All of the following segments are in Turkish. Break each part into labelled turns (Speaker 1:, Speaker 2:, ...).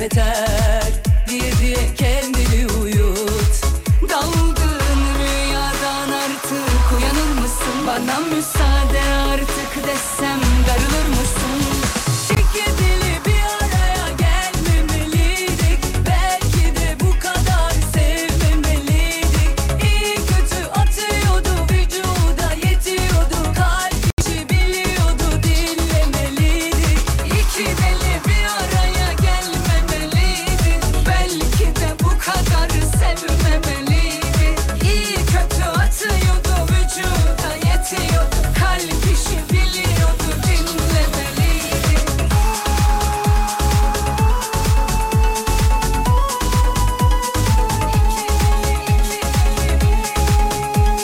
Speaker 1: yeter Diye diye kendini uyut Daldığın rüyadan artık uyanır mısın? Bana müsaade artık desem darılır mısın? İki dili bir araya gelmemeliydik Belki de bu kadar sevmemeliydik İyi kötü atıyordu vücuda yetiyordu Kalp işi biliyordu dinlemeliydik İki deli bir araya gelmemeliydi Belki de bu kadar sevmemeliydi İyi kötü atıyordu vücuda yetiyordu Kalp işi biliyordu dinlemeliydi İki deli, iki deli, bir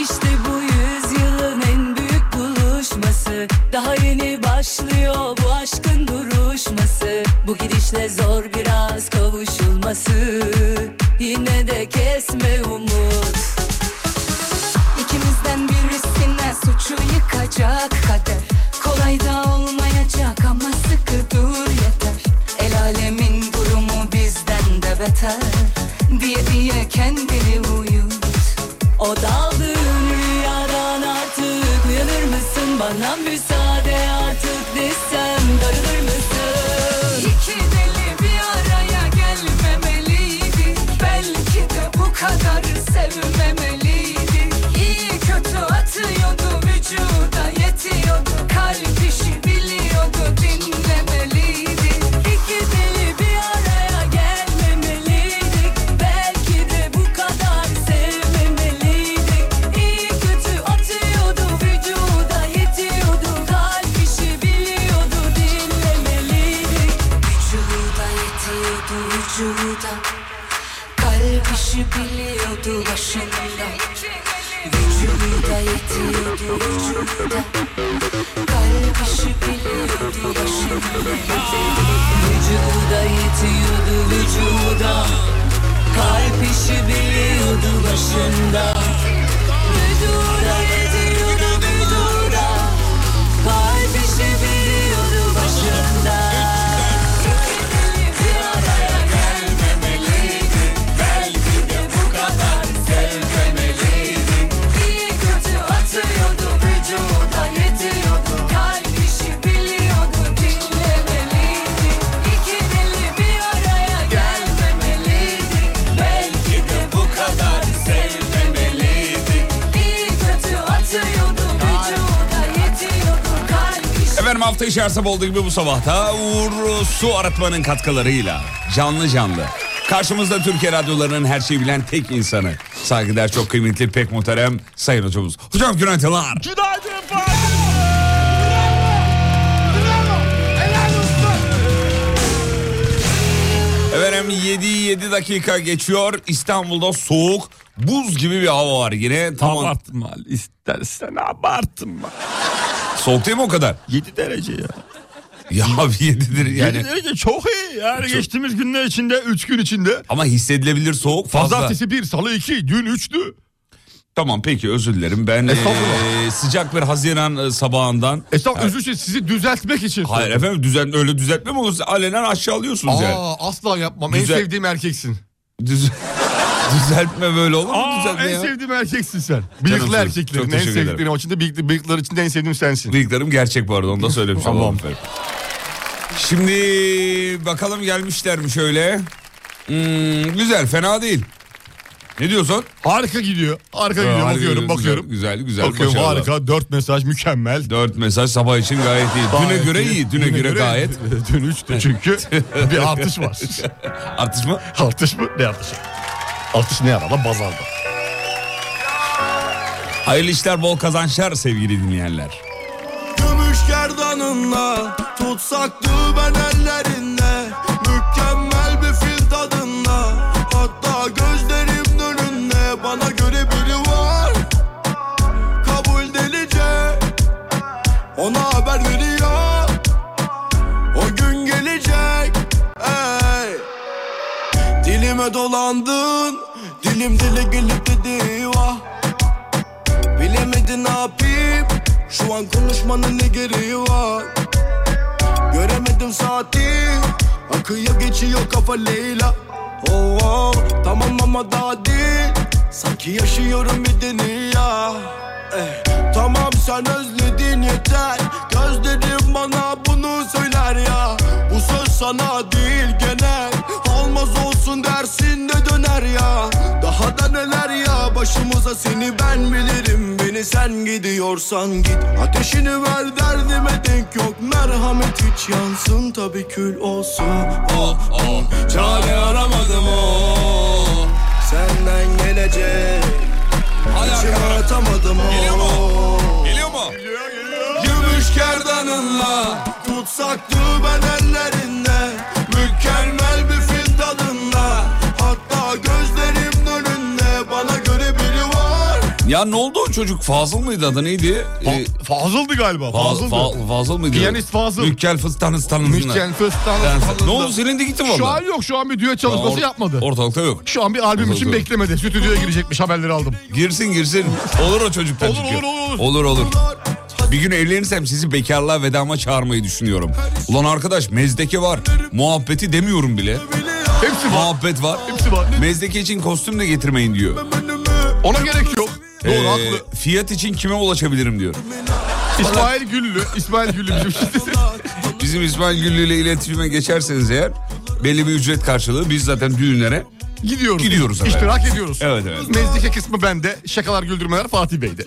Speaker 1: İşte bu yüzyılın en büyük buluşması Daha yeni başlıyor bu aşkın duruşması Bu gidişle zor biraz kavuşulması Yine de kesme umut İkimizden birisine suçu yıkacak kader Kolay da olmayacak ama sıkı dur yeter El alemin durumu bizden de beter Diye diye kendini uyut o daldığın rüyadan artık uyanır mısın? Bana müsaade artık desem darılır mısın? İki deli bir araya gelmemeliydi Belki de bu kadar sevmemeliydi İyi kötü atıyordu vücuda yetiyordu Kalp işi biliyordu dinlemeliydi İki deli bir araya gelmemeliydik Belki de bu kadar sevmemeliydik İyi kötü atıyordu vücuda yetiyordu Kalp işi biliyordu dinlemeliydik Vücuda yetiyordu vücuda Kalp işi biliyordu başında Vücuda yetiyordu vücuda Kalp işi biliyordu başında Vücuda yetiyordu vücuda Kalp işi biliyordu başında Vücuda yetiyordu vücuda Kalp işi biliyordu başında İki deli bir araya gelmemeliydi Belki de bu kadar sevmemeliydi İyi kötü atıyordu vücuda yetiyordu Kalp işi biliyordu dinlemeliydi İki deli bir araya gelmemeliydi Belki de bu kadar sevmemeliydi İyi kötü atıyordu vücuda yetiyordu Kalp işi
Speaker 2: Efendim hafta içi her sabah olduğu gibi bu sabahta Uğur Su Arıtma'nın katkılarıyla canlı canlı. Karşımızda Türkiye radyolarının her şeyi bilen tek insanı. Saygıdeğer çok kıymetli pek muhterem sayın hocamız. Hocam günaydınlar.
Speaker 3: Günaydın Fatih. Bravo. Bravo. Helal olsun.
Speaker 2: Efendim 7 7 dakika geçiyor. İstanbul'da soğuk buz gibi bir hava var yine. Tam an-
Speaker 4: Abartma istersen abartma.
Speaker 2: soğuk değil mi o kadar?
Speaker 4: 7 derece ya.
Speaker 2: Ya 7'dir yani.
Speaker 4: 7 derece çok iyi. Yani geçtiğimiz günler içinde 3 gün içinde.
Speaker 2: Ama hissedilebilir soğuk fazla.
Speaker 4: Pazartesi 1, salı 2, dün 3'tü.
Speaker 2: Tamam peki özür dilerim. Ben
Speaker 4: Estağfurullah.
Speaker 2: eee, sıcak bir Haziran eee, sabahından
Speaker 4: Esnaf özür dilerim sizi düzeltmek için.
Speaker 2: Hayır efendim düzen öyle düzeltme mi olur? Alenen aşağılıyorsunuz yani.
Speaker 4: Aa, asla yapmam.
Speaker 2: Güzel.
Speaker 4: En sevdiğim erkeksin.
Speaker 2: Düz- düzeltme böyle olur mu?
Speaker 4: Aa,
Speaker 2: düzeltme
Speaker 4: en
Speaker 2: ya.
Speaker 4: sevdiğim erkeksin sen. Bıyıklı
Speaker 2: Canımsın. Çok
Speaker 4: erkeklerin en
Speaker 2: teşekkür ederim.
Speaker 4: sevdiklerim içinde bıyıklı, bıyıkların içinde en sevdiğim sensin.
Speaker 2: Bıyıklarım gerçek bu arada onu da söylemiş
Speaker 4: Tamam.
Speaker 2: olalım efendim. Şimdi bakalım gelmişler mi şöyle? Hmm, güzel fena değil. Ne diyorsun?
Speaker 4: Harika gidiyor. Harika gidiyor.
Speaker 2: Harika,
Speaker 4: bakıyorum,
Speaker 2: güzel,
Speaker 4: bakıyorum.
Speaker 2: Güzel güzel.
Speaker 4: bakıyorum
Speaker 2: başarılı.
Speaker 4: harika. Dört mesaj mükemmel.
Speaker 2: Dört mesaj sabah için gayet iyi. düne
Speaker 4: Gayet
Speaker 2: göre iyi. Düne, göre, gayet.
Speaker 4: Dün üçtü çünkü bir artış var.
Speaker 2: Artış mı?
Speaker 4: artış mı? Ne artışı? Artış ne ara lan pazarda?
Speaker 2: Hayırlı işler bol kazançlar sevgili dinleyenler.
Speaker 5: Gümüş gerdanınla Tutsak düğmen ellerinle Mükemmel bir fil tadında Hatta gözlerim önünde Bana göre biri var Kabul delice Ona haber veriyor O gün gelecek Ey Dilime dolandın Dilim dile gelip dedi vah Bilemedin ne yapayım
Speaker 6: Şu an konuşmanın ne gereği var Göremedim saati Akıyor geçiyor kafa Leyla Oh, oh, tamam ama daha değil Sanki yaşıyorum bir dünya Eh, Tamam sen özledin yeter Gözlerim bana bunu söyler ya Bu söz sana değil genel Olmaz olsun dersin de döner ya Daha da neler ya başımıza seni ben bilirim Beni sen gidiyorsan git Ateşini ver derdime denk yok Merhamet hiç yansın tabi kül olsun Oh oh çare aramadım oh Senden gelecek
Speaker 2: Hadi
Speaker 6: İçime
Speaker 2: arkadaşlar.
Speaker 6: atamadım oh
Speaker 2: Geliyor mu? Geliyor mu?
Speaker 6: Gümüş kerdanınla Tutsak düğmen ellerinde Mükemmel bir fil tadında Hatta gözlerim önünde Bana göre biri var
Speaker 2: Ya ne oldu o çocuk? Fazıl mıydı adı neydi? Ee,
Speaker 4: Fa- Fazıl'dı galiba.
Speaker 2: Fazıl,
Speaker 4: Fazıl'dı.
Speaker 2: Fa- Fazıl mıydı?
Speaker 4: Piyanist Fazıl.
Speaker 2: Mükkel fıstanız tanınızına.
Speaker 4: Müzisyen, Fıstan, Fazıl'dı.
Speaker 2: Ne oldu silindi gitti mi
Speaker 4: Şu
Speaker 2: valla?
Speaker 4: an yok şu an bir düet çalışması
Speaker 2: Or-
Speaker 4: yapmadı.
Speaker 2: Ortalıkta yok.
Speaker 4: şu an bir albüm için
Speaker 2: Ortalıkta.
Speaker 4: beklemedi. Stüdyoya girecekmiş haberleri aldım.
Speaker 2: Girsin girsin. Olur o çocuktan
Speaker 4: Olur,
Speaker 2: çünkü.
Speaker 4: olur,
Speaker 2: Olur olur. Bir gün evlenirsem sizi bekarlığa vedama çağırmayı düşünüyorum. Ulan arkadaş mezdeke var. Muhabbeti demiyorum bile.
Speaker 4: Hepsi var.
Speaker 2: Muhabbet var.
Speaker 4: Hepsi var. Ne-
Speaker 2: Mezdeke için kostüm de getirmeyin diyor.
Speaker 4: Ona gerek yok. Doğru
Speaker 2: Ee,
Speaker 4: haklı.
Speaker 2: fiyat için kime ulaşabilirim diyor.
Speaker 4: İsmail Güllü. İsmail Güllü bizim şimdi.
Speaker 2: Bizim İsmail Güllü ile iletişime geçerseniz eğer belli bir ücret karşılığı biz zaten düğünlere
Speaker 4: Gidiyoruz.
Speaker 2: Gidiyoruz efendim.
Speaker 4: İştirak ediyoruz.
Speaker 2: Evet, evet.
Speaker 4: Mezdike kısmı bende. Şakalar güldürmeler Fatih Bey'de.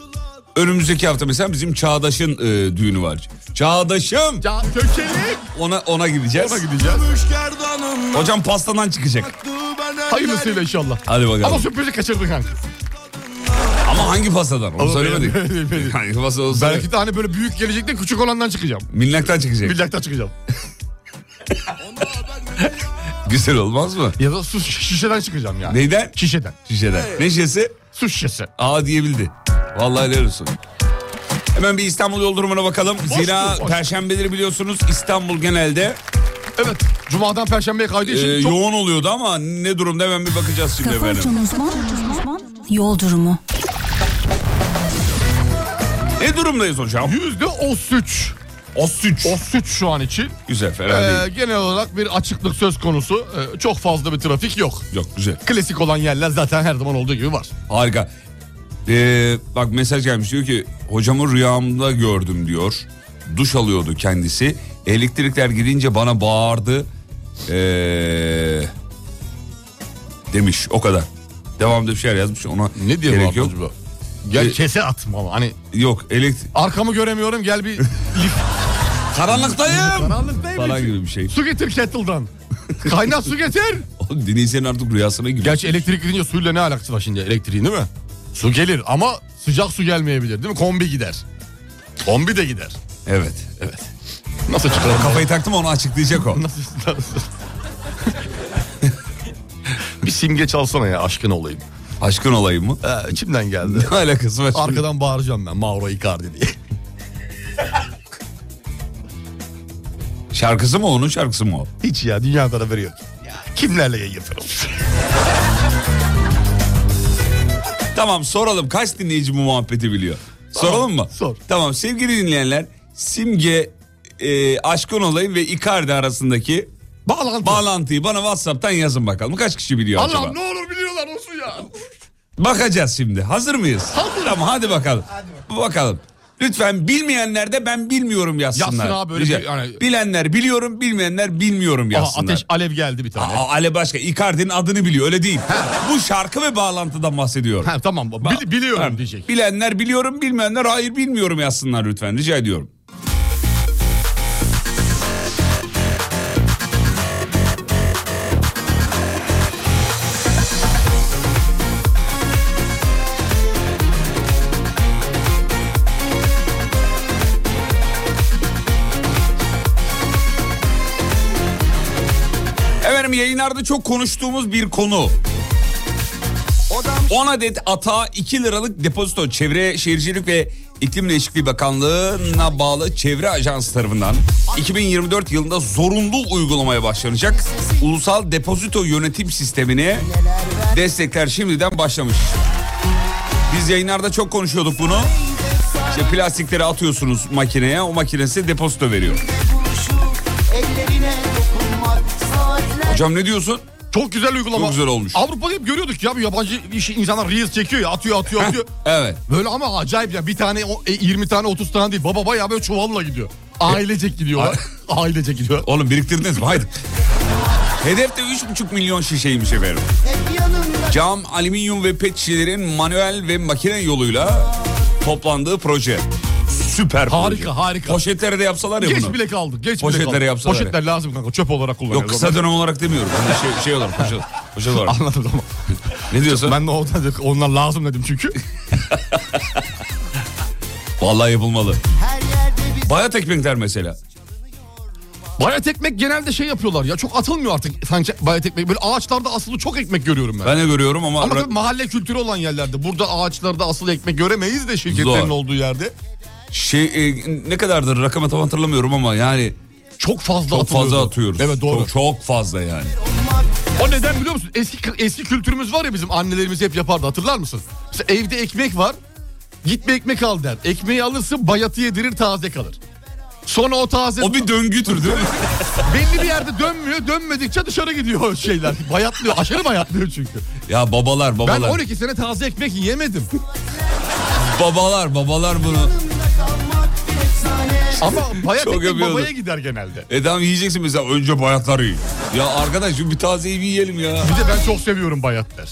Speaker 2: önümüzdeki hafta mesela bizim Çağdaş'ın e, düğünü var. Çağdaş'ım
Speaker 4: Ya kökelik.
Speaker 2: ona ona gideceğiz.
Speaker 4: Ona gideceğiz.
Speaker 6: Gümüş kerdanınla
Speaker 2: Hocam pastadan çıkacak.
Speaker 6: Düğmen
Speaker 4: Hayırlısıyla inşallah.
Speaker 2: Hadi bakalım.
Speaker 4: Ama sürprizi kaçırdın kanka.
Speaker 2: Ama hangi pastadan? Onu
Speaker 4: Ama
Speaker 2: söylemedik.
Speaker 4: benim- benim- benim.
Speaker 2: hangi pasta olsa
Speaker 4: Belki de hani böyle büyük gelecekte küçük olandan çıkacağım.
Speaker 2: minnaktan çıkacak.
Speaker 4: Billaktan çıkacağım.
Speaker 2: Güzel olmaz mı?
Speaker 4: Ya da su şiş- şişeden çıkacağım yani.
Speaker 2: Neyden?
Speaker 4: Şişeden.
Speaker 2: Şişeden. Ne şişesi?
Speaker 4: Su şişesi.
Speaker 2: Aa diyebildi. Vallahi helal olsun. Hemen bir İstanbul yol durumuna bakalım. Zira
Speaker 4: boş.
Speaker 2: perşembeleri biliyorsunuz İstanbul genelde
Speaker 4: Evet. Cuma'dan Perşembe'ye kaydığı için
Speaker 2: e,
Speaker 4: çok...
Speaker 2: yoğun oluyordu ama ne durumda hemen bir bakacağız şimdi
Speaker 7: Kafa
Speaker 2: efendim.
Speaker 7: Açan Uzman Yol Durumu
Speaker 2: Ne durumdayız hocam?
Speaker 4: Yüzde 33.
Speaker 2: O suç.
Speaker 4: 33 şu an için.
Speaker 2: Güzel fena
Speaker 4: Ee,
Speaker 2: değil.
Speaker 4: genel olarak bir açıklık söz konusu. Ee, çok fazla bir trafik yok.
Speaker 2: Yok güzel.
Speaker 4: Klasik olan yerler zaten her zaman olduğu gibi var.
Speaker 2: Harika. Ee, bak mesaj gelmiş diyor ki hocamı rüyamda gördüm diyor. Duş alıyordu kendisi. Elektrikler gidince bana bağırdı. Ee, demiş o kadar. Devamında bir şeyler yazmış ona
Speaker 4: Ne diyor
Speaker 2: gerek
Speaker 4: bu
Speaker 2: yok.
Speaker 4: acaba? Gel
Speaker 2: Ee,
Speaker 4: kese atma. Hani
Speaker 2: Yok elektrik.
Speaker 4: arkamı göremiyorum gel bir
Speaker 2: Karanlıktayım.
Speaker 4: karanlıktayım.
Speaker 2: Falan gibi bir şey.
Speaker 4: Su getir kettle'dan. Kaynar su getir.
Speaker 2: Oğlum dinleyicinin artık rüyasına giriyor.
Speaker 4: Gerçi elektrik gidince suyla ne alakası var şimdi elektriğin değil mi? Su gelir ama sıcak su gelmeyebilir değil mi? Kombi gider. Kombi de gider.
Speaker 2: Evet evet.
Speaker 4: Nasıl çıkar?
Speaker 2: Kafayı taktım onu açıklayacak o.
Speaker 4: Nasıl? nasıl? bir simge çalsana ya aşkın olayım.
Speaker 2: Aşkın olayım mı?
Speaker 4: Ee, içimden geldi.
Speaker 2: Ne alakası var? şimdi?
Speaker 4: Arkadan bağıracağım ben Mauro Icardi diye.
Speaker 2: Şarkısı mı onun şarkısı mı o?
Speaker 4: Hiç ya dünyadan haberi yok. Ya, kimlerle yayın yapıyorum?
Speaker 2: Tamam soralım kaç dinleyici bu muhabbeti biliyor? Soralım mı?
Speaker 4: sor.
Speaker 2: Tamam sevgili dinleyenler Simge e, Aşkın Olayım ve Icardi arasındaki
Speaker 4: Bağlantı.
Speaker 2: bağlantıyı bana Whatsapp'tan yazın bakalım. Kaç kişi biliyor acaba?
Speaker 4: Allah ne olur biliyorlar olsun ya.
Speaker 2: Bakacağız şimdi. Hazır mıyız?
Speaker 4: Hazırız.
Speaker 2: Tamam hadi bakalım. bakalım. Lütfen bilmeyenler de ben bilmiyorum yazsınlar.
Speaker 4: Yazsın abi, öyle
Speaker 2: Rica-
Speaker 4: bir- yani-
Speaker 2: Bilenler biliyorum, bilmeyenler bilmiyorum
Speaker 4: Aha,
Speaker 2: yazsınlar.
Speaker 4: ateş alev geldi bir tane.
Speaker 2: Aa, Ale başka Icardi'nin adını biliyor öyle değil. Bu şarkı ve bağlantıdan bahsediyor.
Speaker 4: Ha, tamam Bili- biliyorum
Speaker 2: Ha,
Speaker 4: diyecek.
Speaker 2: Bilenler biliyorum, bilmeyenler hayır bilmiyorum yazsınlar lütfen rica ediyorum. Efendim yayınlarda çok konuştuğumuz bir konu. 10 adet ata 2 liralık depozito Çevre Şehircilik ve İklim Değişikliği Bakanlığı'na bağlı Çevre Ajansı tarafından 2024 yılında zorunlu uygulamaya başlanacak ulusal depozito yönetim sistemini destekler şimdiden başlamış. Biz yayınlarda çok konuşuyorduk bunu. İşte plastikleri atıyorsunuz makineye o makine size depozito veriyor. Hocam ne diyorsun?
Speaker 4: Çok güzel uygulama.
Speaker 2: Çok güzel olmuş.
Speaker 4: Avrupa'da hep görüyorduk ya bu yabancı işi insanlar reels çekiyor ya atıyor atıyor atıyor.
Speaker 2: Evet.
Speaker 4: Böyle ama acayip ya bir tane o- e, 20 tane 30 tane değil baba bayağı böyle çuvalla gidiyor. Ailecek gidiyorlar. Ailecek gidiyor.
Speaker 2: Oğlum biriktirdiniz mi? Haydi. Hedefte 3,5 milyon şişeymiş efendim. Cam, alüminyum ve pet şişelerin manuel ve makine yoluyla toplandığı proje. Süper proje.
Speaker 4: Harika, harika.
Speaker 2: Poşetlere de yapsalar ya
Speaker 4: Geç
Speaker 2: bunu.
Speaker 4: bile kaldık. Geç
Speaker 2: Poşetlere
Speaker 4: bile kaldık.
Speaker 2: yapsalar
Speaker 4: Poşetler lazım kanka çöp olarak kullanıyoruz.
Speaker 2: Yok kısa dönem olarak demiyorum. Hani şey, şey olur. Poşet, poşet olarak.
Speaker 4: Anladım tamam.
Speaker 2: Ne diyorsun?
Speaker 4: Ben de oradan dedim, onlar lazım dedim çünkü.
Speaker 2: Vallahi yapılmalı. Bayat ekmekler mesela.
Speaker 4: bayat ekmek genelde şey yapıyorlar ya çok atılmıyor artık sanki bayat ekmek. Böyle ağaçlarda asılı çok ekmek görüyorum ben.
Speaker 2: Ben de görüyorum ama...
Speaker 4: Ama tabii mahalle kültürü olan yerlerde. Burada ağaçlarda asıl ekmek göremeyiz de şirketlerin
Speaker 2: Zor.
Speaker 4: olduğu yerde.
Speaker 2: Şey e, ne kadardır rakamı tam hatırlamıyorum ama yani
Speaker 4: Çok fazla
Speaker 2: çok
Speaker 4: atılıyordu.
Speaker 2: fazla atıyoruz.
Speaker 4: Evet doğru.
Speaker 2: Çok, çok fazla yani.
Speaker 4: O neden biliyor musun? Eski eski kültürümüz var ya bizim annelerimiz hep yapardı hatırlar mısın? Mesela evde ekmek var. Gitme ekmek al der. Ekmeği alırsın bayatı yedirir taze kalır. Sonra o taze
Speaker 2: O bir döngüdür değil mi?
Speaker 4: belli bir yerde dönmüyor. Dönmedikçe dışarı gidiyor o şeyler. Bayatlıyor. Aşırı bayatlıyor çünkü.
Speaker 2: ya babalar
Speaker 4: Ben
Speaker 2: babalar.
Speaker 4: 12 sene taze ekmek yemedim.
Speaker 2: Babalar babalar bunu.
Speaker 4: Ama bayat
Speaker 2: Çok
Speaker 4: ekmek
Speaker 2: yapıyordum.
Speaker 4: babaya gider genelde.
Speaker 2: E tamam yiyeceksin mesela önce bayatları yiyin. Ya arkadaş bir tazeyi bir yiyelim ya.
Speaker 4: Bir de ben çok seviyorum bayatlar.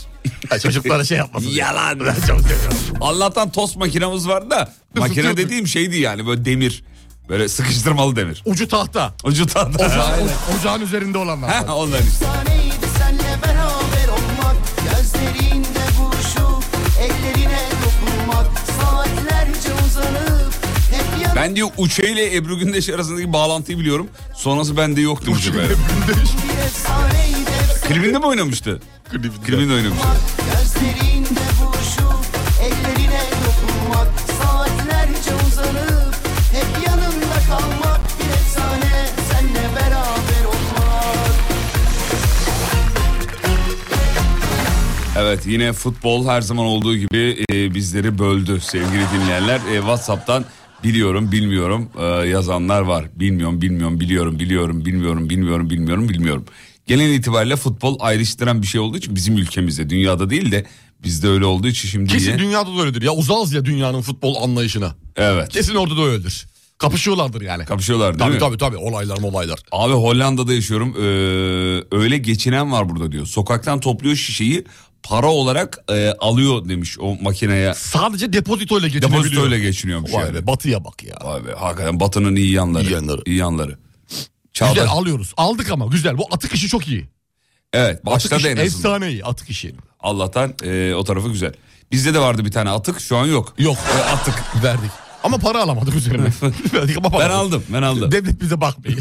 Speaker 4: Ya Çocuklara şey yapmasın.
Speaker 2: Yalan.
Speaker 4: Ben çok seviyorum.
Speaker 2: Allah'tan tost makinamız var da makine
Speaker 4: Isıtıyordu.
Speaker 2: dediğim şeydi yani böyle demir. Böyle sıkıştırmalı demir.
Speaker 4: Ucu tahta.
Speaker 2: Ucu tatlı.
Speaker 4: Oca-
Speaker 2: Aynen.
Speaker 4: o- ocağın üzerinde olanlar.
Speaker 2: Ha, Ondan işte.
Speaker 8: Neydi senle beraber olmak Gözlerinde buluşup Ellerine dokunmak Saatlerce uzanıp Hep yanı
Speaker 2: Ben diyor Uçe ile Ebru Gündeş arasındaki bağlantıyı biliyorum. Sonrası bende yoktu bu sefer.
Speaker 8: bir efsaneydi
Speaker 2: Klibinde mi oynamıştı? Klibinde. oynamıştı.
Speaker 8: Gözlerinde buluşup Ellerine dokunmak Saatlerce uzanıp Hep yanımda kalmak Bir efsane senle beraber olmak
Speaker 2: Evet yine futbol her zaman olduğu gibi e, bizleri böldü sevgili dinleyenler. E, Whatsapp'tan biliyorum bilmiyorum e, yazanlar var. Bilmiyorum bilmiyorum biliyorum biliyorum bilmiyorum bilmiyorum bilmiyorum bilmiyorum. Genel itibariyle futbol ayrıştıran bir şey olduğu için bizim ülkemizde dünyada değil de bizde öyle olduğu için şimdi
Speaker 4: Kesin
Speaker 2: yine-
Speaker 4: dünyada da öyledir. Ya uzağız ya dünyanın futbol anlayışına.
Speaker 2: evet
Speaker 4: Kesin orada da öyledir. Kapışıyorlardır yani.
Speaker 2: kapışıyorlar değil
Speaker 4: tabii
Speaker 2: mi?
Speaker 4: tabii tabii olaylar olaylar.
Speaker 2: Abi Hollanda'da yaşıyorum. Ee, öyle geçinen var burada diyor. Sokaktan topluyor şişeyi para olarak e, alıyor demiş o makineye.
Speaker 4: Sadece depozitoyla geçinebiliyor.
Speaker 2: Depozitoyla geçiniyormuş
Speaker 4: Vay
Speaker 2: yani.
Speaker 4: be batıya bak ya.
Speaker 2: Vay be hakikaten Batı'nın iyi yanları.
Speaker 4: İyi yanları.
Speaker 2: İyi yanları.
Speaker 4: Güzel
Speaker 2: Çağdaş.
Speaker 4: alıyoruz. Aldık ama güzel. Bu atık işi çok iyi.
Speaker 2: Evet
Speaker 4: Atık
Speaker 2: başladı
Speaker 4: işi
Speaker 2: en azından.
Speaker 4: efsane iyi atık işi.
Speaker 2: Allah'tan e, o tarafı güzel. Bizde de vardı bir tane atık şu an yok. E,
Speaker 4: Yok attık verdik. Ama para alamadık üzerine. verdik ama para
Speaker 2: Ben
Speaker 4: alamadık.
Speaker 2: aldım ben aldım
Speaker 4: Devlet bize bakmıyor.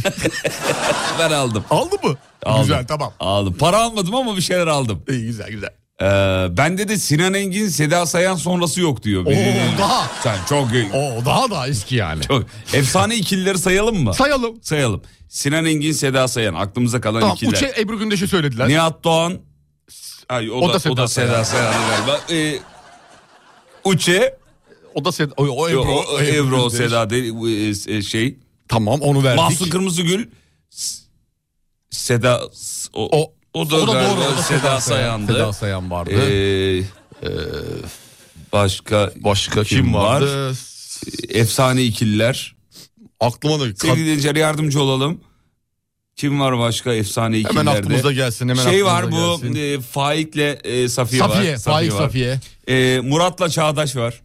Speaker 2: ben aldım.
Speaker 4: Aldı mı?
Speaker 2: Aldım.
Speaker 4: Güzel tamam.
Speaker 2: Aldım. Para almadım ama bir şeyler aldım.
Speaker 4: İyi güzel güzel.
Speaker 2: Ee, bende de Sinan Engin Seda Sayan sonrası yok diyor.
Speaker 4: Oo
Speaker 2: Birinin-
Speaker 4: daha.
Speaker 2: Sen çok
Speaker 4: Oo daha da eski yani.
Speaker 2: Çok. Efsane ikilileri sayalım mı?
Speaker 4: Sayalım.
Speaker 2: sayalım. Sinan Engin, Seda Sayan. Aklımıza kalan
Speaker 4: Tamam
Speaker 2: ikiler.
Speaker 4: Uçe Ebru Gündeş'i söylediler.
Speaker 2: Nihat Doğan. Ay, o, da, o da Seda,
Speaker 4: Sayan.
Speaker 2: Sayan galiba. Ee, Uçe.
Speaker 4: O da Seda. O, o Ebru.
Speaker 2: Ebro, o, Ebru,
Speaker 4: Gündeş.
Speaker 2: Seda değil, e, e, şey.
Speaker 4: Tamam onu verdik.
Speaker 2: Mahsun Kırmızıgül. S- Seda. s- O,
Speaker 4: O-
Speaker 2: o, da, galiba
Speaker 4: o da
Speaker 2: Seda Sayan'dı.
Speaker 4: Seda Sayan vardı.
Speaker 2: Ee, başka E,
Speaker 4: Başka kim, vardı?
Speaker 2: Efsane ikililer.
Speaker 4: Aklıma da
Speaker 2: Sevgili dinleyiciler yardımcı olalım. Kim var başka efsane ikilerde?
Speaker 4: hemen aklımıza gelsin. Hemen
Speaker 2: şey var
Speaker 4: aklımıza
Speaker 2: bu
Speaker 4: gelsin.
Speaker 2: e, Faik'le e, Safiye, var.
Speaker 4: Safiye, Faik
Speaker 2: var.
Speaker 4: Safiye.
Speaker 2: E, Murat'la Çağdaş var.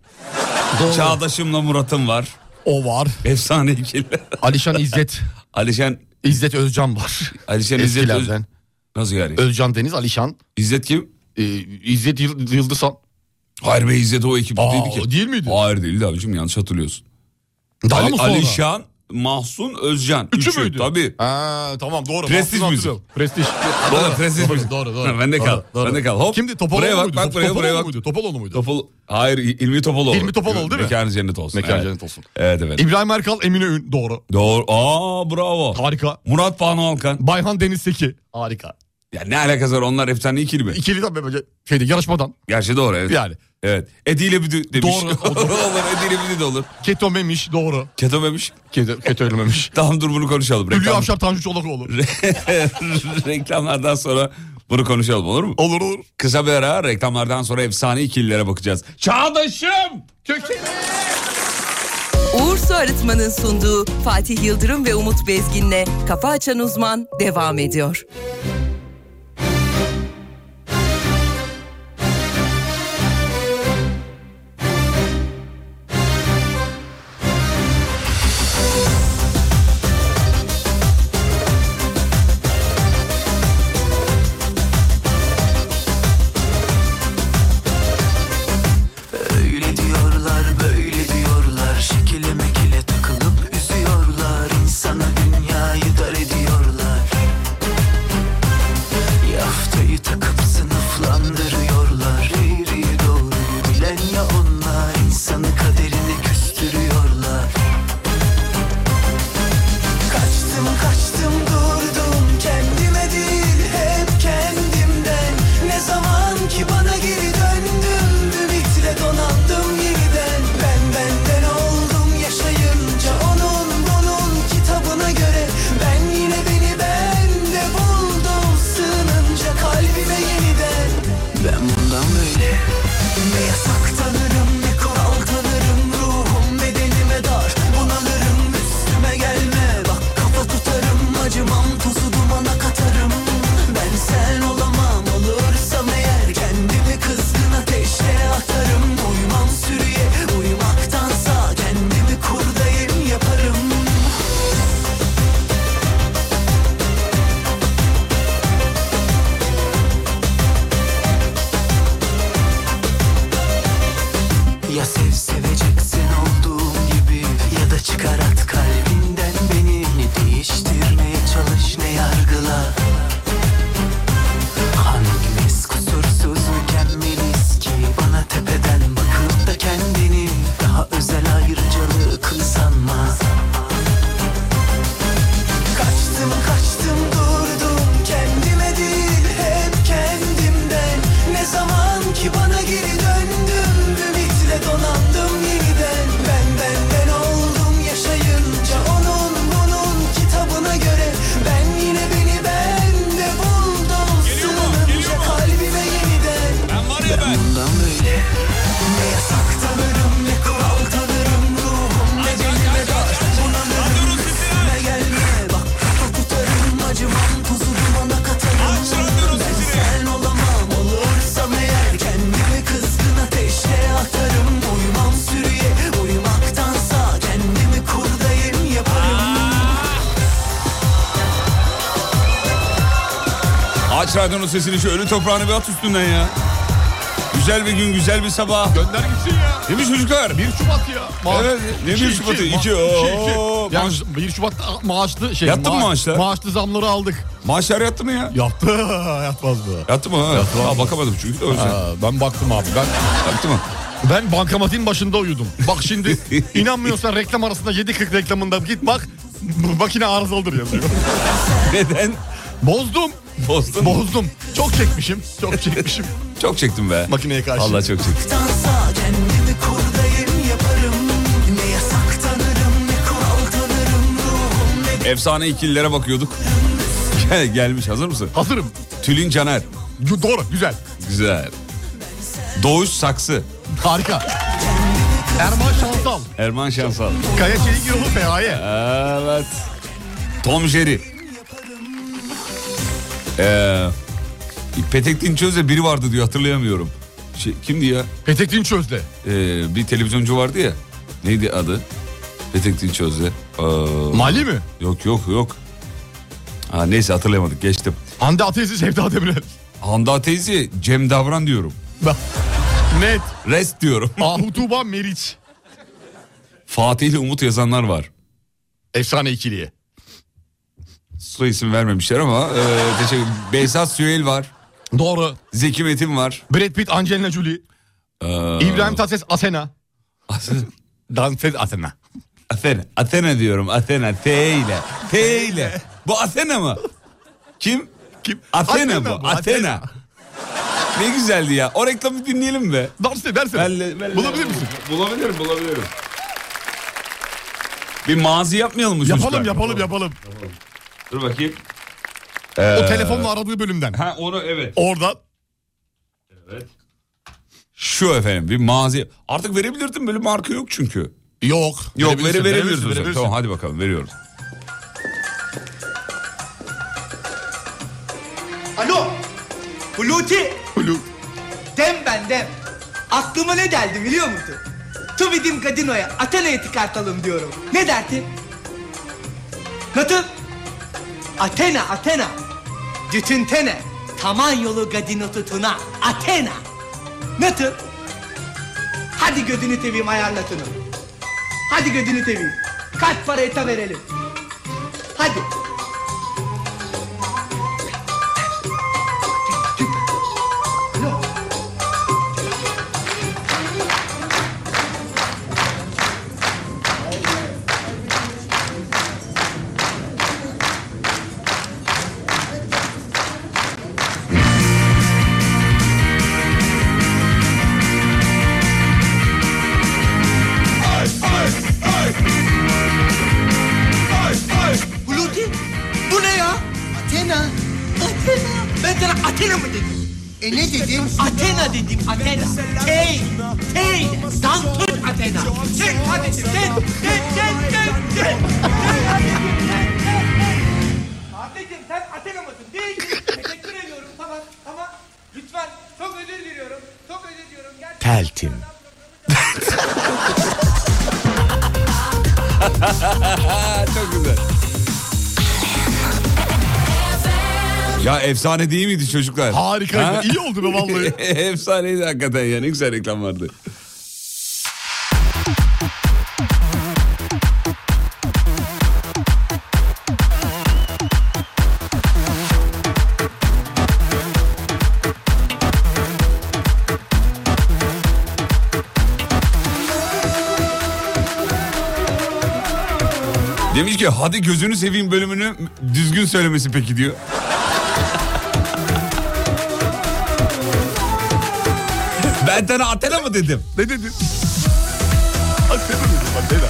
Speaker 4: Doğru.
Speaker 2: Çağdaş'ımla Murat'ım var.
Speaker 4: O var.
Speaker 2: Efsane ikili.
Speaker 4: Alişan İzzet.
Speaker 2: Alişen,
Speaker 4: İzzet Özcan var.
Speaker 2: Alişen İzzet. Öz-
Speaker 4: Eskilerden.
Speaker 2: Nasıl yani?
Speaker 4: Özcan Deniz, Alişan.
Speaker 2: İzzet kim?
Speaker 4: Ee, İzzet Yıl- Yıldızhan.
Speaker 2: Hayır be İzzet o ekipte
Speaker 4: Aa,
Speaker 2: değildi ki.
Speaker 4: değil miydi?
Speaker 2: Hayır değildi abicim yanlış hatırlıyorsun.
Speaker 4: Daha
Speaker 2: Ali,
Speaker 4: mı sonra?
Speaker 2: Alişan, Mahsun, Özcan.
Speaker 4: Üçü müydü?
Speaker 2: Tabii.
Speaker 4: Ha, tamam doğru.
Speaker 2: Prestij
Speaker 4: Mahsun
Speaker 2: müzik.
Speaker 4: hatırlıyorum. Prestij.
Speaker 2: Doğru, prestij
Speaker 4: doğru,
Speaker 2: müzik.
Speaker 4: Doğru, doğru.
Speaker 2: Ha, bende
Speaker 4: Doğru,
Speaker 2: kal,
Speaker 4: doğru.
Speaker 2: bende kal. Hop.
Speaker 4: Kimdi? Topaloğlu
Speaker 2: Buraya bak,
Speaker 4: muydu?
Speaker 2: bak buraya,
Speaker 4: Topaloğlu
Speaker 2: buraya bak.
Speaker 4: Muydu? Topaloğlu muydu?
Speaker 2: Topal... Hayır İ- İlmi Topaloğlu.
Speaker 4: İlmi Topaloğlu değil mi?
Speaker 2: Mekanı cennet olsun.
Speaker 4: Mekanı
Speaker 2: evet.
Speaker 4: cennet olsun.
Speaker 2: Evet evet.
Speaker 4: İbrahim Erkal, Emine Ün. Doğru.
Speaker 2: Doğru. Aa bravo.
Speaker 4: Harika.
Speaker 2: Murat Banu Alkan.
Speaker 4: Bayhan Deniz Seki. Harika.
Speaker 2: Ya ne alakası var onlar efsane ikili mi?
Speaker 4: İkili tabii böyle şeyde yarışmadan.
Speaker 2: Gerçi doğru evet.
Speaker 4: Yani.
Speaker 2: Evet. Ediyle büdü demiş.
Speaker 4: Doğru, o doğru.
Speaker 2: olur ediyle büdü de olur.
Speaker 4: Keto memiş doğru.
Speaker 2: Keto memiş.
Speaker 4: Keto, keto ölmemiş.
Speaker 2: Tamam dur bunu konuşalım.
Speaker 4: Hülya
Speaker 2: Reklam...
Speaker 4: Avşar Tanju Çolakoğlu.
Speaker 2: Reklamlardan sonra bunu konuşalım olur mu?
Speaker 4: Olur olur.
Speaker 2: Kısa bir ara reklamlardan sonra efsane ikililere bakacağız. Çağdaşım!
Speaker 9: Uğur Su Arıtma'nın sunduğu Fatih Yıldırım ve Umut Bezgin'le Kafa Açan Uzman devam ediyor.
Speaker 1: Öyle diyorlar böyle diyorlar Şekile mekile takılıp üzüyorlar İnsana dünyayı dar ediyorlar Yaftayı takıp sınıflandırıyorlar Eğriyi doğruyu bilen ya onlar insanı kaderine küstürüyorlar Kaçtım kaçtım durdum kendime değil hep kendimden Ne zaman ki bana geri döndüm ümitle donandım yeniden Ben benden oldum yaşayınca onun bunun kitabına göre Ben yine beni bende buldum sığınınca kalbime yeniden Ben bundan böyle ne yasak tanırım ne kural tanırım Ruhum bedenime dar bunalırım üstüme gelme Bak kafa tutarım acımam tozu dumana katarım Ben sen olamam olursam eğer Kendimi kızgın ateşe atarım Uymam sürüye uyumaktansa Kendimi kurdayım yaparım Ya sev seveceksin olduğum gibi Ya da çıkar at kalbinden beni Ne değiştirmeye çalış ne yargıla Hangimiz kusursuz mükemmeliz ki Bana tepeden bakıp da kendini Daha özel ayrıcalık sanma Kaçtım kaçtım durdum kendime değil hep kendimden Ne zaman ki bana geri döndüm ümitle donandım yeniden Ben benden oldum yaşayınca onun bunun kitabına göre Ben yine beni bende buldum
Speaker 2: Geliyor mu? Geliyor
Speaker 1: sığınınca
Speaker 2: mu?
Speaker 1: kalbime yeniden
Speaker 2: Ben var ya ben.
Speaker 1: Bundan böyle ne yasak tanırım ne kural tanırım Ruhum ne dilime dar bunalırım üstüme gelme Bak kafa tutarım acımam tuzu dumana katarım
Speaker 2: Aç radyonun
Speaker 1: Ben
Speaker 2: sesini.
Speaker 1: sen olamam olursam eğer Kendimi kızgın ateşe atarım Uymam sürüye uyumaktansa Kendimi kurdayım yaparım
Speaker 2: Aç radyonun sesini şu ölü toprağını bir at üstünden ya. Güzel bir gün güzel bir sabah.
Speaker 4: Gönder gitsin ya.
Speaker 2: Değil mi çocuklar?
Speaker 4: 1 Şubat ya. Maaş-
Speaker 2: Evet, ne
Speaker 4: İki,
Speaker 2: 1 Şubat'ı?
Speaker 4: iki,
Speaker 2: İki,
Speaker 4: ma-
Speaker 2: oo,
Speaker 4: iki, iki. Yani
Speaker 2: maaş-
Speaker 4: 1 Şubat'ta maaşlı şey.
Speaker 2: Yattı mı maaşlar?
Speaker 4: Maaşlı zamları aldık.
Speaker 2: Maaşlar yattı mı ya?
Speaker 4: Yattı yatmaz mı?
Speaker 2: Yattı mı? Ha? Aa, bakamadım çünkü de o yüzden.
Speaker 4: Ha, ben baktım abi. Ben
Speaker 2: Yattı mı?
Speaker 4: ben bankamatiğin başında uyudum. Bak şimdi inanmıyorsan reklam arasında 7.40 reklamında git bak. bu Makine arızalıdır yazıyor.
Speaker 2: Neden?
Speaker 4: Bozdum.
Speaker 2: Bozdun.
Speaker 4: Bozdum. Çok çekmişim. Çok çekmişim.
Speaker 2: çok çektim be.
Speaker 4: Makineye karşı.
Speaker 2: Allah çok çektim.
Speaker 1: Tansa kendimi kurdayım yaparım Ne yasak tanırım ne kural tanırım Ruhum ne
Speaker 2: Efsane ikililere bakıyorduk. Gel, gelmiş hazır mısın?
Speaker 4: Hazırım.
Speaker 2: Tülin Caner.
Speaker 4: Gü- Doğru güzel.
Speaker 2: Güzel. Doğuş Saksı.
Speaker 4: Harika. Erman Şansal.
Speaker 2: Erman Şansal.
Speaker 4: Kaya Çelikoğlu Feraye.
Speaker 2: Evet. Tom Jerry. Ee, Petek Dinçöz'de biri vardı diyor hatırlayamıyorum. Şey, kimdi ya?
Speaker 4: Petek Dinçöz'de.
Speaker 2: Ee, bir televizyoncu vardı ya. Neydi adı? Petek Dinçöz'de. Ee,
Speaker 4: Mali mi?
Speaker 2: yok yok yok. Ha, neyse hatırlayamadık geçtim.
Speaker 4: Hande Ateşli Sevda Demirel.
Speaker 2: Handa teyze Cem Davran diyorum.
Speaker 4: Bak. Net.
Speaker 2: Rest diyorum.
Speaker 4: Ahu Tuğba Meriç.
Speaker 2: Fatih ile Umut yazanlar var.
Speaker 4: Efsane ikiliye.
Speaker 2: Soy isim vermemişler ama e, teşekkür Behzat Süheyl var.
Speaker 4: Doğru.
Speaker 2: Zeki Metin var. Ee,
Speaker 4: Brad Pitt, Angelina Jolie. İbrahim Tatlıses, Asena. Dantes Asena.
Speaker 2: Athena. Athena diyorum. Athena. T ile. T ile. Bu Athena mı? Kim?
Speaker 4: Kim?
Speaker 2: Athena bu.
Speaker 4: bu,
Speaker 2: Athena. ne güzeldi ya. O reklamı dinleyelim be.
Speaker 4: Versene versene.
Speaker 2: Belle- belle-
Speaker 4: Bulabilir misin?
Speaker 2: Bulabilirim bulabilirim. Bir mazi yapmayalım mı
Speaker 4: Yapalım
Speaker 2: çocuklar?
Speaker 4: yapalım yapalım.
Speaker 2: Dur bakayım. Ee,
Speaker 4: O telefonla aradığı bölümden.
Speaker 2: Ha onu evet.
Speaker 4: Oradan.
Speaker 2: Şu efendim bir mazi. Artık verebilirdim böyle marka yok çünkü.
Speaker 4: Yok.
Speaker 2: Yok veri
Speaker 4: Verebilirsin, verebilirsin,
Speaker 2: verebiliriz hocam.
Speaker 4: verebilirsin.
Speaker 2: Tamam hadi bakalım veriyoruz.
Speaker 10: Alo. Hulusi.
Speaker 4: Hulu.
Speaker 10: Dem ben dem. Aklıma ne geldi biliyor musun? Tuvidim Kadino'ya Athena'yı çıkartalım diyorum. Ne dersin? Nasıl? Athena, Athena. Bütün tene. Taman yolu Gadino tutuna. Athena. Nasıl? Hadi gözünü seveyim ayarlatını. Hadi gözünü seveyim. Kaç para ete verelim. Hadi. Hulusi. Bu ne ya?
Speaker 11: Athena. Athena.
Speaker 10: Ben sana Athena mı dedim?
Speaker 11: E ne dedin?
Speaker 10: Athena dedim Athena. Hey, hey, dantun Athena. Sen kardeşim sen, sen, sen, sen, sen. Kardeşim sen Athena mısın? Değil. Teşekkür ediyorum tamam, tamam. Lütfen çok özür diliyorum. Çok özür diliyorum. Gerçekten.
Speaker 12: Peltim.
Speaker 2: Çok güzel. Ya efsane değil miydi çocuklar?
Speaker 4: Harikaydı.
Speaker 2: Ha?
Speaker 4: İyi oldu be vallahi.
Speaker 2: Efsaneydi hakikaten ya. Ne güzel reklam vardı. Demiş ki hadi gözünü seveyim bölümünü düzgün söylemesi peki diyor. Ben sana Athena mı dedim?
Speaker 4: ne dedin? Athena dedim Athena.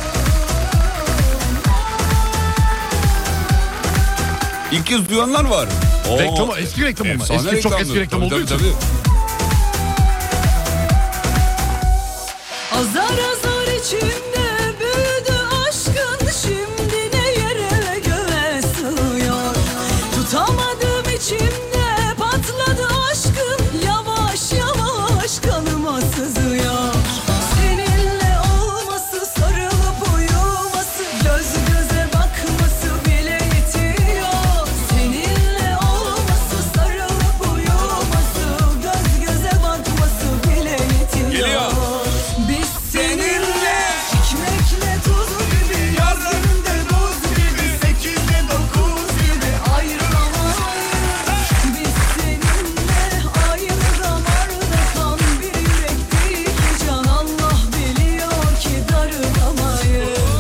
Speaker 2: 200 duyanlar var. Oo.
Speaker 4: Reklam, eski reklam ama.
Speaker 2: Efsane
Speaker 4: Eski, çok
Speaker 2: reklamdı.
Speaker 4: eski reklam
Speaker 2: Tabii,
Speaker 4: olduğu
Speaker 2: tabii,
Speaker 4: için.
Speaker 2: tabii.
Speaker 1: Azar azar içimde büyüdü aşkın şimdi ne yere göğe sığıyor Tutamadım içimde patladı aşkın yavaş yavaş kanıma sızıyor Seninle olması sarılıp uyuması göz göze bakması bile yetiyor Seninle olması sarılıp uyuması göz göze bakması bile yetiyor
Speaker 2: Geliyor.
Speaker 1: biz seninle Ekmekle tuz gibi Yarın'da buz gibi Sekizde dokuz gibi Ayrılamayız Biz seninle Aynı damarda kan Bir yürekteyiz Can Allah biliyor ki darılamayız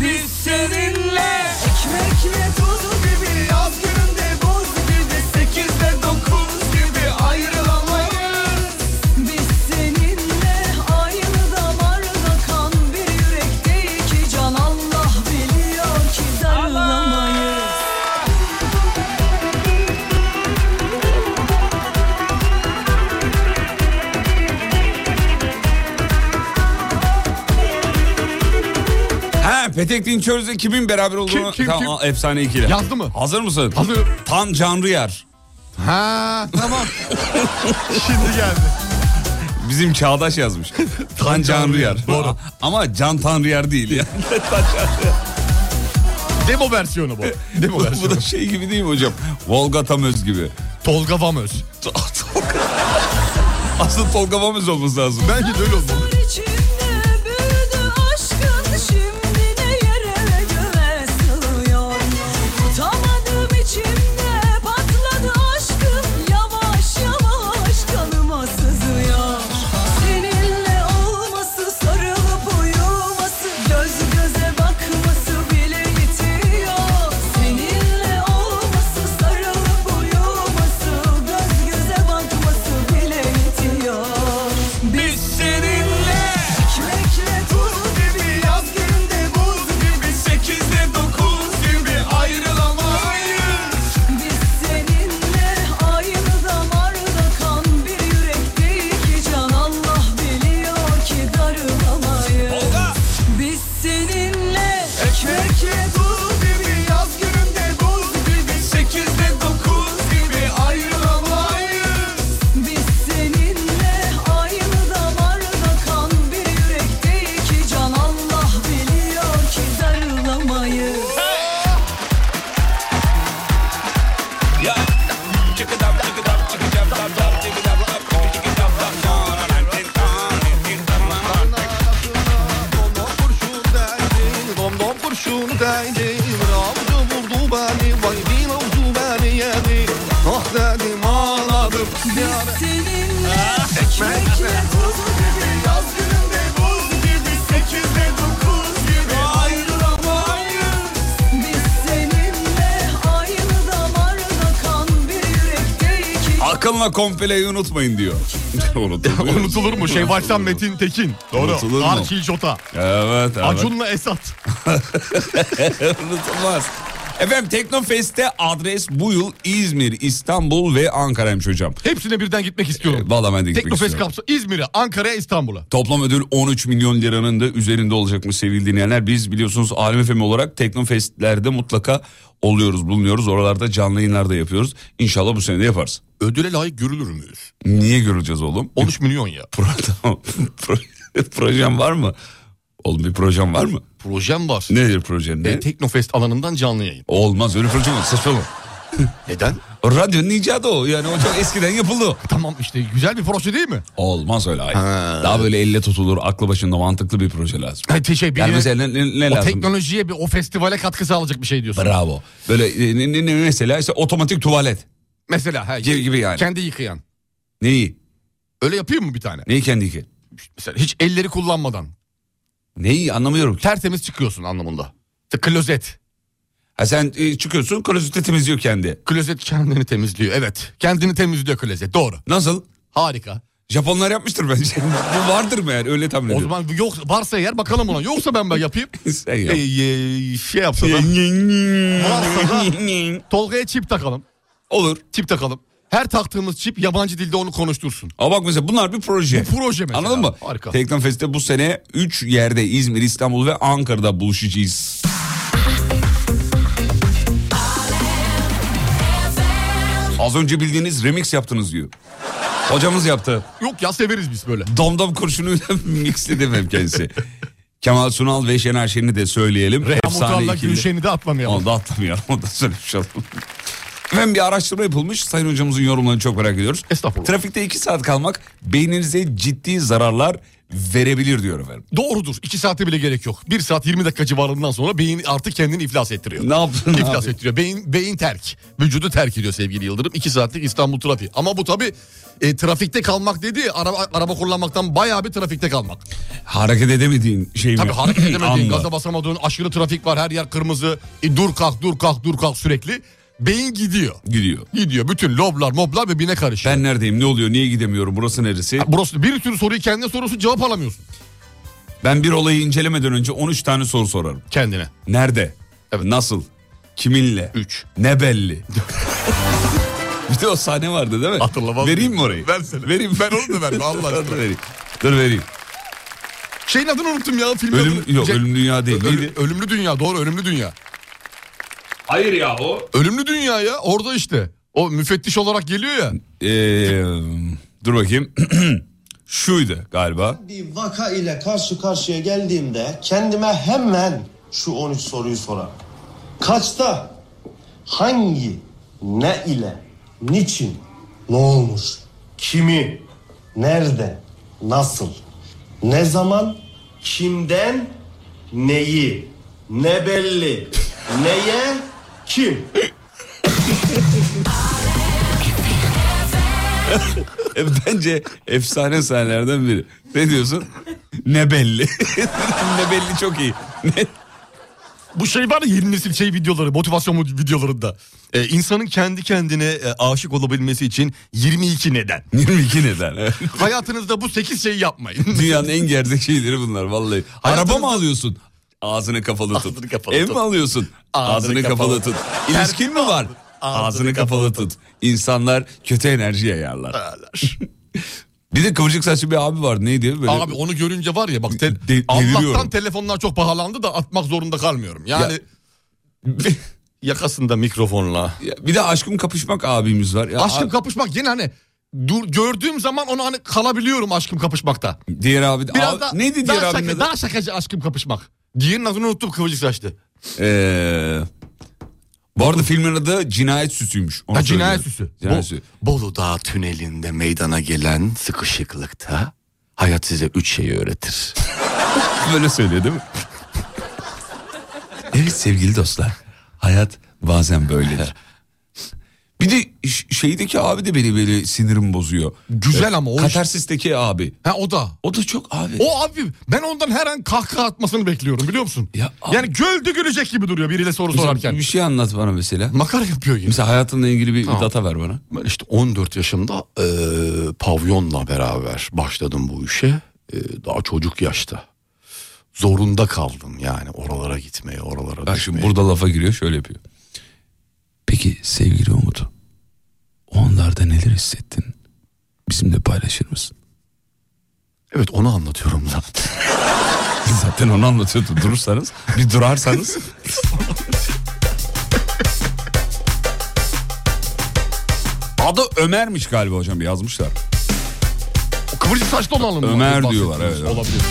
Speaker 1: Biz seninle Ekmekle tuz gibi Yaz gününde buz gibi Sekizde dokuz gibi Ayrılamayız biz seninle aynı damarda kan bir yürekte iki can Allah biliyor ki darılamayız.
Speaker 2: Ha Petek Dinçöz'le kimin beraber olduğunu...
Speaker 4: Kim, kim,
Speaker 2: tamam,
Speaker 4: kim?
Speaker 2: aa, Efsane ikili.
Speaker 4: Yazdı mı?
Speaker 2: Hazır mısın?
Speaker 4: Hazırım.
Speaker 2: Tan Canrıyer.
Speaker 4: Ha tamam. Şimdi geldi.
Speaker 2: Bizim çağdaş yazmış. Tan Canrıyer.
Speaker 4: Doğru.
Speaker 2: Ama Can Tanrıyer değil ya.
Speaker 4: Demo versiyonu bu. Demo
Speaker 2: Bu
Speaker 4: versiyonu.
Speaker 2: da şey gibi değil mi hocam? Volga Tamöz gibi.
Speaker 4: Tolga Vamöz.
Speaker 2: Aslında Tolga Vamöz olması lazım.
Speaker 4: Bence de öyle olmalı.
Speaker 1: İçimde büyüdü aşkın şimdi ne yere göğe sığıyor Tutamadım içimde patladı aşkın yavaş yavaş kanıma sızıyor Seninle olması sarılıp uyuması göz göze bakması bile yetiyor Seninle olması sarılıp uyuması
Speaker 5: Dom dom kurşun değdim Avcı vurdu beni Vay bin avcı beni yedi Ah dedim ağladım Yâre-
Speaker 8: Ekmekle tuz gibi Yaz gününde buz gibi Sekizde dokuz gibi Ayrılamayız Biz seninle Aynı damarda kan Bir yürekte iki
Speaker 2: Akılına komple unutmayın diyor. Unutulmuyor.
Speaker 4: Unutulur mu? Şey baştan Metin Tekin.
Speaker 2: Unutulur
Speaker 4: Doğru.
Speaker 2: mu?
Speaker 4: Arşil Jota.
Speaker 2: Evet, evet.
Speaker 4: Acun'la Esat.
Speaker 2: Unutulmaz. Efendim Teknofest'te adres bu yıl İzmir, İstanbul ve Ankara'ymış hocam.
Speaker 4: Hepsine birden gitmek istiyorum.
Speaker 2: Valla ben de gitmek
Speaker 4: Teknofest
Speaker 2: istiyorum.
Speaker 4: kapsa İzmir'e, Ankara'ya, İstanbul'a.
Speaker 2: Toplam ödül 13 milyon liranın da üzerinde olacakmış sevgili dinleyenler. Biz biliyorsunuz Alem FM olarak Teknofest'lerde mutlaka oluyoruz, bulunuyoruz. Oralarda canlı yayınlar da yapıyoruz. İnşallah bu sene de yaparız.
Speaker 4: Ödüle layık görülür müyüz?
Speaker 2: Niye göreceğiz oğlum?
Speaker 4: 13 milyon ya.
Speaker 2: Pro- tamam. Pro- projem var mı? Oğlum bir projem var mı?
Speaker 4: Projem var.
Speaker 2: Nedir projen? Ne?
Speaker 4: E, Teknofest alanından canlı yayın.
Speaker 2: Olmaz öyle projem olmaz. Saçmalama.
Speaker 4: Neden?
Speaker 2: Radyonun icadı o. Yani o çok eskiden yapıldı. o.
Speaker 4: E, Tamam işte güzel bir proje değil mi?
Speaker 2: Olmaz öyle hayır. Daha böyle elle tutulur, aklı başında mantıklı bir proje lazım.
Speaker 4: Hayır, şey,
Speaker 2: Yani
Speaker 4: birine-
Speaker 2: mesela ne, ne- ne
Speaker 4: o
Speaker 2: lazım?
Speaker 4: teknolojiye bir o festivale katkı sağlayacak bir şey diyorsun.
Speaker 2: Bravo. Böyle e, ne, ne- ne- mesela işte otomatik tuvalet.
Speaker 4: Mesela he,
Speaker 2: Gibi gibi yani.
Speaker 4: kendi yıkayan.
Speaker 2: Neyi?
Speaker 4: Öyle yapayım mı bir tane?
Speaker 2: Neyi kendi ki?
Speaker 4: Mesela hiç elleri kullanmadan
Speaker 2: Neyi anlamıyorum.
Speaker 4: tertemiz çıkıyorsun anlamında. İşte klozet.
Speaker 2: Ha sen e, çıkıyorsun klozette temizliyor kendi.
Speaker 4: Klozet kendini temizliyor. Evet. Kendini temizliyor klozet. Doğru.
Speaker 2: Nasıl?
Speaker 4: Harika.
Speaker 2: Japonlar yapmıştır bence. Bu vardır mı yani öyle tahmin
Speaker 4: O
Speaker 2: ediyorum.
Speaker 4: zaman yok varsa eğer bakalım ona. Yoksa ben ben yapayım.
Speaker 2: Sen yap.
Speaker 4: Ee, e, şey yapsa da varsa da Tolga'ya çip takalım.
Speaker 2: Olur.
Speaker 4: Çip takalım. Her taktığımız çip yabancı dilde onu konuştursun.
Speaker 2: Ama bak mesela bunlar bir proje.
Speaker 4: Bu proje mesela.
Speaker 2: Anladın mı?
Speaker 4: Harika.
Speaker 2: Teknofest'te bu sene 3 yerde İzmir, İstanbul ve Ankara'da buluşacağız. Az önce bildiğiniz remix yaptınız diyor. Hocamız yaptı.
Speaker 4: Yok ya severiz biz böyle.
Speaker 2: Domdom kurşunuyla mixledim hem kendisi. Kemal Sunal ve Şener Şen'i de söyleyelim.
Speaker 4: Hamutal'la
Speaker 2: ikili.
Speaker 4: Gülşen'i de atlamayalım.
Speaker 2: Onu da atlamayalım. Onu da söylemiş olalım. Efendim bir araştırma yapılmış. Sayın hocamızın yorumlarını çok merak ediyoruz.
Speaker 4: Estağfurullah.
Speaker 2: Trafikte iki saat kalmak beyninize ciddi zararlar verebilir diyor efendim.
Speaker 4: Doğrudur. 2 saate bile gerek yok. 1 saat 20 dakika civarından sonra beyin artık kendini iflas ettiriyor.
Speaker 2: Ne yaptın abi?
Speaker 4: İflas ettiriyor. Beyin, beyin terk. Vücudu terk ediyor sevgili Yıldırım. 2 saatlik İstanbul trafiği. Ama bu tabii e, trafikte kalmak dedi. Araba, araba kullanmaktan bayağı bir trafikte kalmak.
Speaker 2: Hareket edemediğin şey mi?
Speaker 4: Tabii hareket edemediğin,
Speaker 2: Anla.
Speaker 4: gaza basamadığın aşırı trafik var. Her yer kırmızı. E, dur kalk dur kalk dur kalk sürekli. Beyin gidiyor.
Speaker 2: Gidiyor.
Speaker 4: Gidiyor. Bütün loblar moblar birbirine karışıyor.
Speaker 2: Ben neredeyim? Ne oluyor? Niye gidemiyorum? Burası neresi?
Speaker 4: Burası bir sürü soruyu kendine sorusu cevap alamıyorsun
Speaker 2: Ben bir olayı incelemeden önce 13 tane soru sorarım.
Speaker 4: kendine.
Speaker 2: Nerede?
Speaker 4: Evet.
Speaker 2: Nasıl? Kiminle?
Speaker 4: 3.
Speaker 2: Ne belli? bir de o sahne vardı değil mi?
Speaker 4: Hatırlamaz
Speaker 2: Vereyim
Speaker 4: mıyım?
Speaker 2: mi orayı?
Speaker 4: Versene.
Speaker 2: Vereyim.
Speaker 4: Ben onu da vermem, Allah aşkına. Şey
Speaker 2: Dur vereyim. Dur vereyim.
Speaker 4: Şeyin adını unuttum ya filmin
Speaker 2: Ölüm,
Speaker 4: adını.
Speaker 2: yok
Speaker 4: Ce-
Speaker 2: ölüm dünya değil.
Speaker 4: Ölü-
Speaker 2: Neydi?
Speaker 4: ölümlü dünya doğru ölümlü dünya. Hayır ya o. Ölümlü dünya ya orada işte. O müfettiş olarak geliyor ya.
Speaker 2: Ee, dur bakayım. Şuydu galiba.
Speaker 5: bir vaka ile karşı karşıya geldiğimde kendime hemen şu 13 soruyu sorarım. Kaçta, hangi, ne ile, niçin, ne olmuş, kimi, nerede, nasıl, ne zaman, kimden, neyi, ne belli, neye, kim?
Speaker 2: E, Bence efsane sahnelerden biri. Ne diyorsun? ne belli. ne belli çok iyi. Ne-
Speaker 4: Bu şey var ya yeni nesil şey videoları motivasyon videolarında. Ee, insanın kendi kendine e, aşık olabilmesi için 22 neden.
Speaker 2: 22 neden. evet.
Speaker 4: Hayatınızda bu 8 şeyi yapmayın.
Speaker 2: Dünyanın en gerçek şeyleri bunlar vallahi. Araba
Speaker 4: Hayatınızda-
Speaker 2: mı alıyorsun? Ağzını kapalı tut.
Speaker 4: Ağzını kapalı
Speaker 2: Ev
Speaker 4: tut.
Speaker 2: mi alıyorsun? Ağzını,
Speaker 4: Ağzını
Speaker 2: kapalı
Speaker 4: kapalı
Speaker 2: tut.
Speaker 4: tut.
Speaker 2: İlişkin mi var? Ağzını,
Speaker 4: Ağzını
Speaker 2: kapalı tut. İnsanlar kötü enerji yayarlar. Bir de kıvırcık saçlı bir abi var. Neydi? Böyle...
Speaker 4: Abi onu görünce var ya bak te-
Speaker 2: De- deliriyorum.
Speaker 4: Allah'tan telefonlar çok pahalandı da atmak zorunda kalmıyorum. Yani
Speaker 2: Ya-
Speaker 4: yakasında mikrofonla.
Speaker 2: Ya Bir de aşkım kapışmak abimiz var. Ya
Speaker 4: Aşkım
Speaker 2: a-
Speaker 4: kapışmak yine hani dur, gördüğüm zaman onu hani kalabiliyorum aşkım kapışmakta.
Speaker 2: diğer abi
Speaker 4: Biraz
Speaker 2: Abi-
Speaker 4: da
Speaker 2: neydi diğer
Speaker 4: daha,
Speaker 2: abinin
Speaker 4: şaka,
Speaker 2: adı?
Speaker 4: daha şakacı aşkım kapışmak. Diğerinin adını unuttum kıvırcık saçlı.
Speaker 2: Ee, Bu arada filmin adı Cinayet Süsü'ymüş. Onu
Speaker 4: Ha, cinayet
Speaker 2: söylüyorum.
Speaker 4: süsü.
Speaker 2: Cinayet
Speaker 4: Bo-
Speaker 2: Süsü.
Speaker 13: Bolu Dağı tünelinde meydana gelen sıkışıklıkta hayat size üç şeyi öğretir.
Speaker 2: Böyle söylüyor değil mi? evet sevgili dostlar. Hayat bazen böyledir. Bir de ş- şeydeki abi de beni böyle sinirim bozuyor. Ee,
Speaker 4: Güzel ama o iş-
Speaker 2: Katarsis'teki abi.
Speaker 4: Ha o da.
Speaker 2: O da çok abi.
Speaker 4: O abi ben ondan her an kahkaha atmasını bekliyorum biliyor musun?
Speaker 2: Ya abi-
Speaker 4: yani güldü gülecek gibi duruyor biriyle soru
Speaker 2: Mesela
Speaker 4: sorarken.
Speaker 2: Bir şey anlat bana mesela.
Speaker 4: Makara yapıyor yine.
Speaker 2: Mesela hayatınla ilgili bir
Speaker 4: Tamam.
Speaker 2: data ver bana.
Speaker 13: Ben işte 14 yaşımda eee, pavyonla beraber başladım bu işe. Eee, daha çocuk yaşta. Zorunda kaldım yani oralara gitmeye, oralara
Speaker 2: Bak
Speaker 13: düşmeye.
Speaker 2: şimdi burada lafa giriyor şöyle yapıyor. Peki sevgili Umut. O anlarda neler hissettin? Bizimle paylaşır mısın?
Speaker 13: Evet onu anlatıyorum zaten.
Speaker 2: Zaten onu anlatıyordu. Durursanız, bir durarsanız. Adı Ömer'miş galiba hocam yazmışlar.
Speaker 4: O kıvırcık saçlı olanın mı?
Speaker 2: Ömer
Speaker 4: Bahsettiğimiz
Speaker 2: diyorlar, evet, evet.
Speaker 4: Olabilir.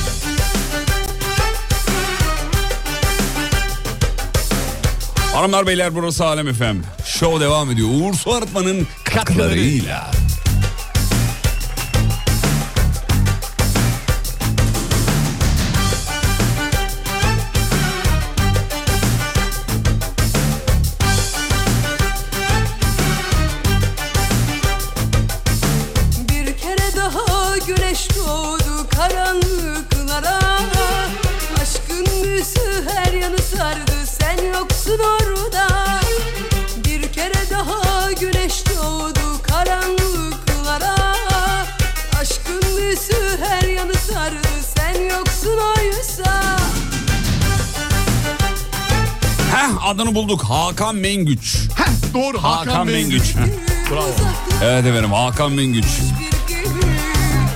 Speaker 2: Hanımlar beyler burası Alem Efem. Show devam ediyor. Uğur Su Arıtma'nın katkılarıyla.
Speaker 14: Bir kere daha güneş doğdu karanlıklara Aşkın büyüsü her yanı sardı sen yoksun orada Bir kere daha güneş doğdu karanlıklara Aşkın büyüsü her yanı sardı sen yoksun oysa
Speaker 2: Heh adını bulduk. Hakan Mengüç.
Speaker 4: Heh, doğru Hakan,
Speaker 2: Hakan
Speaker 4: Bey.
Speaker 2: Mengüç.
Speaker 4: Bravo.
Speaker 2: Evet efendim Hakan Mengüç.
Speaker 14: Bir gibi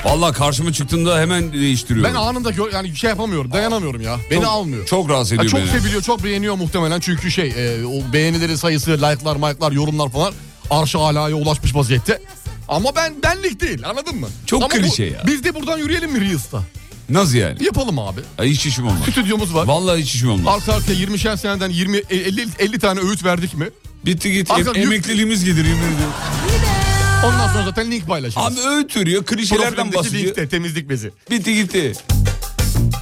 Speaker 2: Valla karşıma çıktığında hemen değiştiriyor.
Speaker 4: Ben anında gö- yani şey yapamıyorum dayanamıyorum ya. Beni almıyor.
Speaker 2: Çok rahatsız
Speaker 4: Ya
Speaker 2: ediyor
Speaker 4: çok
Speaker 2: beni.
Speaker 4: seviliyor, çok beğeniyor muhtemelen çünkü şey e, o beğenilerin sayısı, like'lar, mike'lar, yorumlar falan arşa alaya ulaşmış vaziyette. Ama ben benlik değil anladın mı?
Speaker 2: Çok
Speaker 4: Ama
Speaker 2: klişe ya.
Speaker 4: Biz de buradan yürüyelim mi Reels'ta?
Speaker 2: Nasıl yani?
Speaker 4: Yapalım abi.
Speaker 2: Ay, hiç işim olmaz.
Speaker 4: Stüdyomuz var.
Speaker 2: Vallahi hiç işim olmaz.
Speaker 4: Arka arkaya 20'şer seneden 20 50 50 tane öğüt verdik mi?
Speaker 2: Bitti gitti.
Speaker 4: Arka-
Speaker 2: Em- emekliliğimiz gelir yemin ediyorum.
Speaker 4: Ondan sonra zaten link paylaşırız.
Speaker 2: Abi öğütürüyor, klişelerden
Speaker 4: Profilimdeki
Speaker 2: bahsediyor.
Speaker 4: linkte temizlik bezi.
Speaker 2: Bitti gitti.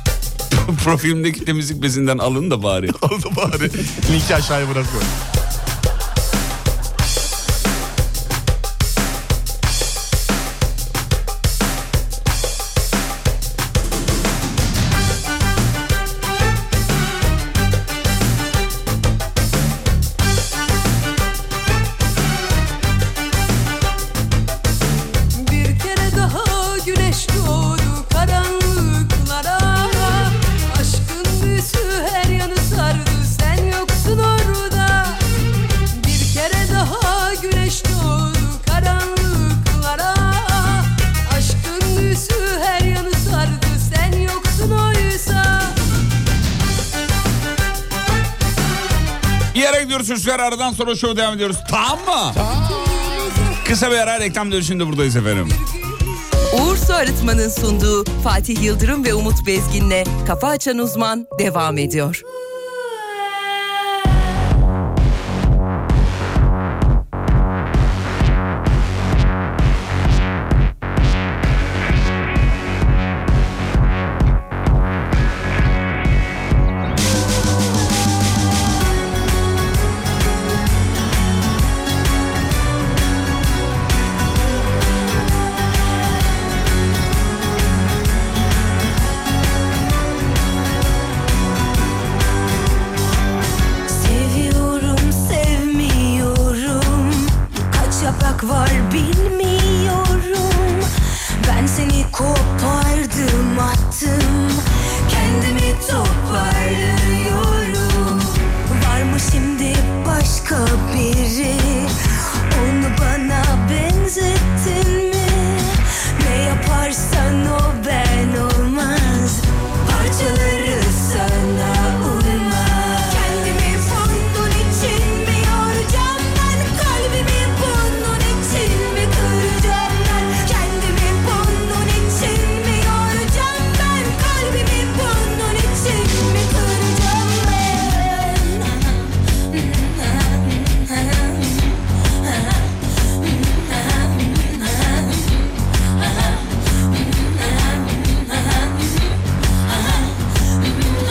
Speaker 2: Profilimdeki temizlik bezinden alın da bari.
Speaker 4: Oldu bari. Linki aşağıya bırakıyorum.
Speaker 14: Bir kere daha güneş doğdu karanlıklara Aşkın büyüsü her yanı sardı sen yoksun orada Bir kere daha güneş doğdu karanlıklara Aşkın büyüsü her yanı sardı sen yoksun oysa
Speaker 2: Bir yere gidiyoruz çocuklar aradan sonra şov devam ediyoruz. Tamam mı? Kısa bir ara reklam dönüşünde buradayız efendim.
Speaker 9: Uğur Su Arıtma'nın sunduğu Fatih Yıldırım ve Umut Bezgin'le Kafa Açan Uzman devam ediyor.
Speaker 1: Seviyorum, sevmiyorum. Kaç yaprak var bilmiyorum. Ben seni kopardım, attım. Kendimi toparlıyorum. Var mı şimdi başka biri? Onu bana benzettin mi? Ne yaparsan o ben olmaz. Parçaları sana uymaz. Kendimi bunun için mi yoracağım ben? Kalbimi bunun için mi kıracağım ben? Kendimi bunun için mi yoracağım ben? Kalbimi bunun için mi kıracağım ben?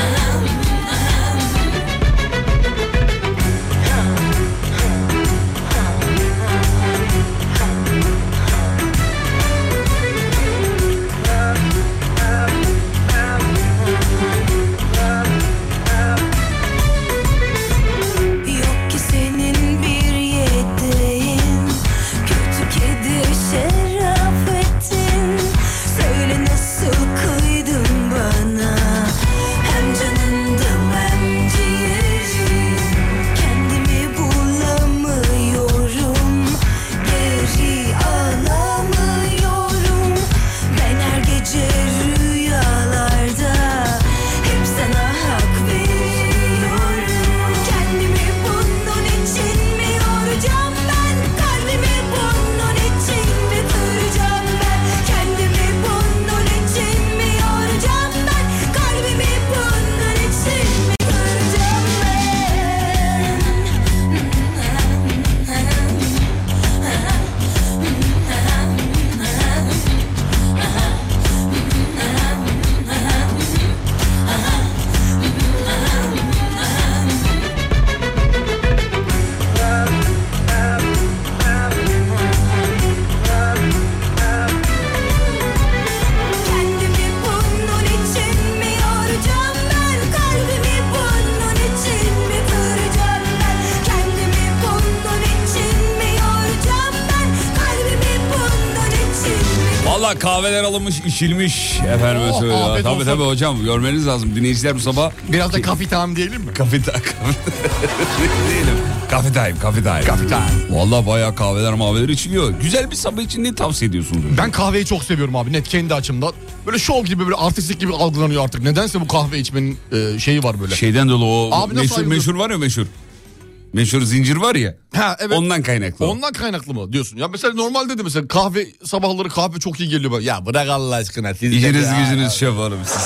Speaker 2: Valla kahveler alınmış içilmiş efendim.
Speaker 4: Oo,
Speaker 2: söylüyor.
Speaker 4: afiyet
Speaker 2: tabii
Speaker 4: olsun.
Speaker 2: tabii hocam görmeniz lazım. Dinleyiciler bu sabah
Speaker 4: Biraz da kafi tam diyelim mi?
Speaker 2: Kafe time. Değilim. Kafe time, kafe time. Kafe time. Valla bayağı kahveler maveler içiliyor. Güzel bir sabah için ne tavsiye ediyorsunuz? hocam?
Speaker 4: Ben kahveyi çok seviyorum abi net kendi açımdan. Böyle şov gibi böyle artistlik gibi algılanıyor artık. Nedense bu kahve içmenin e, şeyi var böyle.
Speaker 2: Şeyden dolayı o
Speaker 4: Abi nasıl
Speaker 2: meşhur,
Speaker 4: ayrıldın?
Speaker 2: meşhur var ya meşhur. Meşhur zincir var ya.
Speaker 4: Ha, evet.
Speaker 2: Ondan kaynaklı. o.
Speaker 4: Ondan kaynaklı mı diyorsun? Ya mesela normalde de mesela kahve sabahları kahve çok iyi geliyor. bana. Ya bırak Allah aşkına. Siz de
Speaker 2: İşiniz
Speaker 4: ya.
Speaker 2: gücünüz şef oğlum siz.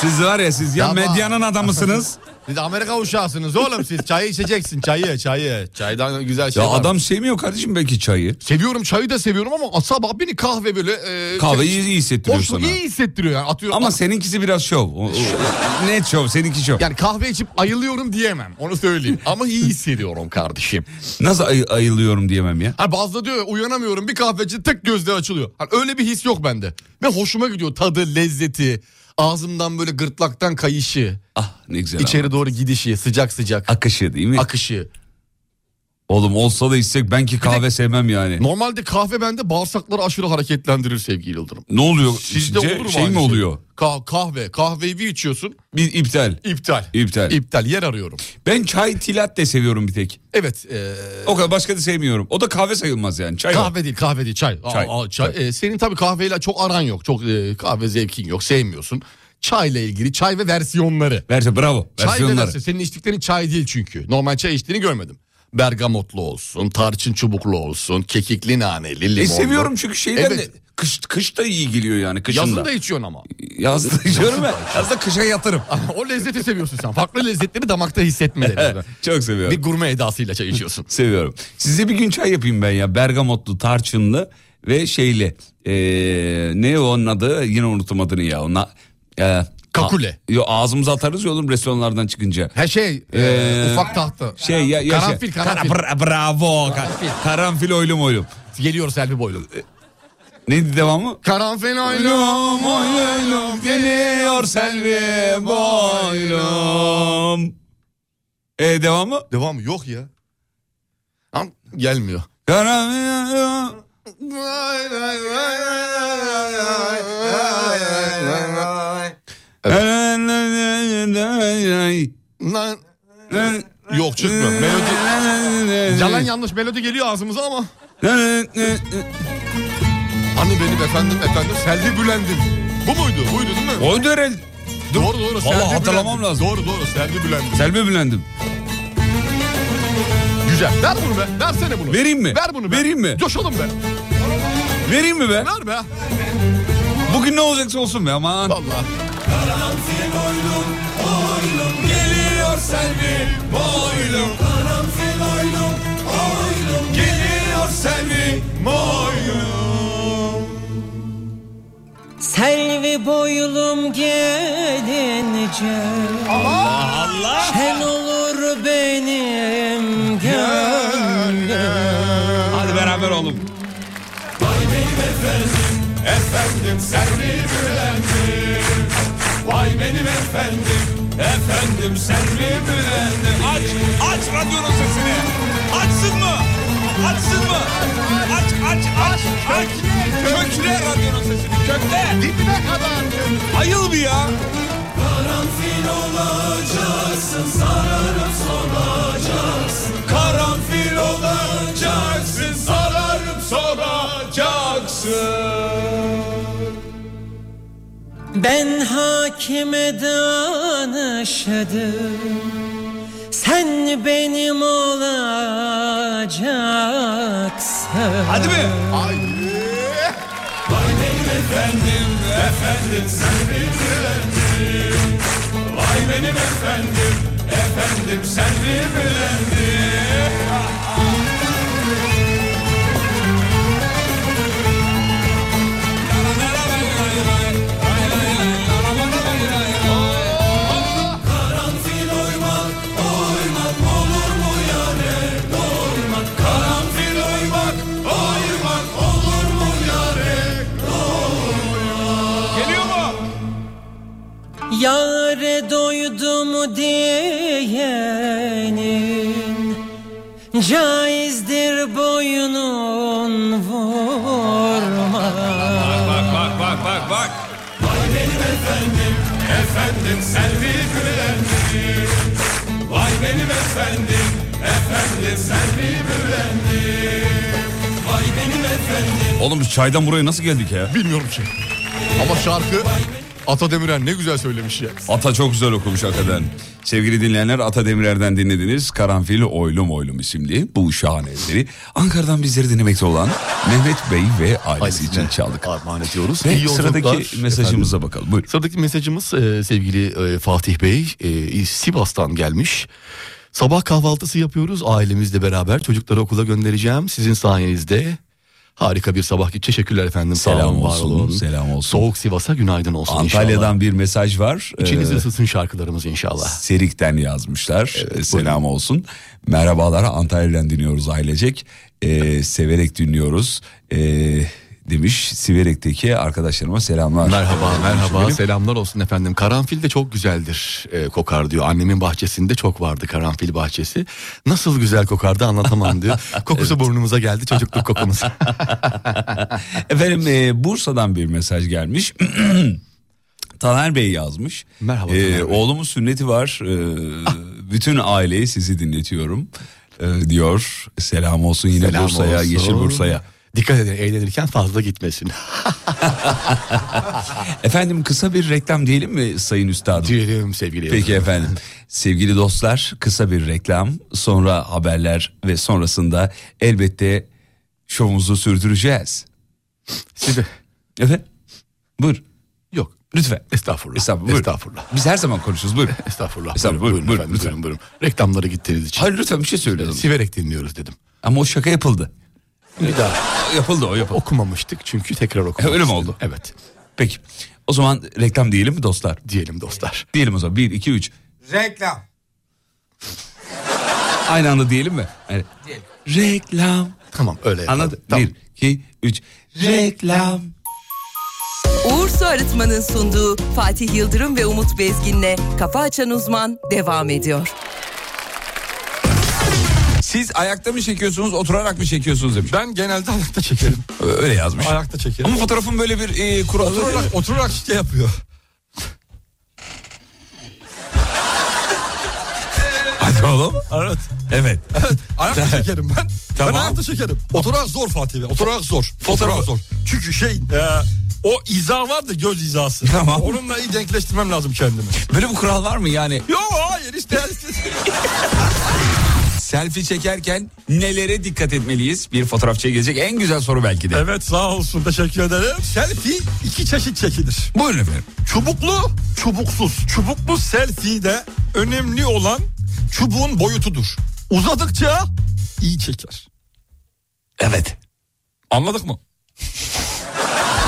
Speaker 2: Siz var ya siz ya
Speaker 4: Tamam.
Speaker 2: medyanın adamısınız.
Speaker 4: Siz Amerika uşağısınız oğlum siz. Çayı içeceksin çayı çayı. Çaydan güzel şey
Speaker 2: ya
Speaker 4: var.
Speaker 2: adam sevmiyor kardeşim belki çayı.
Speaker 4: Seviyorum çayı da seviyorum ama sabah beni kahve böyle... E,
Speaker 2: Kahveyi
Speaker 4: şey-
Speaker 2: iyi hissettiriyor
Speaker 4: hoşlu-
Speaker 2: sana.
Speaker 4: iyi hissettiriyor yani. Atıyorum,
Speaker 2: Ama seninkisi biraz şov. O- o- Net şov, seninki şov.
Speaker 4: Yani kahve içip ayılıyorum diyemem onu söyleyeyim. ama iyi hissediyorum kardeşim.
Speaker 2: Nasıl ay- ayılıyorum diyemem ya.
Speaker 4: Hani bazıda diyor ya, uyanamıyorum bir kahveci tık gözleri açılıyor. Hani öyle bir his yok bende. Ve hoşuma gidiyor tadı, lezzeti, ağzımdan böyle gırtlaktan kayışı,
Speaker 2: Ah ne güzel. ama.
Speaker 4: içeri doğru gidişi, sıcak sıcak
Speaker 2: Akışı değil mi?
Speaker 4: akışı.
Speaker 2: Oğlum olsa da içsek ben ki kahve sevmem yani.
Speaker 4: Normalde kahve bende bağırsakları aşırı hareketlendirir sevgili Yıldırım.
Speaker 2: Ne oluyor?
Speaker 4: Sizde
Speaker 2: Ce-
Speaker 4: olur mu
Speaker 2: şey
Speaker 4: aynı
Speaker 2: mi
Speaker 4: şey?
Speaker 2: oluyor?
Speaker 4: Ka- kahve, kahveyi bir içiyorsun
Speaker 2: Bir iptal.
Speaker 4: iptal.
Speaker 2: İptal.
Speaker 4: İptal yer arıyorum. Ee,
Speaker 2: Ben çay tilat de seviyorum bir tek.
Speaker 4: Evet e, eee,
Speaker 2: O kadar başka da sevmiyorum. O da kahve sayılmaz yani. Çay var.
Speaker 4: kahve değil kahve değil çay.
Speaker 2: Çay.
Speaker 4: Aa, aa, çay. Eee, senin tabii kahveyle çok aran yok. Çok eee, kahve zevkin yok sevmiyorsun. Çayla ilgili çay ve versiyonları.
Speaker 2: Verse bravo.
Speaker 4: Çay ve
Speaker 2: Versiyonları.
Speaker 4: versiyon. Senin içtiklerin çay değil çünkü. Normal çay içtiğini görmedim. Bergamotlu olsun, tarçın çubuklu olsun, kekikli naneli, limonlu.
Speaker 2: E seviyorum çünkü şeyden
Speaker 4: Evet.
Speaker 2: de kış, kış da iyi geliyor yani kışın
Speaker 4: Yazın
Speaker 2: da.
Speaker 4: da içiyorsun ama.
Speaker 2: Yazın da içiyorum ben. Yazda kışa yatırım.
Speaker 4: o lezzeti seviyorsun sen. Farklı lezzetleri damakta hissetmeleri.
Speaker 2: Çok seviyorum.
Speaker 4: Bir gurme edasıyla çay içiyorsun.
Speaker 2: Seviyorum. Size bir gün çay yapayım ben ya. Bergamotlu, tarçınlı ve şeyli. Ee, ne o onun adı? Yine unuttum adını ya. Ona, ee,
Speaker 4: Kakule.
Speaker 2: a- yo, ağzımıza atarız ya oğlum restoranlardan çıkınca.
Speaker 4: Her şey e,
Speaker 2: Ee,
Speaker 4: ufak tahta.
Speaker 2: Şey ya, ya
Speaker 4: karanfil,
Speaker 2: şey-
Speaker 4: karanfil.
Speaker 2: Kara- bra- bravo. Ka- Karanfil.
Speaker 4: Karanfil.
Speaker 2: oylum oylum. Ee,
Speaker 4: Geliyor Selvi Boylum.
Speaker 2: Neydi devamı?
Speaker 4: Karanfil oylum.
Speaker 2: Oylum oylum geliyor selvi boylum. E devamı?
Speaker 4: Devamı yok ya. Am gelmiyor.
Speaker 2: Karanfil
Speaker 4: Lan- Yok çıkmıyor. Melodi yalan yanlış melodi geliyor ağzımıza ama. Hani benim efendim efendim Selvi Bülent'im. Bu muydu? Buydu değil mi?
Speaker 2: O derel.
Speaker 4: doğru doğru.
Speaker 2: Vallahi
Speaker 4: Selvi
Speaker 2: hatırlamam
Speaker 4: Bülent'im.
Speaker 2: lazım.
Speaker 4: Doğru doğru Selvi Bülent'im.
Speaker 2: Selvi Bülent'im.
Speaker 4: Güzel. Ver bunu be. Versene bunu.
Speaker 2: Vereyim mi?
Speaker 4: Ver bunu be.
Speaker 2: Vereyim mi?
Speaker 4: Coşalım be.
Speaker 2: Vereyim mi be?
Speaker 4: Ver be.
Speaker 2: Bugün ne olacaksa olsun be aman.
Speaker 4: Vallahi.
Speaker 2: Geliyor Selvi boylum Karanfil oylum oylum Geliyor Selvi boylum
Speaker 15: Selvi boylum gelince
Speaker 2: Allah
Speaker 15: Şen olur benim gönlüm
Speaker 2: Hadi beraber oğlum Aç aç radyonun sesini Açsın mı? Açsın mı? Aç aç aç aç Kökle radyonun sesini kökle
Speaker 4: Dibine kadar.
Speaker 2: Ayıl bir ya Karanfil olacaksın sararım soracaksın
Speaker 15: Ben hakime danışadım Sen benim olacaksın
Speaker 2: Hadi be
Speaker 4: Ay.
Speaker 15: Yâre doydum diyenin Caizdir boynun vurma
Speaker 2: bak bak. Oğlum biz çaydan buraya nasıl geldik ya?
Speaker 4: Bilmiyorum ki. Ama şarkı Ata Demirer ne güzel söylemiş ya.
Speaker 2: Ata çok güzel okumuş hakikaten. Sevgili dinleyenler Ata Demirer'den dinlediniz. Karanfil Oylum Oylum isimli bu şahane eseri. Ankara'dan bizleri dinlemekte olan Mehmet Bey ve ailesi için çaldık.
Speaker 4: Armağan ediyoruz.
Speaker 2: Ve
Speaker 4: İyi yolculuklar.
Speaker 2: sıradaki mesajımıza bakalım. Buyurun.
Speaker 4: Sıradaki mesajımız e, sevgili e, Fatih Bey e, Sivas'tan gelmiş. Sabah kahvaltısı yapıyoruz ailemizle beraber çocukları okula göndereceğim sizin sayenizde. Harika bir sabah geçti. Teşekkürler efendim.
Speaker 2: Selam
Speaker 4: var
Speaker 2: olsun, selam olsun.
Speaker 4: Soğuk Sivas'a günaydın olsun
Speaker 2: Antalya'dan
Speaker 4: inşallah.
Speaker 2: bir mesaj var.
Speaker 4: İçiniz
Speaker 2: Ee,
Speaker 4: ısıtsın şarkılarımız inşallah.
Speaker 2: Serik'ten yazmışlar. Ee, Selam olsun. Merhabalar Antalya'dan dinliyoruz ailecek. Ee, severek dinliyoruz. Ee, demiş Siverek'teki arkadaşlarıma selamlar.
Speaker 4: Merhaba,
Speaker 2: Ee,
Speaker 4: merhaba.
Speaker 2: benim.
Speaker 4: Selamlar olsun efendim. Karanfil de çok güzeldir e, kokar diyor. Annemin bahçesinde çok vardı karanfil bahçesi. Nasıl güzel kokardı anlatamam diyor. Kokusu burnumuza geldi çocukluk kokumuz.
Speaker 2: Efendim e, Bursa'dan bir mesaj gelmiş. Taner Bey yazmış.
Speaker 4: Merhaba
Speaker 2: E,
Speaker 4: Taner Bey.
Speaker 2: oğlumun sünneti var. E, bütün aileyi sizi dinletiyorum e, diyor. Selam olsun yine
Speaker 4: Selam
Speaker 2: Bursa'ya,
Speaker 4: olsun.
Speaker 2: Yeşil Bursa'ya.
Speaker 4: Dikkat edin eğlenirken fazla gitmesin.
Speaker 2: Efendim kısa bir reklam diyelim mi Sayın Üstadım?
Speaker 4: Diyelim sevgili
Speaker 2: Peki efendim. Sevgili dostlar kısa bir reklam sonra haberler ve sonrasında elbette şovumuzu sürdüreceğiz.
Speaker 4: Size...
Speaker 2: Efendim buyur
Speaker 4: Yok.
Speaker 2: lütfen.
Speaker 4: Estağfurullah.
Speaker 2: Estağfurullah. buyur.
Speaker 4: Estağfurullah.
Speaker 2: Biz her zaman konuşuruz buyur.
Speaker 4: Estağfurullah.
Speaker 2: Estağfurullah,
Speaker 4: Buyurun,
Speaker 2: buyurun,
Speaker 4: buyurun efendim,
Speaker 2: lütfen.
Speaker 4: buyurun, buyurun. Reklamlara gittiğiniz için.
Speaker 2: Hayır lütfen bir şey söyleyelim.
Speaker 4: Siverek dinliyoruz dedim.
Speaker 2: Ama o şaka yapıldı.
Speaker 4: Bir daha
Speaker 2: Yapıldı o yapıldı.
Speaker 4: okumamıştık çünkü tekrar okumamıştık.
Speaker 2: Öyle mi oldu?
Speaker 4: Evet.
Speaker 2: Peki o zaman reklam diyelim mi dostlar?
Speaker 4: Diyelim dostlar.
Speaker 2: Diyelim o zaman 1, 2, 3.
Speaker 3: Reklam.
Speaker 2: Aynı anda diyelim mi? Yani, reklam.
Speaker 4: Tamam öyle yapalım.
Speaker 2: Anladın?
Speaker 4: Tamam.
Speaker 2: 1, 2, 3. Reklam.
Speaker 9: Uğur Su Arıtma'nın sunduğu Fatih Yıldırım ve Umut Bezgin'le Kafa Açan Uzman devam ediyor.
Speaker 2: Siz ayakta mı çekiyorsunuz oturarak mı çekiyorsunuz demiş.
Speaker 4: Ben genelde ayakta çekerim.
Speaker 2: Öyle yazmış.
Speaker 4: Ayakta çekerim.
Speaker 2: Ama fotoğrafın böyle bir e, kuralı.
Speaker 4: oturarak, oturarak şey yapıyor.
Speaker 2: Hadi oğlum. Evet. Evet.
Speaker 4: Ayakta çekerim ben.
Speaker 2: Tamam.
Speaker 4: Ben ayakta çekerim. Oturarak zor Fatih Bey. Oturarak zor. Oturarak zor. Çünkü şey e, o iza var da göz izası.
Speaker 2: Tamam.
Speaker 4: Onunla iyi denkleştirmem lazım kendimi.
Speaker 2: Böyle bir kural var mı yani?
Speaker 4: Yok hayır işte.
Speaker 2: Selfie çekerken nelere dikkat etmeliyiz? Bir fotoğrafçıya gelecek en güzel soru belki de.
Speaker 4: evet sağ olsun teşekkür ederim. Selfie iki çeşit çekilir.
Speaker 2: Buyurun efendim.
Speaker 4: Çubuklu, çubuksuz. Çubuklu selfie'de önemli olan çubuğun boyutudur. Uzadıkça iyi çeker.
Speaker 2: Evet. Anladık mı?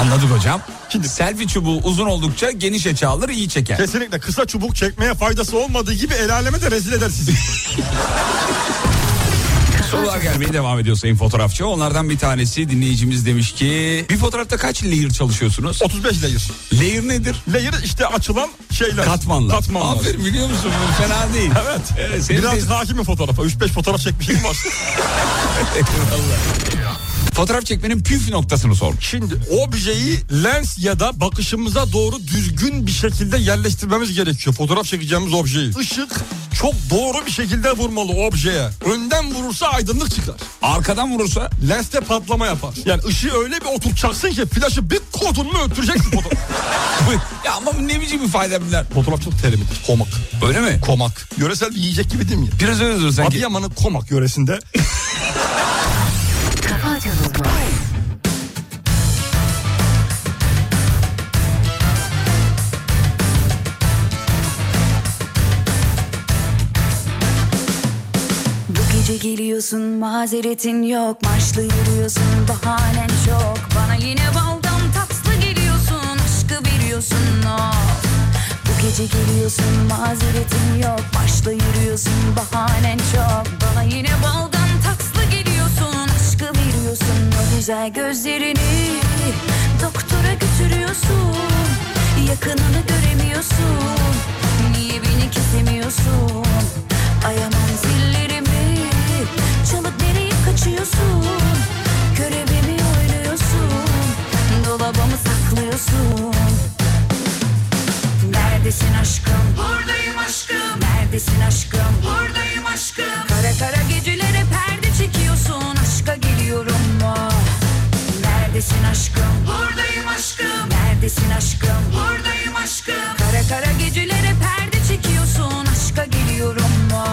Speaker 2: Anladık hocam. Şimdi selfie çubuğu uzun oldukça geniş açı alır iyi çeker.
Speaker 4: Kesinlikle kısa çubuk çekmeye faydası olmadığı gibi el aleme de rezil eder sizi.
Speaker 2: Sorular gelmeye devam ediyor sayın fotoğrafçı. Onlardan bir tanesi dinleyicimiz demiş ki bir fotoğrafta kaç layer çalışıyorsunuz?
Speaker 4: 35 layer.
Speaker 2: Layer nedir?
Speaker 4: Layer işte açılan şeyler.
Speaker 2: Katmanlar.
Speaker 4: Katmanlar.
Speaker 2: Aferin biliyor musun? Bu Fena değil.
Speaker 4: Evet.
Speaker 2: Evet, senin
Speaker 4: Biraz
Speaker 2: de-
Speaker 4: hakimim fotoğrafa. 3-5 fotoğraf çekmişim var.
Speaker 2: Fotoğraf çekmenin püf noktasını sormuş.
Speaker 4: Şimdi objeyi lens ya da bakışımıza doğru düzgün bir şekilde yerleştirmemiz gerekiyor. Fotoğraf çekeceğimiz objeyi. Işık çok doğru bir şekilde vurmalı objeye. Önden vurursa aydınlık çıkar.
Speaker 2: Arkadan vurursa
Speaker 4: Lenste patlama yapar. Yani ışığı öyle bir oturtacaksın ki flaşı bir kodun mu öttüreceksin fotoğraf.
Speaker 2: ya ama bu ne biçim bir fayda bunlar.
Speaker 4: fotoğraf çok terimidir. Komak.
Speaker 2: Öyle mi?
Speaker 4: Komak. Yöresel bir yiyecek gibi değil mi?
Speaker 2: Biraz öyle dur sanki.
Speaker 4: Adıyaman'ın Komak yöresinde
Speaker 7: Bu gece geliyorsun mazeretin yok Marşlı yürüyorsun bahanen çok Bana yine baldan tatlı geliyorsun Aşkı veriyorsun o Bu gece geliyorsun mazeretin yok Marşlı yürüyorsun bahanen çok Bana yine baldan tatlı geliyorsun Aşkı veriyorsun o güzel gözlerini Doktora götürüyorsun Yakınını göremiyorsun Niye beni kesemiyorsun Ayamam zillerimi Çalıp nereye kaçıyorsun Görevimi oynuyorsun Dolabamı saklıyorsun Neredesin aşkım? Buradayım aşkım. Neredesin aşkım? Buradayım aşkım. Kara kara gecelere perde çekiyorsun. Aşka geliyorum mu?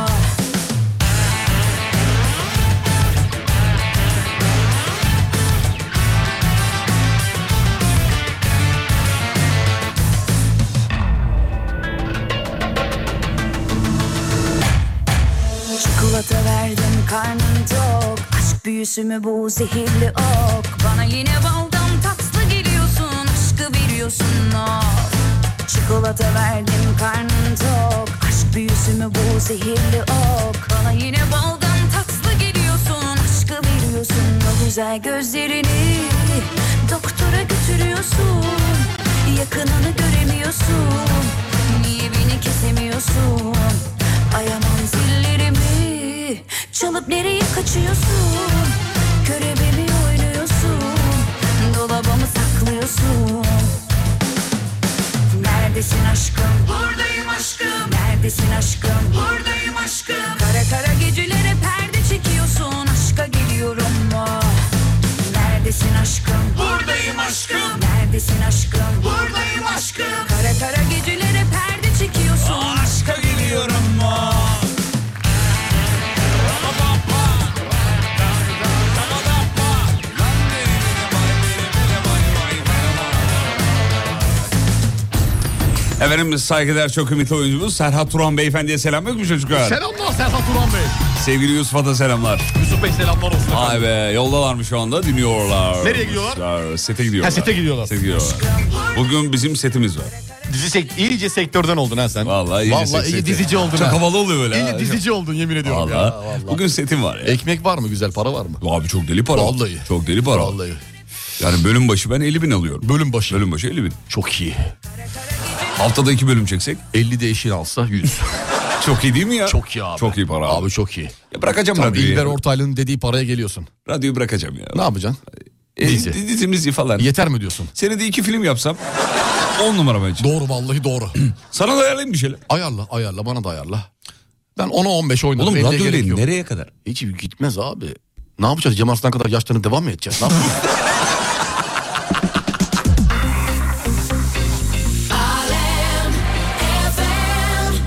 Speaker 7: Çikolata verdim karnım tok Aşk büyüsü mü bu zehirli ok Bana yine baldan tatlı geliyorsun Aşkı veriyorsun of Çikolata verdim karnım tok Aşk büyüsü mü bu zehirli ok Bana yine baldan tatlı geliyorsun Aşkı veriyorsun o güzel gözlerini Doktora götürüyorsun Yakınını göremiyorsun Niye beni kesemiyorsun Ayamam zillerimi Çalıp nereye kaçıyorsun Körebemi oynuyorsun Dolabımı saklıyorsun Neredesin aşkım? Buradayım aşkım. Neredesin aşkım? Buradayım aşkım. Kara kara gecelere perde çekiyorsun. Aşka geliyorum mu? Neredesin aşkım? Buradayım aşkım. Neredesin aşkım? Buradayım aşkım. Kara kara gecelere perde çekiyorsun.
Speaker 2: Aşka geliyorum mu? Efendim saygıdeğer çok ümitli oyuncumuz Serhat Turan Beyefendi'ye selam yok mu çocuklar?
Speaker 4: Selamlar Serhat Turan Bey.
Speaker 2: Sevgili Yusuf'a da selamlar.
Speaker 4: Yusuf Bey selamlar olsun.
Speaker 2: Vay be yoldalar mı şu anda dinliyorlar.
Speaker 4: Nereye gidiyorlar?
Speaker 2: Sete gidiyorlar.
Speaker 4: Ha, sete gidiyorlar.
Speaker 2: Sete gidiyorlar. Bugün bizim setimiz var.
Speaker 4: Dizi sek- iyice sektörden oldun ha sen.
Speaker 2: Vallahi iyice
Speaker 4: Vallahi
Speaker 2: sek-
Speaker 4: iyi
Speaker 2: sek-
Speaker 4: dizici oldun
Speaker 2: Çok
Speaker 4: ha.
Speaker 2: havalı oluyor böyle. ha.
Speaker 4: İyice dizici oldun yemin ediyorum
Speaker 2: Vallahi.
Speaker 4: ya. Vallahi.
Speaker 2: Bugün setim var ya.
Speaker 4: Ekmek var mı güzel para var mı?
Speaker 2: Abi çok deli para.
Speaker 4: Vallahi.
Speaker 2: Çok deli para.
Speaker 4: Vallahi.
Speaker 2: Yani bölüm başı ben 50 bin alıyorum.
Speaker 4: Bölüm başı.
Speaker 2: Bölüm başı 50 bin.
Speaker 4: Çok iyi.
Speaker 2: Haftada iki bölüm çeksek
Speaker 4: 50 de eşin alsa 100.
Speaker 2: çok iyi değil mi ya?
Speaker 4: çok iyi abi.
Speaker 2: Çok iyi para abi.
Speaker 4: Abi çok iyi.
Speaker 2: Ya bırakacağım
Speaker 4: Tam
Speaker 2: radyoyu.
Speaker 4: İlber
Speaker 2: ya.
Speaker 4: Ortaylı'nın dediği paraya geliyorsun.
Speaker 2: radyoyu bırakacağım ya.
Speaker 4: Ne yapacaksın?
Speaker 2: E,
Speaker 4: dizi?
Speaker 2: di- dizimiz iyi falan.
Speaker 4: Yeter mi diyorsun?
Speaker 2: Senede iki film yapsam 10 numara bence.
Speaker 4: Doğru vallahi doğru.
Speaker 2: Sana da ayarlayayım bir şeyler.
Speaker 4: ayarla ayarla bana da ayarla. Ben 10'a 15 oynarım.
Speaker 2: Oğlum
Speaker 4: elliye
Speaker 2: radyo
Speaker 4: gerek
Speaker 2: değil
Speaker 4: yok.
Speaker 2: nereye kadar?
Speaker 4: Hiç gitmez abi. Ne yapacağız? Cem Arslan kadar yaşlanıp devam mı edeceğiz? Ne yapacağız?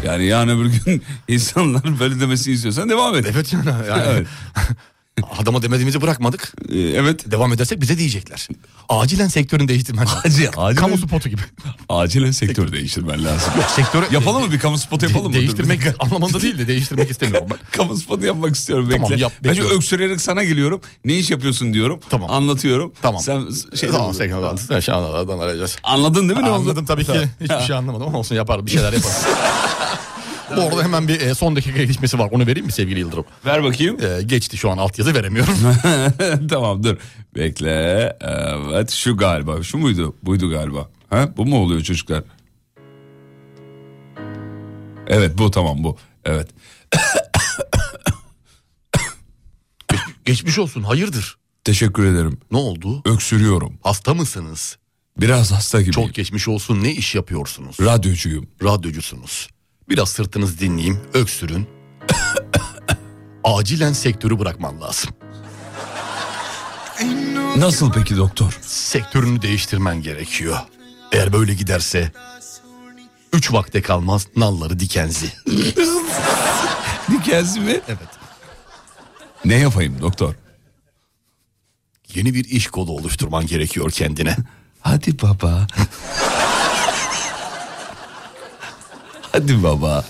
Speaker 2: Yani yarın öbür gün insanların böyle demesini istiyorsan devam et.
Speaker 4: evet yani. yani.
Speaker 2: Evet.
Speaker 4: Adama demediğimizi bırakmadık.
Speaker 2: Ee, evet.
Speaker 4: Devam edersek bize diyecekler. Acilen sektörünü değiştirmen lazım.
Speaker 2: Acil, acil.
Speaker 4: Kamu spotu gibi.
Speaker 2: Acilen sektör değiştirmen lazım.
Speaker 4: Sektörü
Speaker 2: Yapalım mı bir kamu spotu yapalım mı?
Speaker 4: Değiştirmek anlamında değil de değiştirmek istemiyorum ben.
Speaker 2: Kamu spotu yapmak istiyorum bekle.
Speaker 4: Tamam, yap,
Speaker 2: ben şu
Speaker 4: bekliyorum.
Speaker 2: öksürerek sana geliyorum. Ne iş yapıyorsun diyorum.
Speaker 4: Tamam.
Speaker 2: Anlatıyorum.
Speaker 4: Tamam.
Speaker 2: Sen şey
Speaker 4: tamam sektör altı. Şahanalardan arayacağız.
Speaker 2: anladın değil mi ne oldu?
Speaker 4: Anladım tabii ki. Hiçbir şey anlamadım ama olsun yapar bir şeyler yapar. Bu arada hemen bir e, son dakika gelişmesi var. Onu vereyim mi sevgili Yıldırım?
Speaker 2: Ver bakayım.
Speaker 4: E, geçti şu an altyazı veremiyorum.
Speaker 2: tamam dur. Bekle. Evet şu galiba. Şu muydu? Buydu galiba. Ha? Bu mu oluyor çocuklar? Evet bu tamam bu. Evet.
Speaker 4: Geçmiş olsun hayırdır?
Speaker 2: Teşekkür ederim.
Speaker 4: Ne oldu?
Speaker 2: Öksürüyorum.
Speaker 4: Hasta mısınız?
Speaker 2: Biraz hasta gibiyim.
Speaker 4: Çok geçmiş olsun ne iş yapıyorsunuz?
Speaker 2: Radyocuyum.
Speaker 4: Radyocusunuz. Biraz sırtınızı dinleyeyim öksürün. Acilen sektörü bırakman lazım.
Speaker 2: Nasıl peki doktor?
Speaker 4: Sektörünü değiştirmen gerekiyor. Eğer böyle giderse... Üç vakte kalmaz nalları dikenzi.
Speaker 2: Dikensi mi?
Speaker 4: Evet.
Speaker 2: Ne yapayım doktor?
Speaker 4: Yeni bir iş kolu oluşturman gerekiyor kendine.
Speaker 2: Hadi baba. Hadi baba.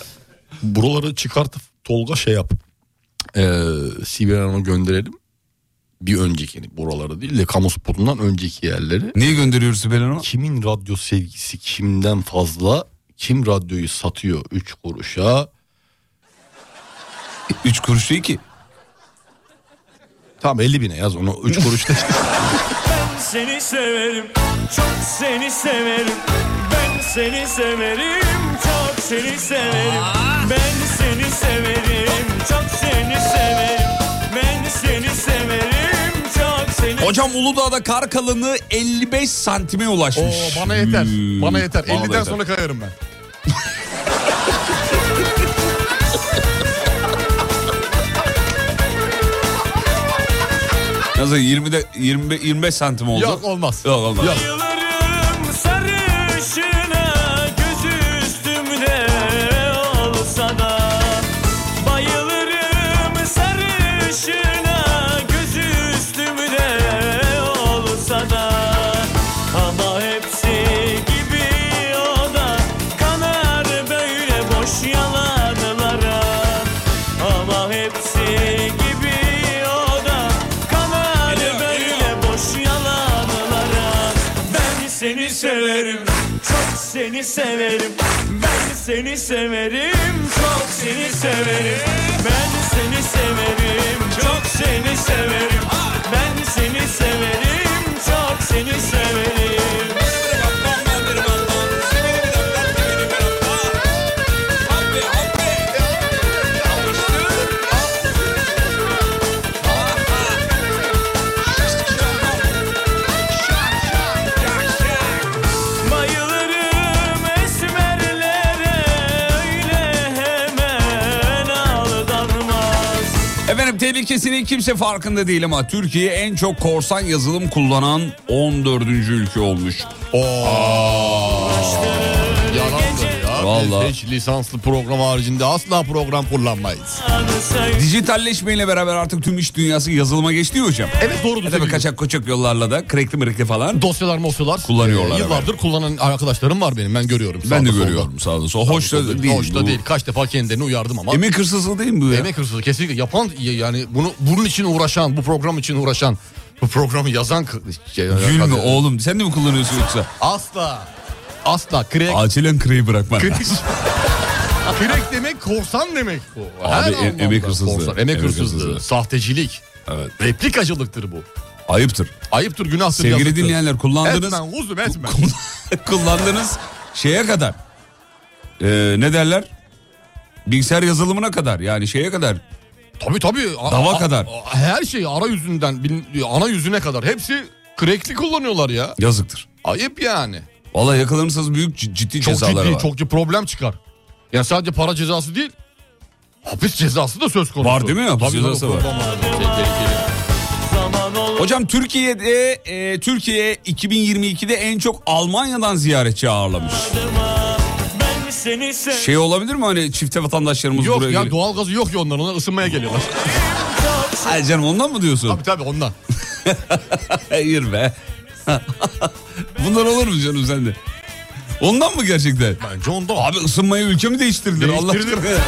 Speaker 4: Buraları çıkartıp Tolga şey yap. Ee, Sibel Hanım'a gönderelim. Bir önceki yani buraları değil de kamu spotundan önceki yerleri.
Speaker 2: Niye gönderiyoruz Sibel Hanım'a?
Speaker 4: Kimin radyo sevgisi kimden fazla? Kim radyoyu satıyor 3 kuruşa?
Speaker 2: Üç kuruş değil ki.
Speaker 4: Tamam 50 bine yaz onu 3 kuruşta.
Speaker 3: Seni severim, çok seni severim. Ben seni severim, çok seni severim. Ben seni severim, çok seni severim. Ben seni severim, çok seni
Speaker 2: Hocam Uludağ'da kar kalınlığı 55 santime ulaşmış. Hmm, da yeter.
Speaker 4: kayarım ben.
Speaker 2: Nasıl 20'de 20 25 santim oldu?
Speaker 4: Yok, olmaz.
Speaker 2: Yok olmaz.
Speaker 4: Yok.
Speaker 1: Yıllarım sarışına göz üstümde olsa da Bayılırım sarışına göz üstümde olsa da Ama hepsi gibi o da kanar böyle boş yalanlara Ama hepsi gibi o da kanar böyle boş yalanlara Ben seni severim çok seni severim Ben seni severim çok seni severim Ben seni severim çok seni severim Ben seni severim çok seni severim Bayılırım esmerlere öyle hemen aldanmaz
Speaker 2: Efendim tehlikesinin kimse farkında değil ama Türkiye en çok korsan yazılım kullanan 14. ülke olmuş.
Speaker 4: Yalandır ya.
Speaker 2: Vallahi.
Speaker 4: Biz hiç lisanslı program haricinde asla program kullanmayız.
Speaker 1: Anısayım
Speaker 2: Dijitalleşmeyle beraber artık tüm iş dünyası yazılıma geçti ya hocam.
Speaker 4: Evet doğrudur.
Speaker 2: E tabii kaçak koçak yollarla da krekli mrekli falan.
Speaker 4: Dosyalar mosyalar.
Speaker 2: Kullanıyorlar,
Speaker 4: Ee, Yıllardır kullanan arkadaşlarım var benim ben görüyorum.
Speaker 2: ben
Speaker 4: sağda
Speaker 2: de
Speaker 4: solda.
Speaker 2: görüyorum sağda solda. Hoş da değil.
Speaker 4: Hoş da
Speaker 2: bu.
Speaker 4: değil. Kaç defa kendilerini uyardım ama.
Speaker 2: Emek hırsızlığı değil mi bu ya?
Speaker 4: Emek hırsızı kesinlikle yapan yani bunu bunun için uğraşan bu program için uğraşan bu programı yazan kı- şey,
Speaker 2: Gülme
Speaker 4: kadın.
Speaker 2: oğlum sen de mi kullanıyorsun yoksa?
Speaker 4: Asla. Asla. Crack.
Speaker 2: Acilen kreyi bırakman
Speaker 4: Crack.
Speaker 2: lazım.
Speaker 4: Crack demek korsan demek bu.
Speaker 2: Abi,
Speaker 4: Her
Speaker 2: em-
Speaker 4: anlamda
Speaker 2: emek hırsızlığı.
Speaker 4: korsan, Emek
Speaker 2: Emek
Speaker 4: hırsızlığı.
Speaker 2: hırsızlığı.
Speaker 4: Sahtecilik.
Speaker 2: Evet.
Speaker 4: Replikacılıktır bu.
Speaker 2: Ayıptır.
Speaker 4: Ayıptır günahtır
Speaker 2: Sevgili
Speaker 4: yazıktır.
Speaker 2: dinleyenler kullandığınız...
Speaker 4: Etmen huzum etmen.
Speaker 2: kullandığınız şeye kadar Ee, ne derler bilgisayar yazılımına kadar yani şeye kadar
Speaker 4: Tabii tabii. A-
Speaker 2: Dava
Speaker 4: a-
Speaker 2: kadar.
Speaker 4: a- Her şeyi ara yüzünden bin- ana yüzüne kadar hepsi crackli kullanıyorlar ya.
Speaker 2: yazıktır.
Speaker 4: Ayıp yani.
Speaker 2: Vallahi yakalanırsanız büyük c- ciddi
Speaker 4: Çok
Speaker 2: cezalar
Speaker 4: ciddi,
Speaker 2: var.
Speaker 4: çok ciddi problem çıkar. Yani sadece para cezası değil, hapis cezası da söz konusu.
Speaker 2: Var değil mi? Hapis
Speaker 4: Tabii, tabii,
Speaker 2: cezası var.
Speaker 4: kullanmaları şey, tehlikeli.
Speaker 1: zaman olur
Speaker 2: Hocam Türkiye'de e, Türkiye 2022'de en çok Almanya'dan ziyaretçi ağırlamış.
Speaker 1: Ben seni sev
Speaker 2: Şey olabilir mi hani çifte vatandaşlarımız
Speaker 4: Yok
Speaker 2: buraya
Speaker 4: ya
Speaker 2: geliyor?
Speaker 4: doğalgazı yok ya onların, onlar ısınmaya geliyorlar.
Speaker 2: Ay canım ondan mı diyorsun?
Speaker 4: tabii tabii ondan.
Speaker 2: Hayır be. Bunlar olur mu canım sende? Ondan mı gerçekten?
Speaker 4: Bence ondan.
Speaker 2: Abi ısınmayı ülke mi değiştirdiler Allah
Speaker 4: Değiştirdiler.
Speaker 2: aşkına?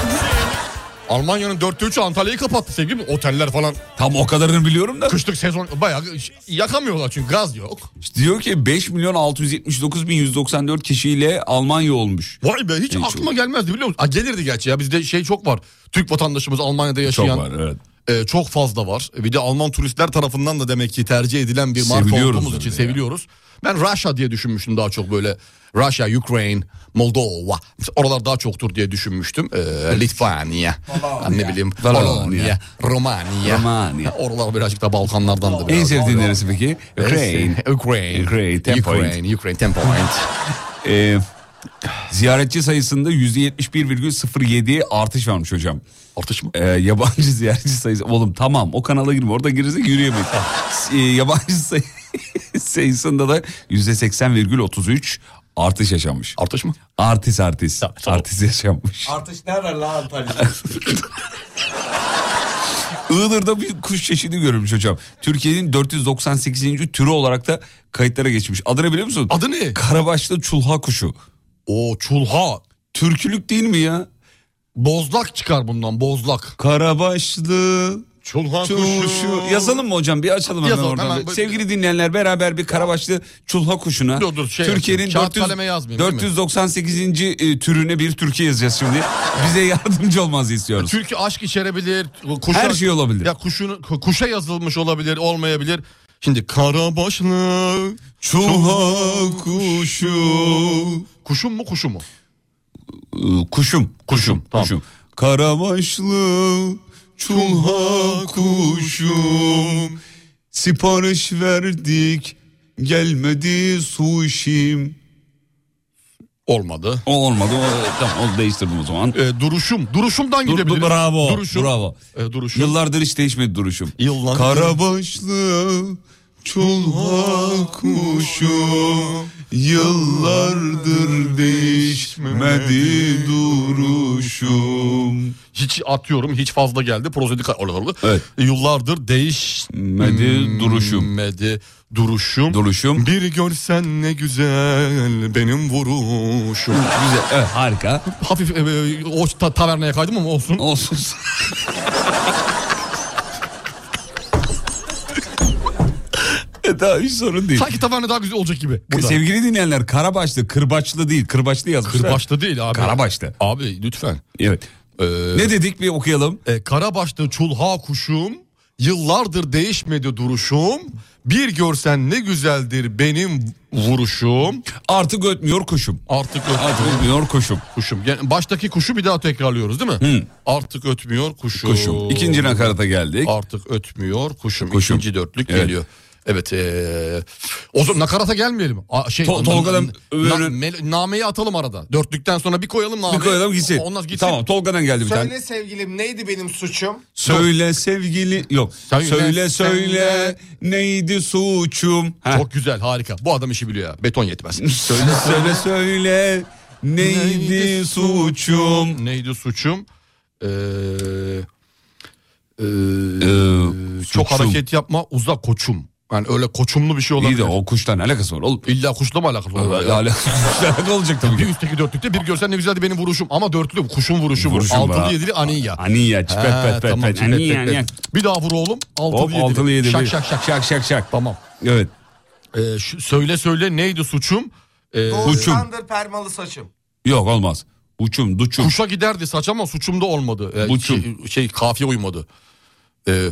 Speaker 4: Almanya'nın dörtte üçü Antalya'yı kapattı sevgilim. Oteller falan
Speaker 2: Tam o kadarını biliyorum da.
Speaker 4: kışlık sezon bayağı ş- yakamıyorlar çünkü gaz yok.
Speaker 2: İşte diyor ki 5 milyon 679 bin 194 kişiyle Almanya olmuş.
Speaker 4: Vay be hiç,
Speaker 2: Hiç
Speaker 4: aklıma gelmezdi biliyor musun? Aa, gelirdi gerçi ya bizde şey çok var. Türk vatandaşımız Almanya'da yaşayan.
Speaker 2: Çok var evet.
Speaker 4: E, çok fazla var. Bir de Alman turistler tarafından da demek ki tercih edilen bir marka
Speaker 2: Seviliyoruz
Speaker 4: olduğumuz için
Speaker 2: tabii ya.
Speaker 4: seviliyoruz. Ben Russia diye düşünmüştüm daha çok böyle. Russia, Ukraine, Moldova. Oralar daha çoktur diye düşünmüştüm. E, Litvanya, ne bileyim
Speaker 2: Polonya.
Speaker 4: Polonya, Romanya.
Speaker 2: Romanya.
Speaker 4: Oralar birazcık da Balkanlardan da
Speaker 2: En
Speaker 4: biraz.
Speaker 2: sevdiğin neresi peki? Ukrayna.
Speaker 4: Ukraine.
Speaker 2: Ukraine, ten point.
Speaker 4: Ukraine, Ukraine, ten point.
Speaker 2: Ee, ziyaretçi sayısında %71,07 artış varmış hocam.
Speaker 4: Artış mı?
Speaker 2: Ee, yabancı ziyaretçi sayısı. Oğlum tamam o kanala girme orada girecek yürüyemeyiz. Ee, yabancı sayı- sayısında da %80,33 artış yaşanmış.
Speaker 4: Artış mı?
Speaker 2: Artist artist. Artist yaşanmış.
Speaker 16: Artış nerede lan Antalya?
Speaker 2: Iğdır'da bir kuş çeşidi görülmüş hocam. Türkiye'nin 498. türü olarak da kayıtlara geçmiş. Adını biliyor musun?
Speaker 4: Adı ne?
Speaker 2: Karabaşlı çulha kuşu.
Speaker 4: O çulha.
Speaker 2: Türkülük değil mi ya?
Speaker 4: Bozlak çıkar bundan bozlak.
Speaker 2: Karabaşlı
Speaker 4: Çulha
Speaker 2: kuşu. Yazalım mı hocam? Bir açalım hemen
Speaker 4: Yazalım,
Speaker 2: oradan.
Speaker 4: hemen.
Speaker 2: Sevgili dinleyenler beraber bir Karabaşlı çulha kuşuna.
Speaker 4: Dur, dur, şey
Speaker 2: Türkiye'nin
Speaker 4: yapayım. Kağıt
Speaker 2: 400
Speaker 4: kaleme yazmayayım, değil mi?
Speaker 2: 498. e, türüne bir Türkiye yazacağız şimdi. Bize yardımcı olmanızı istiyoruz.
Speaker 4: Türkü aşk içerebilir. Kuşa,
Speaker 2: Her şey olabilir.
Speaker 4: Ya kuşun, kuşa yazılmış olabilir, olmayabilir. Şimdi karabaşlı
Speaker 2: Çulha kuşu.
Speaker 4: kuşun mu kuşu mu?
Speaker 2: Ee, kuşum. Kuşum.
Speaker 4: tamam.
Speaker 2: Kuşum. Karabaşlı çulha kuşum. Sipariş verdik gelmedi suşim.
Speaker 4: Olmadı.
Speaker 2: O olmadı. O, tamam o değiştirdim o zaman.
Speaker 4: Ee, duruşum. Duruşumdan
Speaker 2: Dur, dur,
Speaker 4: gidebiliriz.
Speaker 2: bravo.
Speaker 4: Duruşum.
Speaker 2: Bravo.
Speaker 4: Ee, duruşum.
Speaker 2: Yıllardır hiç değişmedi duruşum.
Speaker 4: Yıllar-
Speaker 2: Karabaşlı çulha kuşu yıllardır değişmedi duruşum.
Speaker 4: Hiç atıyorum hiç fazla geldi. Prozedik oralarla.
Speaker 2: Evet. Hmm.
Speaker 4: Yıllardır değişmedi
Speaker 2: Medi duruşum.
Speaker 4: Medi duruşum.
Speaker 2: Duruşum.
Speaker 4: Bir görsen ne güzel benim vuruşum.
Speaker 2: Güzel. Evet, harika.
Speaker 4: Hafif e, e, o ta- tavernaya kaydım ama olsun.
Speaker 2: Olsun. e tamam hiç sorun değil.
Speaker 4: Sanki taverna daha güzel olacak gibi. Burada.
Speaker 2: Sevgili dinleyenler karabaşlı, kırbaçlı değil. Kırbaçlı yazmışlar.
Speaker 4: Kırbaçlı değil abi.
Speaker 2: Karabaşlı.
Speaker 4: Abi lütfen.
Speaker 2: Evet. ne dedik bir okuyalım.
Speaker 4: Ee, E, Karabaşlı çulha kuşum, yıllardır değişmedi duruşum. Bir görsen ne güzeldir benim vuruşum.
Speaker 2: Artık ötmüyor kuşum.
Speaker 4: Artık
Speaker 2: Artık
Speaker 4: ötmüyor
Speaker 2: ötmüyor kuşum.
Speaker 4: kuşum. Yani baştaki kuşu bir daha tekrarlıyoruz değil mi? Artık ötmüyor kuşum.
Speaker 2: Kuşum. İkinci nakarata geldik.
Speaker 4: Artık ötmüyor kuşum.
Speaker 2: Kuşum.
Speaker 4: İkinci dörtlük
Speaker 2: Evet.
Speaker 4: geliyor. Evet. E, o zaman nakarata gelmeyelim. A, şey,
Speaker 2: Tol- Tolga'dan öbürü-
Speaker 4: mel- nameyi atalım arada. Dörtlükten sonra bir koyalım nameyi.
Speaker 2: Bir koyalım gitsin.
Speaker 4: Ondan gitsin.
Speaker 2: Tamam Tolga'dan geldi bir tane.
Speaker 16: Söyle sevgilim neydi benim suçum?
Speaker 2: Söyle sevgili yok.
Speaker 4: Söyle,
Speaker 2: Söyle söyle,
Speaker 4: söyle.
Speaker 2: neydi suçum? Ha.
Speaker 4: Çok güzel harika. Bu adam işi biliyor ya. Beton yetmez.
Speaker 2: Söyle söyle
Speaker 4: Ee,
Speaker 2: söyle neydi, suçum?
Speaker 4: Neydi suçum? Ee, ee,
Speaker 2: Ee,
Speaker 4: çok
Speaker 2: suçum.
Speaker 4: hareket yapma uzak koçum. Yani öyle koçumlu bir şey
Speaker 2: İyi
Speaker 4: olabilir.
Speaker 2: de o kuştan alakası var oğlum.
Speaker 4: İlla kuşla mı alakalı? olur?
Speaker 2: Alakası alakası olacak tabii
Speaker 4: Bir
Speaker 2: ki.
Speaker 4: üstteki dörtlükte bir görsen ne güzeldi benim vuruşum. Ama dörtlü bu, kuşun vuruşu bu.
Speaker 2: Vuruşum var.
Speaker 4: Altılı yedili aniya.
Speaker 2: Aniya çipet
Speaker 4: Ha,
Speaker 2: pet pet
Speaker 4: tamam,
Speaker 2: pet.
Speaker 4: çipet,
Speaker 2: Aniya
Speaker 4: pet, pet.
Speaker 2: aniya.
Speaker 4: Bir daha vur oğlum. Altılı
Speaker 2: Hop
Speaker 4: yedili.
Speaker 2: altılı yedi.
Speaker 4: Şak
Speaker 2: bir.
Speaker 4: şak şak.
Speaker 2: şak şak şak.
Speaker 4: Tamam.
Speaker 2: Evet.
Speaker 4: Ee, şu- söyle söyle neydi suçum? Ee,
Speaker 16: Doğuştandır permalı saçım.
Speaker 2: Yok olmaz. Uçum duçum.
Speaker 4: Kuşa giderdi saç ama suçum da olmadı. Ee,
Speaker 2: Buçum.
Speaker 4: Şey, şey kafiye uymadı. Ee,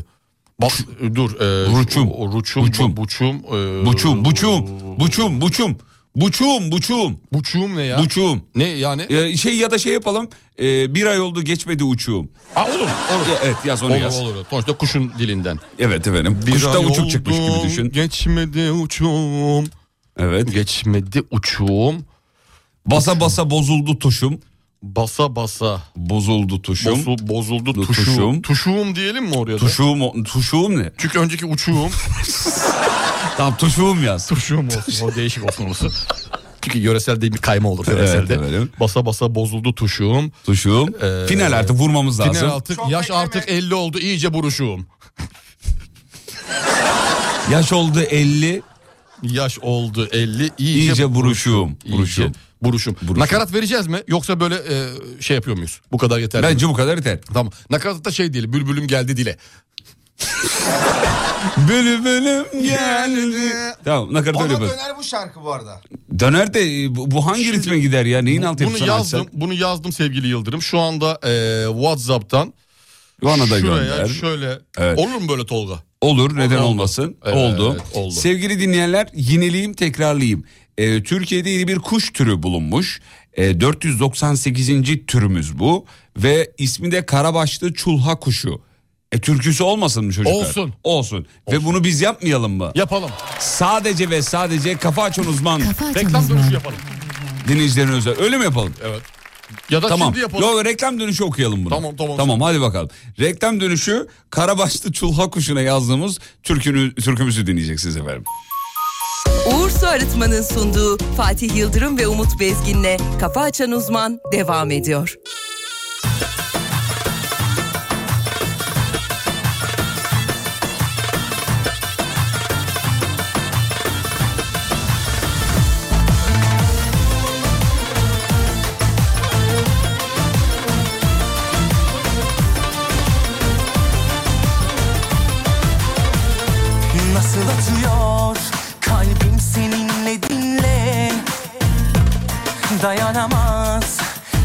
Speaker 4: bak dur. E,
Speaker 2: Ruçum.
Speaker 4: o- o Ruçum.
Speaker 2: Buçum.
Speaker 4: Buçum. Buçum. e,
Speaker 2: Buçum buçum buçum buçum. Buçum buçum.
Speaker 4: Buçum ne ya?
Speaker 2: Buçum.
Speaker 4: Ne yani?
Speaker 2: Ee, şey ya da şey yapalım. Ee, bir ay oldu geçmedi uçuğum.
Speaker 4: Ha, olur. Olur.
Speaker 2: Ya, Evet yaz onu
Speaker 4: olur,
Speaker 2: yaz.
Speaker 4: olur. Sonuçta kuşun dilinden.
Speaker 2: Evet efendim.
Speaker 4: Bir
Speaker 2: Kuşta
Speaker 4: ay
Speaker 2: uçuk çıkmış gibi
Speaker 4: oldum,
Speaker 2: düşün.
Speaker 4: Geçmedi uçum.
Speaker 2: Evet.
Speaker 4: Geçmedi uçum.
Speaker 2: Basa basa bozuldu tuşum.
Speaker 4: Basa basa.
Speaker 2: Bozuldu tuşum.
Speaker 4: Bozu, bozuldu
Speaker 2: Du-
Speaker 4: tuşum.
Speaker 2: tuşum.
Speaker 4: tuşum. diyelim mi oraya da?
Speaker 2: Tuşuğum, o- tuşuğum ne?
Speaker 4: Çünkü önceki uçuğum.
Speaker 2: Tamam tuşuğum yaz.
Speaker 4: Turşum olsun. O değişik olsun orası. Çünkü yöresel değil bir kayma olur yörelselde.
Speaker 2: efendim.
Speaker 4: basa basa bozuldu tuşum.
Speaker 2: Tuşuğum.
Speaker 4: Ee,
Speaker 2: final artık vurmamız lazım.
Speaker 4: Final artık
Speaker 16: Çok
Speaker 4: yaş
Speaker 16: bekleme.
Speaker 4: artık 50 oldu iyice buruşum.
Speaker 2: Yaş oldu 50.
Speaker 4: Yaş oldu 50 iyice,
Speaker 2: İyice buruşuğum.
Speaker 4: iyice
Speaker 2: Buruşuğum.
Speaker 4: buruşum.
Speaker 2: Buruşum.
Speaker 4: Nakarat vereceğiz mi? Yoksa böyle e, şey yapıyor muyuz? Bu kadar yeterli. mi?
Speaker 2: Bence bu kadar yeter.
Speaker 4: Tamam. Nakaratta şey diyelim. Bülbülüm geldi dile.
Speaker 2: Bölüm bölüm geldi. Tamam nakarat öyle
Speaker 16: Ona
Speaker 2: yapalım.
Speaker 16: döner bu şarkı bu arada.
Speaker 2: Döner de e, bu, bu hangi ritme gider ya? Neyin altı
Speaker 4: Bunu yazdım. Bunu yazdım sevgili Yıldırım. Şu anda e, WhatsApp'tan
Speaker 2: Bana da
Speaker 4: şuraya
Speaker 2: gönder.
Speaker 4: şöyle.
Speaker 2: Evet.
Speaker 4: Olur mu böyle Tolga?
Speaker 2: Olur neden
Speaker 4: oldu.
Speaker 2: olmasın.
Speaker 4: Evet,
Speaker 2: oldu.
Speaker 4: oldu.
Speaker 2: Sevgili dinleyenler yineleyeyim tekrarlayayım. Ee, Türkiye'de yeni bir kuş türü bulunmuş. Ee, 498. türümüz bu. Ve ismi de karabaşlı çulha kuşu. E, türküsü olmasın mı çocuklar?
Speaker 4: Olsun.
Speaker 2: Olsun. Ve bunu biz yapmayalım mı?
Speaker 4: Yapalım.
Speaker 2: Sadece ve sadece kafa açan uzman
Speaker 4: Reklam dönüşü yapalım.
Speaker 2: dinleyicilerin özel. Öyle mi yapalım?
Speaker 4: Ya da
Speaker 2: Tamam.
Speaker 4: şimdi yapalım.
Speaker 2: Yo, reklam dönüşü okuyalım bunu.
Speaker 4: Tamam, tamam.
Speaker 2: Tamam hadi bakalım. Reklam dönüşü Karabaşlı Çulha Kuşu'na yazdığımız türkünü, türkümüzü dinleyeceksiniz efendim.
Speaker 9: Uğur Su Arıtma'nın sunduğu Fatih Yıldırım ve Umut Bezgin'le Kafa Açan Uzman devam ediyor.
Speaker 8: Nasıl atıyor kalbim seninle dinle Dayanamaz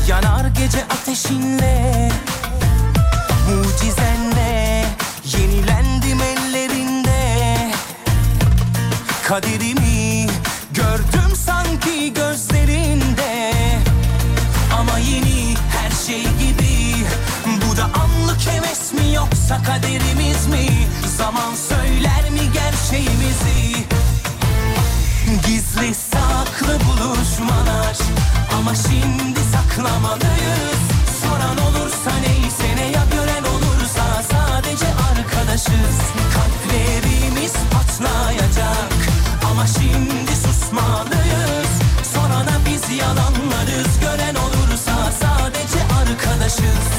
Speaker 8: yanar gece ateşinle Mucizenle yenilendim ellerinde Kaderimi gördüm sanki gözlerinde ama yeni her şey gibi Bu da anlık heves mi yoksa kaderimiz mi Zaman söyler mi gerçeğimizi Gizli saklı buluşmalar Ama saklamalıyız Soran olursa neyse ne ya gören olursa Sadece arkadaşız Kalplerimiz patlayacak Ama şimdi susmalıyız Sorana biz yalanlarız Gören olursa sadece arkadaşız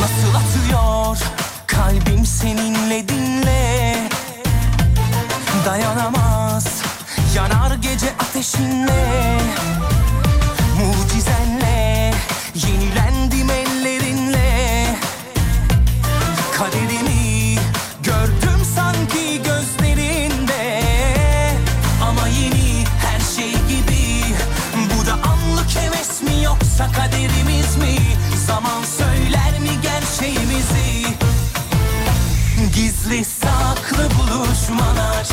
Speaker 8: Nasıl atıyor kalbim seninle dinle Dayanamaz yanar gece ateşinle Mucizenle yenilendim ellerinle Kaderimi gördüm sanki gözlerinde Ama yeni her şey gibi Bu da anlık heves mi yoksa kaderimiz mi Zaman söyler mi gerçeğimizi Gizli saklı buluşmalar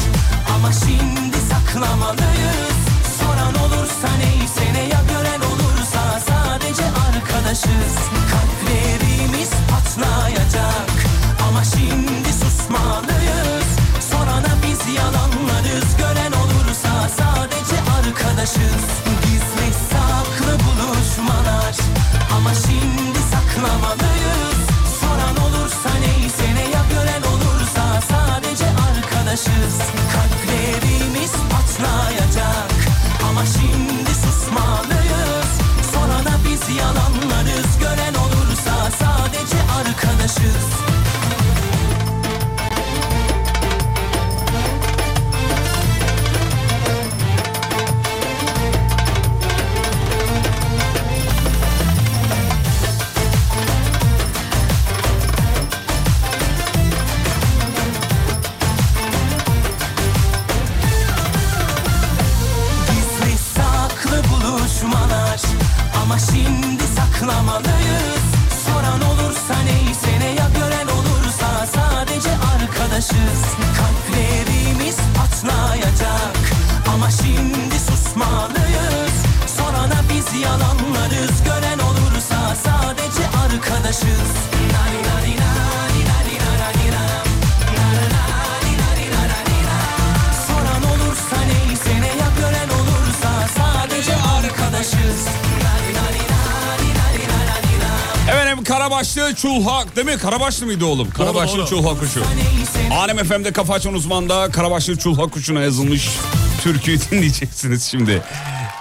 Speaker 8: Ama şimdi saklamalıyız Soran olursa neyse ne ya gören olursa Sadece arkadaşız Kalplerimiz patlayacak Ama şimdi susmalıyız Sorana biz yalanlarız Gören olursa sadece arkadaşız Gizli saklı buluşmalar Ama şimdi saklamalıyız Soran olursa neyse ne ya gören olursa sadece arkadaşız Kalplerimiz patlayacak ama şimdi susmalıyız Sorana biz yalanlarız gören olursa sadece arkadaşız Gizli saklı buluşmalar Ama şimdi saklamalıyız Soran olursa neyse ne ya gören olursa Sadece arkadaşız Kalplerimiz patlayacak Ama şimdi susmalıyız Sorana biz yalanlarız Gören olursa sadece arkadaşız Nari nari nari nari nari nari Soran olursa neyse ne ya gören olursa sadece arkadaşız.
Speaker 2: Efendim Karabaşlı Çulhak değil mi? Karabaşlı mıydı oğlum? Karabaşlı
Speaker 3: doğru.
Speaker 2: Çulhak Kuşu. Alem FM'de Kafa Açan Uzman'da Karabaşlı Çulhak Kuşu'na yazılmış türküyü dinleyeceksiniz şimdi.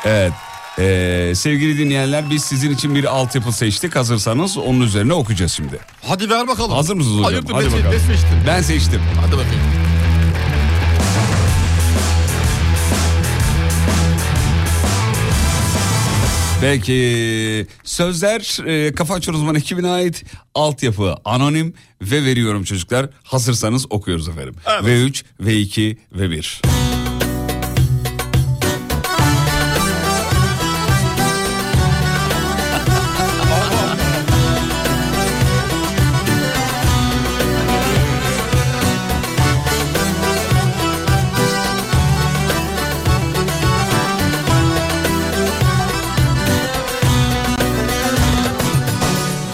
Speaker 2: Evet. Ee, sevgili dinleyenler biz sizin için bir altyapı seçtik. Hazırsanız onun üzerine okuyacağız şimdi.
Speaker 4: Hadi ver bakalım.
Speaker 2: Hazır mısınız hocam?
Speaker 4: Hayırdır
Speaker 2: Hadi
Speaker 4: ne,
Speaker 2: bakalım.
Speaker 4: ne seçtin?
Speaker 2: Ben seçtim.
Speaker 4: Hadi bakayım.
Speaker 2: Peki sözler e, Kafa Açan Uzman ekibine ait altyapı anonim ve veriyorum çocuklar. Hazırsanız okuyoruz efendim. V3, V2, V1.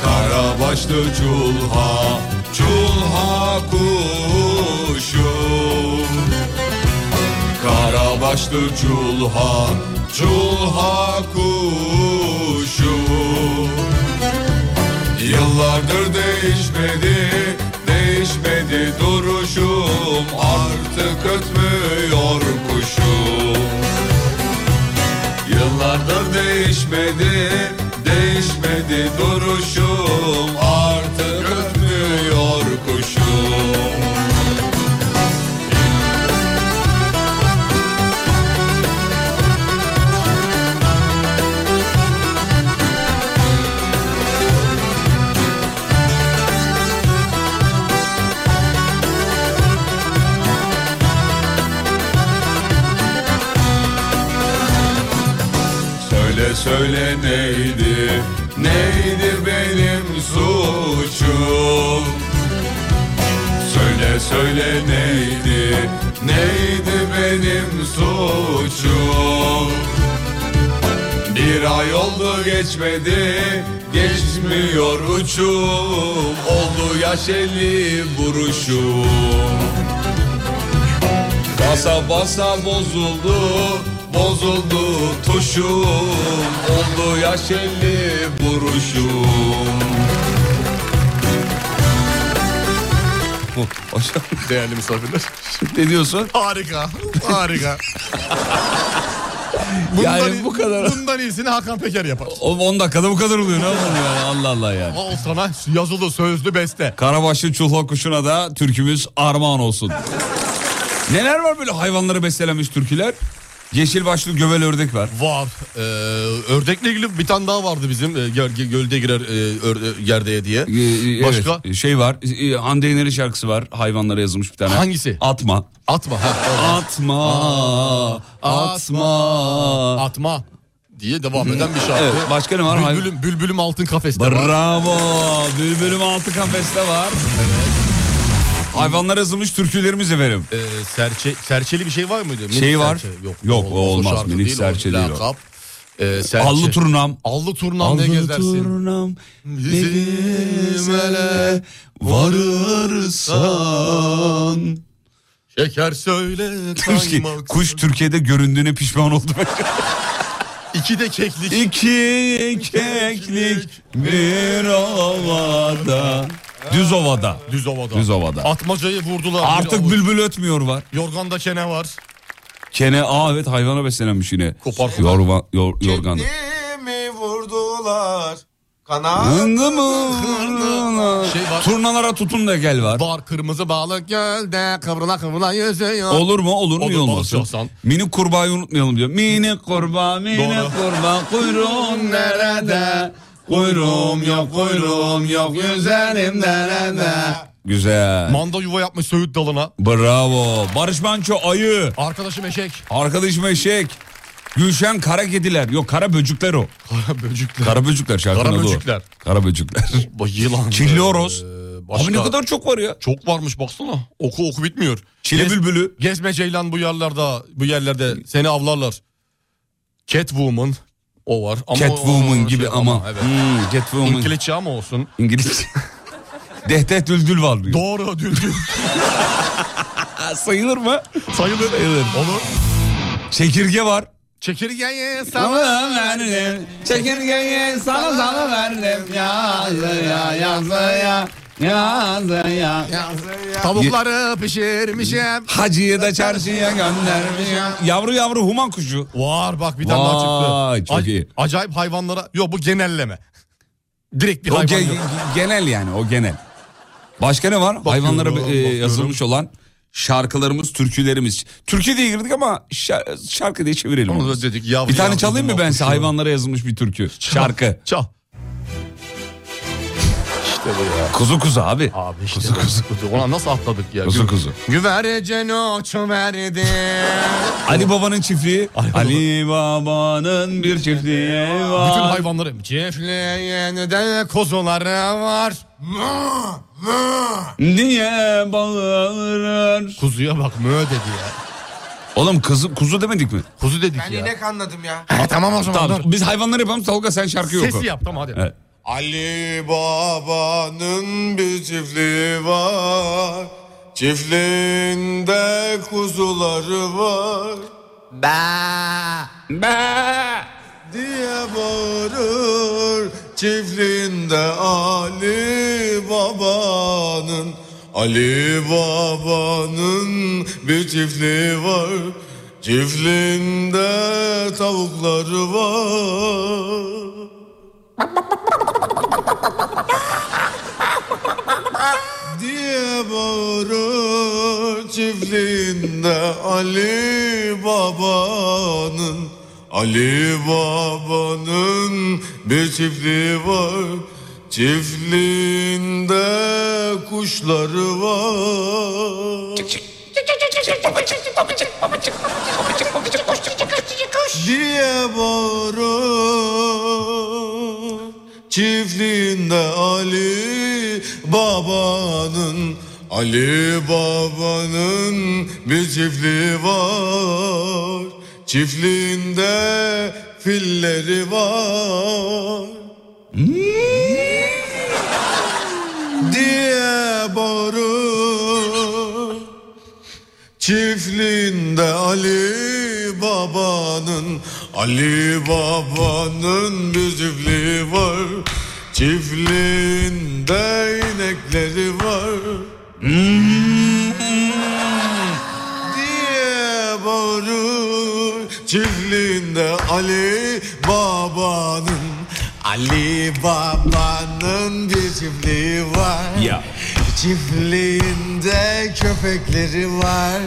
Speaker 3: Karabaşlı çulha, çulha kuşu Karabaşlı çulha, çulha kuşu Yıllardır değişmedi, değişmedi duruşum Artık ötmüyor kuşum Yıllardır değişmedi, değişmedi duruşum Artık ötmüyor kuşum Söyle söyle neydi, neydi benim suçum Söyle Söyle neydi, neydi benim suçum Bir ay oldu geçmedi, geçmiyor uçum Oldu yaş eli vuruşum Basa basa bozuldu, bozuldu tuşum Oldu yaş eli vuruşum
Speaker 2: Hocam
Speaker 4: Değerli misafirler.
Speaker 2: ne diyorsun?
Speaker 4: Harika. Harika. bundan,
Speaker 2: Yani bu kadar.
Speaker 4: Bundan iyisini Hakan Peker yapar.
Speaker 2: Oğlum 10 dakikada bu kadar oluyor ne yapalım yani Allah Allah yani.
Speaker 4: Al sana yazılı sözlü beste.
Speaker 2: Karabaşlı çulha kuşuna da türkümüz armağan olsun. Neler var böyle hayvanları beslenmiş türküler? Yeşil başlı gövel ördek var.
Speaker 4: Var. Ee, ördekle ilgili bir tane daha vardı bizim. Ee, göl, gölde girer e, örde- yerdeye diye.
Speaker 2: Ee, e,
Speaker 4: Başka?
Speaker 2: evet, şey var. e, Hande Yener'in şarkısı var. Hayvanlara yazılmış bir tane.
Speaker 4: Hangisi?
Speaker 2: Atma.
Speaker 4: Atma. Ha, evet.
Speaker 2: Atma. Atma.
Speaker 4: Atma diye devam eden bir şarkı.
Speaker 2: Evet, başka ne var? Hayır.
Speaker 4: Bülbülüm, bülbülüm altın kafeste var.
Speaker 2: Bravo. Bülbülüm altı kafeste var. Hayvanlara yazılmış türkülerimiz efendim.
Speaker 4: Ee, serçe, serçeli bir şey var mıydı? Minik
Speaker 2: Şey var.
Speaker 4: serçe.
Speaker 2: Yok, o olmaz.
Speaker 4: şarkı
Speaker 2: Minik
Speaker 4: o
Speaker 2: serçe değil o.
Speaker 4: lakap. Ee, serçe.
Speaker 2: Allı turnam.
Speaker 4: Allı turnam ne gezersin?
Speaker 2: turnam
Speaker 4: bizim ele
Speaker 2: varırsan.
Speaker 4: Şeker söyle
Speaker 2: Türkiye,
Speaker 4: kaymak.
Speaker 2: kuş Türkiye'de göründüğüne pişman oldu.
Speaker 4: İki de keklik.
Speaker 2: İki keklik bir ovada. Düz ovada.
Speaker 4: Düz ovada.
Speaker 2: Düz ovada.
Speaker 4: Atmacayı vurdular.
Speaker 2: Artık
Speaker 4: Bir avuç.
Speaker 2: bülbül ötmüyor var.
Speaker 4: Yorganda kene var.
Speaker 2: Kene aa evet hayvana beslenenmiş yine.
Speaker 4: Kopar kopar.
Speaker 2: Yorga, yor, yorgan.
Speaker 16: Kendimi vurdular. Kanat.
Speaker 2: Andı mı?
Speaker 4: Şey var.
Speaker 2: Turnalara tutun da gel var.
Speaker 4: Var kırmızı balık gölde kıvrıla kıvrıla yüzüyor.
Speaker 2: Olur mu? Olur mu?
Speaker 4: Olur,
Speaker 2: İyi
Speaker 4: balık
Speaker 2: olmaz.
Speaker 4: yoksan.
Speaker 2: Minik kurbağayı unutmayalım diyor. Minik kurbağa, minik
Speaker 4: Doğru.
Speaker 2: kurbağa kuyruğun nerede? Kuyruğum yok, kuyruğum yok, güzelim nerede? Güzel.
Speaker 4: Manda yuva yapmış Söğüt dalına.
Speaker 2: Bravo. Barış Manço ayı.
Speaker 4: Arkadaşım eşek.
Speaker 2: Arkadaşım eşek. Gülşen kara kediler. Yok kara böcükler o.
Speaker 4: Böcükler.
Speaker 2: Kara böcükler şarkının
Speaker 4: Kara
Speaker 2: adı o.
Speaker 4: böcükler.
Speaker 2: Kara böcükler.
Speaker 4: Ba- Yılan.
Speaker 2: Çilli horoz.
Speaker 4: Ee, başka-
Speaker 2: Abi ne kadar çok var ya.
Speaker 4: Çok varmış baksana. Oku oku bitmiyor.
Speaker 2: Çile bülbülü.
Speaker 4: Gezme ceylan bu yerlerde bu yerlerde seni avlarlar. Catwoman o var. Ama o-
Speaker 2: Catwoman
Speaker 4: şey,
Speaker 2: gibi ama.
Speaker 4: Evet.
Speaker 2: Hmm, Catwoman.
Speaker 4: İngilizce ama olsun.
Speaker 2: İngilizce. Dehtet Düldül var diyor.
Speaker 4: Doğru düzgün
Speaker 2: sayılır mı?
Speaker 4: sayılır. Olur.
Speaker 2: Çekirge var.
Speaker 4: Çekirgeyi sana
Speaker 2: Sana verdim. Çekirgeyi sana sana verdim. Yazı ya yazı ya. Yazı ya.
Speaker 4: tavukları pişirmişim.
Speaker 2: Hacıyı da çarşıya göndermişim. Yavru yavru human kuşu.
Speaker 4: Var bak bir tane daha
Speaker 2: Vay,
Speaker 4: çıktı.
Speaker 2: çok
Speaker 4: Ac-
Speaker 2: iyi.
Speaker 4: Acayip hayvanlara. Yok bu genelleme. Direkt bir
Speaker 2: O
Speaker 4: hayvan
Speaker 2: ge-
Speaker 4: yok.
Speaker 2: genel yani o genel. Başka ne var? Hayvanlara e,
Speaker 4: bakıyorum.
Speaker 2: yazılmış olan şarkılarımız, türkülerimiz. Türkü diye girdik ama şa- şarkı diye çevirelim.
Speaker 4: Onu
Speaker 2: onu.
Speaker 4: da dedik, yavru
Speaker 2: bir tane
Speaker 4: yavru
Speaker 2: çalayım mı
Speaker 4: human
Speaker 2: ben size
Speaker 4: kuşu.
Speaker 2: hayvanlara yazılmış bir türkü? Şarkı.
Speaker 4: Çal. İşte bu ya.
Speaker 2: Kuzu kuzu abi.
Speaker 4: Abi işte kuzu kuzu. Ona nasıl atladık ya?
Speaker 2: Kuzu kuzu.
Speaker 4: Güvercin oçu verdi.
Speaker 2: Ali Baba'nın çiftliği. Ali Baba'nın bir çiftliği
Speaker 4: Bütün
Speaker 2: var.
Speaker 4: hayvanları. Çiftliğinde de kozuları var.
Speaker 2: Niye bağırır?
Speaker 4: Kuzuya bak mö dedi ya.
Speaker 2: Oğlum kızı, kuzu demedik mi?
Speaker 4: Kuzu dedik
Speaker 16: Ben
Speaker 4: Şey ya.
Speaker 16: inek anladım ya.
Speaker 4: Ha, tamam o zaman.
Speaker 2: Tamam biz hayvanları yapalım Tolga sen şarkıyı
Speaker 4: dur.
Speaker 2: oku.
Speaker 4: Sesi yap tamam hadi.
Speaker 2: Evet.
Speaker 16: Ali Baba'nın bir çiftliği var. Çiftliğinde kuzuları var.
Speaker 2: Be!
Speaker 16: diye bağırır Çiftliğinde Ali Baba'nın Ali Baba'nın bir çiftliği var Çiftliğinde tavukları var diye bağırır çiftliğinde Ali Baba'nın Ali Baba'nın bir çiftliği var Çiftliğinde kuşları var diye bağırır Çiftliğinde Ali Baba'nın Ali Baba'nın bir çiftliği var Çiftliğinde filleri var Hmm. Diye bağırır Çiftliğinde Ali Baba'nın Ali Baba'nın bir çiftliği var Çiftliğinde inekleri var Diye bağırır Çiftliğinde Ali Baba'nın Ali Baba'nın bir çiftliği var
Speaker 2: Ya.
Speaker 16: Çiftliğinde köpekleri var.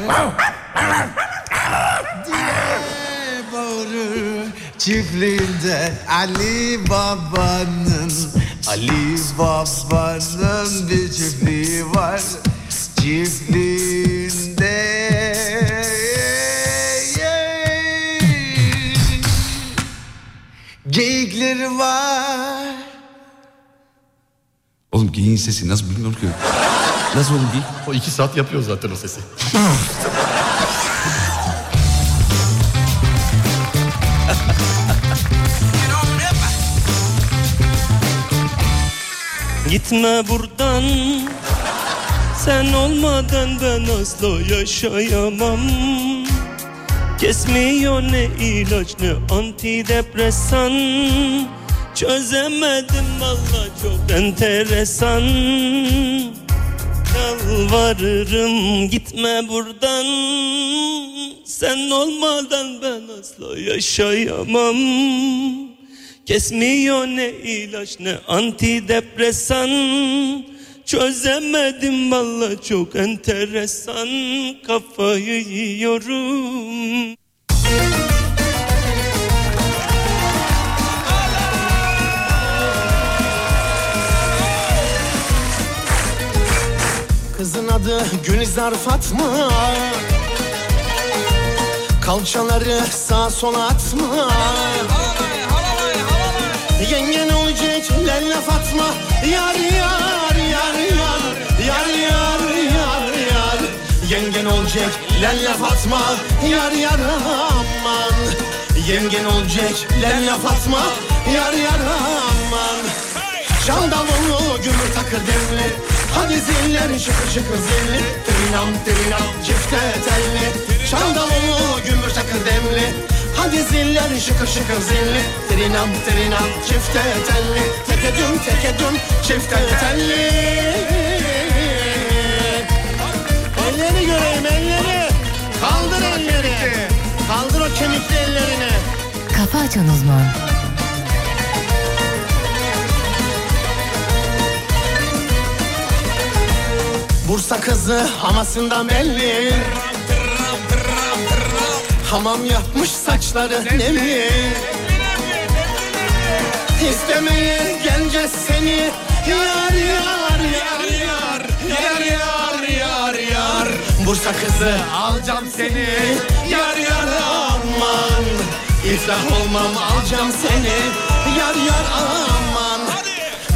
Speaker 16: Diye bağırır. Çiftliğinde Ali Baba'nın Ali Baba'nın bir çiftliği var Çiftliğinde Geyikleri var
Speaker 2: Oğlum geyiğin sesi nasıl bilmiyorum ki. Nasıl oğlum geyik?
Speaker 4: O iki saat yapıyor zaten o sesi.
Speaker 17: Gitme buradan Sen olmadan ben asla yaşayamam Kesmiyor ne ilaç ne antidepresan Çözemedim valla çok enteresan Yalvarırım gitme buradan Sen olmadan ben asla yaşayamam Kesmiyor ne ilaç ne antidepresan Çözemedim valla çok enteresan Kafayı yiyorum
Speaker 5: Kızın adı Gülizar Fatma Kalçaları sağa sola atma Yengen olacak lelle Fatma Yar yar yar yar Yar yar yar yar Yengen olacak lelle Fatma Yar yar aman Yengen olacak lelle Fatma Yar yar aman Can davulu gümür takır demli Hadi ziller şıkır şıkır zilli Trinam trinam çifte telli Can davulu gümür takır demli Hadi ziller şıkır şıkır zilli Trinam trinam çifte telli Teke düm teke düm çifte telli Elleri göreyim elleri Kaldır elleri Kaldır o kemikli ellerini
Speaker 18: Kafa Açan Uzman.
Speaker 5: Bursa kızı hamasından belli Hamam yapmış saçları nemli İstemeye geleceğiz seni Yar yar yar yar Yar yar yar yar Bursa kızı alacağım seni Yar yar aman İflah olmam alacağım seni Yar yar aman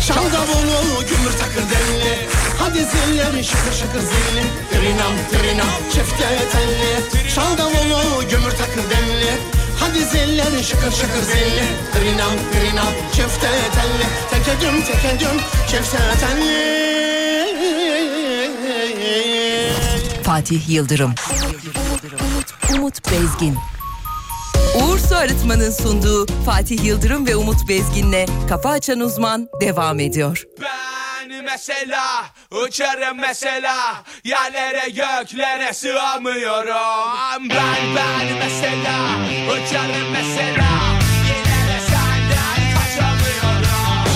Speaker 5: Çal davulu gümür takır denli Hadi zilleri şıkır şıkır zilli Trinam trinam çifte telli Çal davulu gümür takır denli Hadi zilleri şıkır şıkır zilli Trinam trinam çifte telli Teke düm teke düm çifte telli
Speaker 9: Fatih Yıldırım. Umut, Umut Bezgin. Uğur Su Arıtma'nın sunduğu Fatih Yıldırım ve Umut Bezgin'le Kafa Açan Uzman devam ediyor.
Speaker 3: Ben mesela uçarım mesela Yerlere göklere sığamıyorum Ben ben mesela uçarım mesela Yine de senden kaçamıyorum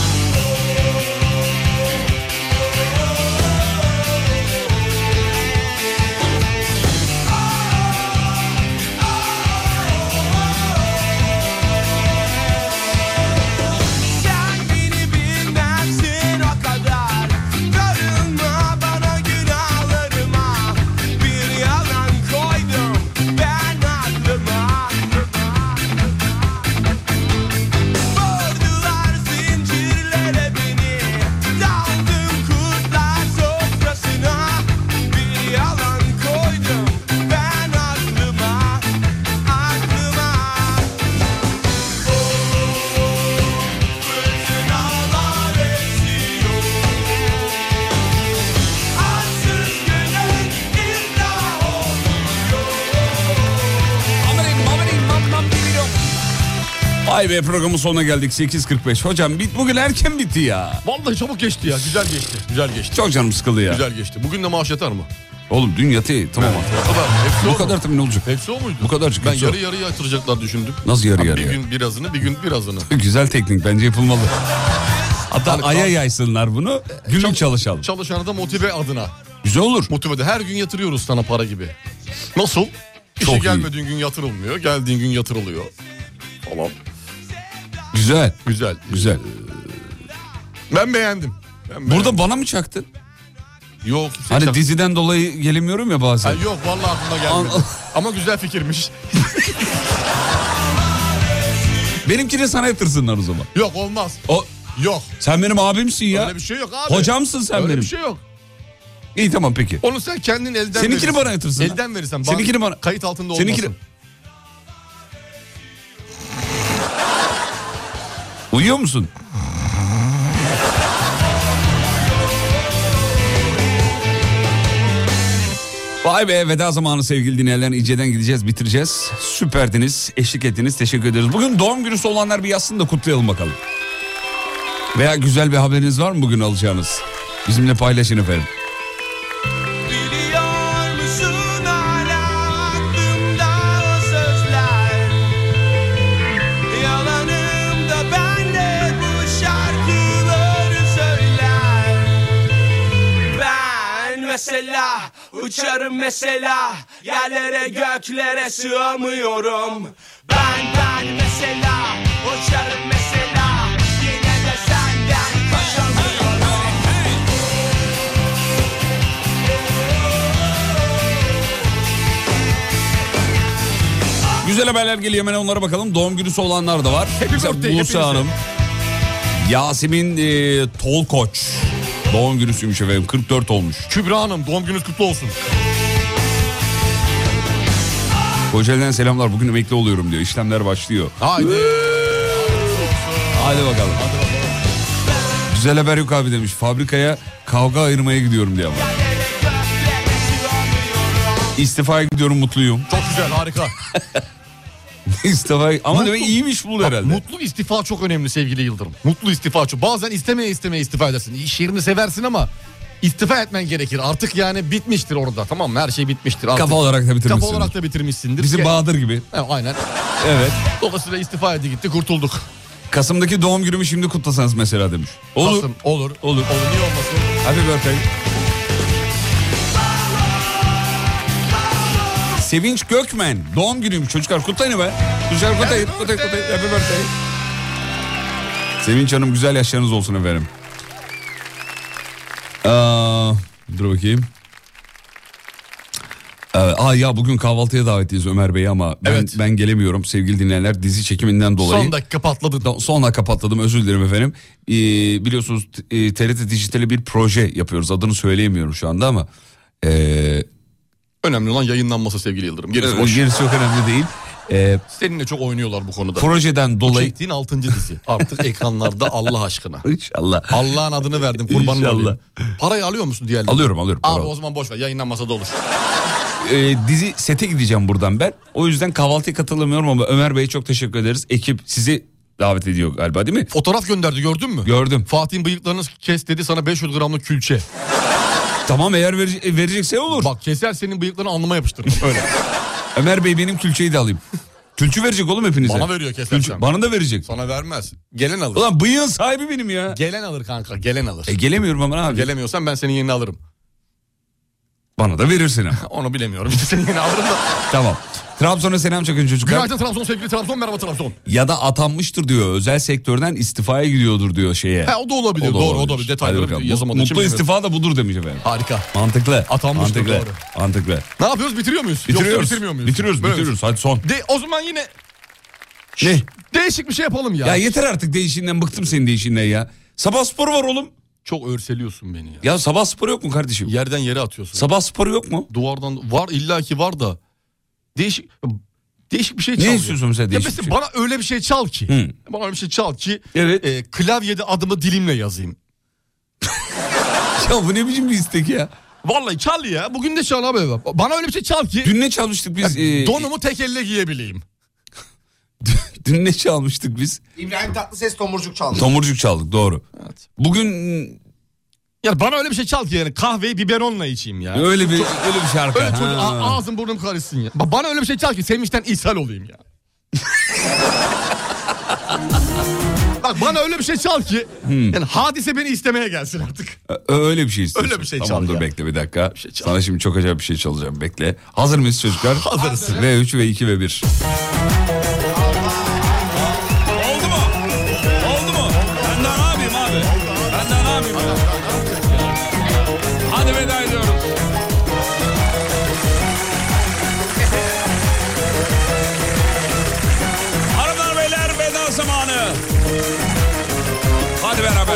Speaker 3: Sen beni bilmezsin o kadar Görünme bana günahlarıma Bir yalan koydum ben aklıma
Speaker 2: Vay be programın sonuna geldik 8.45. Hocam bit bugün erken bitti ya.
Speaker 4: Vallahi çabuk geçti ya. Güzel geçti. Güzel geçti.
Speaker 2: Çok canım sıkıldı ya.
Speaker 4: Güzel geçti. Bugün de maaş yatar mı?
Speaker 2: Oğlum dün yatı tamam artık.
Speaker 4: Bu kadar. Hepsi
Speaker 2: Bu kadar tabii ne olacak?
Speaker 4: Hepsi o muydu?
Speaker 2: Bu kadarcık.
Speaker 4: Ben
Speaker 2: hepsi o.
Speaker 4: yarı yarıya yatıracaklar düşündüm.
Speaker 2: Nasıl yarı
Speaker 4: Ha,
Speaker 2: yarıya?
Speaker 4: Bir gün birazını bir gün birazını.
Speaker 2: Güzel teknik bence yapılmalı. Hatta
Speaker 4: Yani
Speaker 2: aya
Speaker 4: Hani kal-
Speaker 2: yaysınlar bunu. Günlük çalışalım.
Speaker 4: Çalışanı da motive adına.
Speaker 2: Güzel olur.
Speaker 4: Motive de her gün yatırıyoruz sana para gibi. Nasıl? İşe
Speaker 2: Çok iyi.
Speaker 4: gelmediğin gün yatırılmıyor. Geldiğin gün yatırılıyor. Tamam.
Speaker 2: Güzel.
Speaker 4: Güzel. Ee,
Speaker 2: Güzel.
Speaker 4: Ben beğendim.
Speaker 2: Burada bana mı çaktın?
Speaker 4: Yok.
Speaker 2: Hani diziden dolayı gelemiyorum ya bazen.
Speaker 4: Ha, yok vallahi aklıma gelmedi. Ama güzel fikirmiş.
Speaker 2: Benimkini sana yatırsınlar o zaman.
Speaker 4: Yok olmaz.
Speaker 2: O
Speaker 4: Yok.
Speaker 2: Sen benim abimsin ya.
Speaker 4: Öyle bir şey yok abi.
Speaker 2: Hocamsın sen
Speaker 4: Öyle
Speaker 2: benim.
Speaker 4: bir şey yok.
Speaker 2: İyi tamam peki.
Speaker 4: Onu sen kendin elden
Speaker 2: Seninkini
Speaker 4: verirsen.
Speaker 2: bana yatırsın.
Speaker 4: Elden verirsen. bana-
Speaker 2: Seninkini bana.
Speaker 4: Kayıt altında olmasın.
Speaker 2: Seninkini. Uyuyor musun? Vay be veda zamanı sevgili dinleyenler. İnceden gideceğiz bitireceğiz. Süperdiniz. Eşlik ettiniz. Teşekkür ederiz. Bugün doğum günüsü olanlar bir yazsın da kutlayalım bakalım. Veya güzel bir haberiniz var mı bugün alacağınız? Bizimle paylaşın efendim.
Speaker 3: Biliyor musun hala aklımda o sözler Yalanımda ben de bu şarkıları söyler Ben mesela uçarım mesela Yerlere göklere sığamıyorum Ben ben mesela uçarım mesela Yine de senden kaçamıyorum
Speaker 2: Güzel haberler geliyor hemen onlara bakalım. Doğum günüsü olanlar da var. Mesela
Speaker 4: birthday, hepinize.
Speaker 2: Musa Hanım. Yasemin e, Tolkoç. Doğum günüsüymüş efendim. 44 olmuş.
Speaker 4: Kübra Hanım doğum gününüz kutlu olsun.
Speaker 2: Kocaeli'den selamlar. Bugün emekli oluyorum diyor. İşlemler başlıyor.
Speaker 4: Haydi.
Speaker 2: Hadi bakalım. Güzel haber yok abi demiş. Fabrikaya kavga ayırmaya gidiyorum diyor ama. İstifaya gidiyorum mutluyum.
Speaker 4: Çok güzel harika.
Speaker 2: İstifa ama
Speaker 4: Mutlu-
Speaker 2: demek iyiymiş bu herhalde.
Speaker 4: Mutlu istifa çok önemli sevgili Yıldırım. Mutlu istifa çok. Bazen istemeye istemeye istifa edersin. İş yerini seversin ama istifa etmen gerekir. Artık yani bitmiştir orada tamam mı? Her şey bitmiştir. Artık
Speaker 2: Kafa olarak da bitirmişsin.
Speaker 4: Kafa olarak da bitirmişsindir.
Speaker 2: Bizim
Speaker 4: Ke-
Speaker 2: Bahadır gibi.
Speaker 4: He, aynen.
Speaker 2: Evet.
Speaker 4: Dolayısıyla istifa etti gitti kurtulduk.
Speaker 2: Kasım'daki doğum günümü şimdi kutlasanız mesela demiş. Olur.
Speaker 4: Kasım, olur.
Speaker 2: Olur.
Speaker 4: Olur niye olmasın?
Speaker 2: Happy birthday. Sevinç Gökmen. Doğum günüymüş çocuklar. Kutlayın be. Çocuklar kutlayın. Kutlayın kutlayın. Happy birthday. Sevinç Hanım güzel yaşlarınız olsun efendim. Aa, dur bakayım. Ee, Aa ya bugün kahvaltıya davetliyiz Ömer Bey ama ben,
Speaker 4: Evet.
Speaker 2: ben gelemiyorum sevgili dinleyenler dizi çekiminden dolayı.
Speaker 4: Son dakika patladı.
Speaker 2: Da- Sonra kapatladım özür dilerim efendim. Ee, biliyorsunuz t- e, TRT Dijital'e bir proje yapıyoruz. Adını söyleyemiyorum şu anda ama. ee,
Speaker 4: Önemli olan yayınlanması sevgili Yıldırım. Gerisi boş.
Speaker 2: gerisi çok önemli değil. Ee,
Speaker 4: Seninle çok oynuyorlar bu konuda.
Speaker 2: projeden
Speaker 4: Bu
Speaker 2: dolayı.
Speaker 4: çektiğin 6. dizi. Artık ekranlarda Allah aşkına.
Speaker 2: İnşallah.
Speaker 4: Allah'ın adını verdim kurbanın
Speaker 2: İnşallah.
Speaker 4: olayım. Parayı alıyor musun diğerleri?
Speaker 2: Alıyorum alıyorum.
Speaker 4: Abi
Speaker 2: Bravo.
Speaker 4: o zaman boş ver yayınlanmasa da olur.
Speaker 2: Ee, dizi sete gideceğim buradan ben. O yüzden kahvaltıya katılamıyorum ama Ömer Bey'e çok teşekkür ederiz. Ekip sizi davet ediyor galiba değil mi?
Speaker 4: Fotoğraf gönderdi gördün mü?
Speaker 2: Gördüm.
Speaker 4: Fatih'in bıyıklarını kes dedi sana 500 gramlık külçe.
Speaker 2: Tamam eğer verece- verecekse olur.
Speaker 4: Bak keser senin bıyıklarını alnıma yapıştırır. Öyle.
Speaker 2: Ömer Bey benim külçeyi de alayım. Külçe verecek oğlum hepinize.
Speaker 4: Bana veriyor kesersen.
Speaker 2: Külçe- Bana da verecek.
Speaker 4: Sana vermez. Gelen alır.
Speaker 2: Ulan bıyığın sahibi benim ya.
Speaker 4: Gelen alır kanka gelen alır.
Speaker 2: E, gelemiyorum ama abi.
Speaker 4: Gelemiyorsan ben senin yerini alırım.
Speaker 2: Bana da verirsin ama.
Speaker 4: Onu bilemiyorum. İşte senin yerini alırım da.
Speaker 2: tamam. Trabzon'a selam çakın çocuklar.
Speaker 4: Günaydın Trabzon sevgili Trabzon merhaba Trabzon.
Speaker 2: Ya da atanmıştır diyor. Özel sektörden istifaya gidiyordur diyor şeye.
Speaker 4: He, o da olabilir. Doğru, o da bir detayları
Speaker 2: Hadi bakalım.
Speaker 4: yazamadığı için
Speaker 2: Mutlu
Speaker 4: bilmiyorum.
Speaker 2: istifa da budur demiş efendim.
Speaker 4: Harika.
Speaker 2: Mantıklı.
Speaker 4: Atanmıştır,
Speaker 2: Mantıklı.
Speaker 4: doğru.
Speaker 2: Mantıklı.
Speaker 4: Ne yapıyoruz bitiriyor muyuz? Yoksa
Speaker 2: Bitiriyoruz.
Speaker 4: bitirmiyor muyuz?
Speaker 2: Bitiriyoruz,
Speaker 4: Böyle
Speaker 2: bitiriyoruz. Hadi son.
Speaker 4: mi? De, o zaman yine
Speaker 2: Ne?
Speaker 4: değişik bir şey yapalım ya.
Speaker 2: Ya yeter artık değişinden bıktım senin değişinden ya. Sabah sporu var oğlum.
Speaker 4: Çok örseliyorsun beni ya.
Speaker 2: Ya sabah sporu yok mu kardeşim?
Speaker 4: Yerden yere atıyorsun.
Speaker 2: Sabah sporu yok mu?
Speaker 4: Duvardan var illaki var da değişik değişik bir şey çal.
Speaker 2: Ne
Speaker 4: ya.
Speaker 2: istiyorsun mesela
Speaker 4: Ya
Speaker 2: değişik
Speaker 4: mesela
Speaker 2: bir şey?
Speaker 4: bana öyle bir şey çal ki.
Speaker 2: Hı.
Speaker 4: Bana öyle bir şey çal ki
Speaker 2: Evet.
Speaker 4: e, klavyede adımı dilimle yazayım.
Speaker 2: Ya bu ne biçim bir istek ya?
Speaker 4: Vallahi çal ya. Bugün de çal abi. Bana öyle bir şey çal ki
Speaker 2: Dün ne çalıştık biz? Ee,
Speaker 4: donumu tek elle giyebileyim.
Speaker 2: Dün ne çalmıştık biz?
Speaker 16: İbrahim Tatlıses tomurcuk çaldı.
Speaker 2: Tomurcuk çaldık doğru. Bugün
Speaker 4: ya bana öyle bir şey çal ki yani kahveyi biberonla içeyim ya.
Speaker 2: Öyle bir- öyle bir şarkı.
Speaker 4: Öyle çok-
Speaker 2: Ha.
Speaker 4: a- ağzım burnum karışsın ya. Ba- Bana öyle bir şey çal ki sevinçten ishal olayım ya. Bak bana öyle bir şey çal ki
Speaker 2: Hmm.
Speaker 4: yani hadise beni istemeye gelsin artık.
Speaker 2: Ö- öyle bir şey istiyorsun.
Speaker 4: Öyle bir şey
Speaker 2: Tamam
Speaker 4: çal
Speaker 2: dur
Speaker 4: ya.
Speaker 2: bekle bir dakika. Sana şimdi çok acayip bir şey çalacağım bekle. Hazır mıyız çocuklar? Hazırız. V3, V2 ve 1. Oldu mu? Ben daha ne yapayım abi? Ben daha ne yapayım? Hadi veda ediyoruz. Hanımlar beyler veda zamanı. Hadi beraber.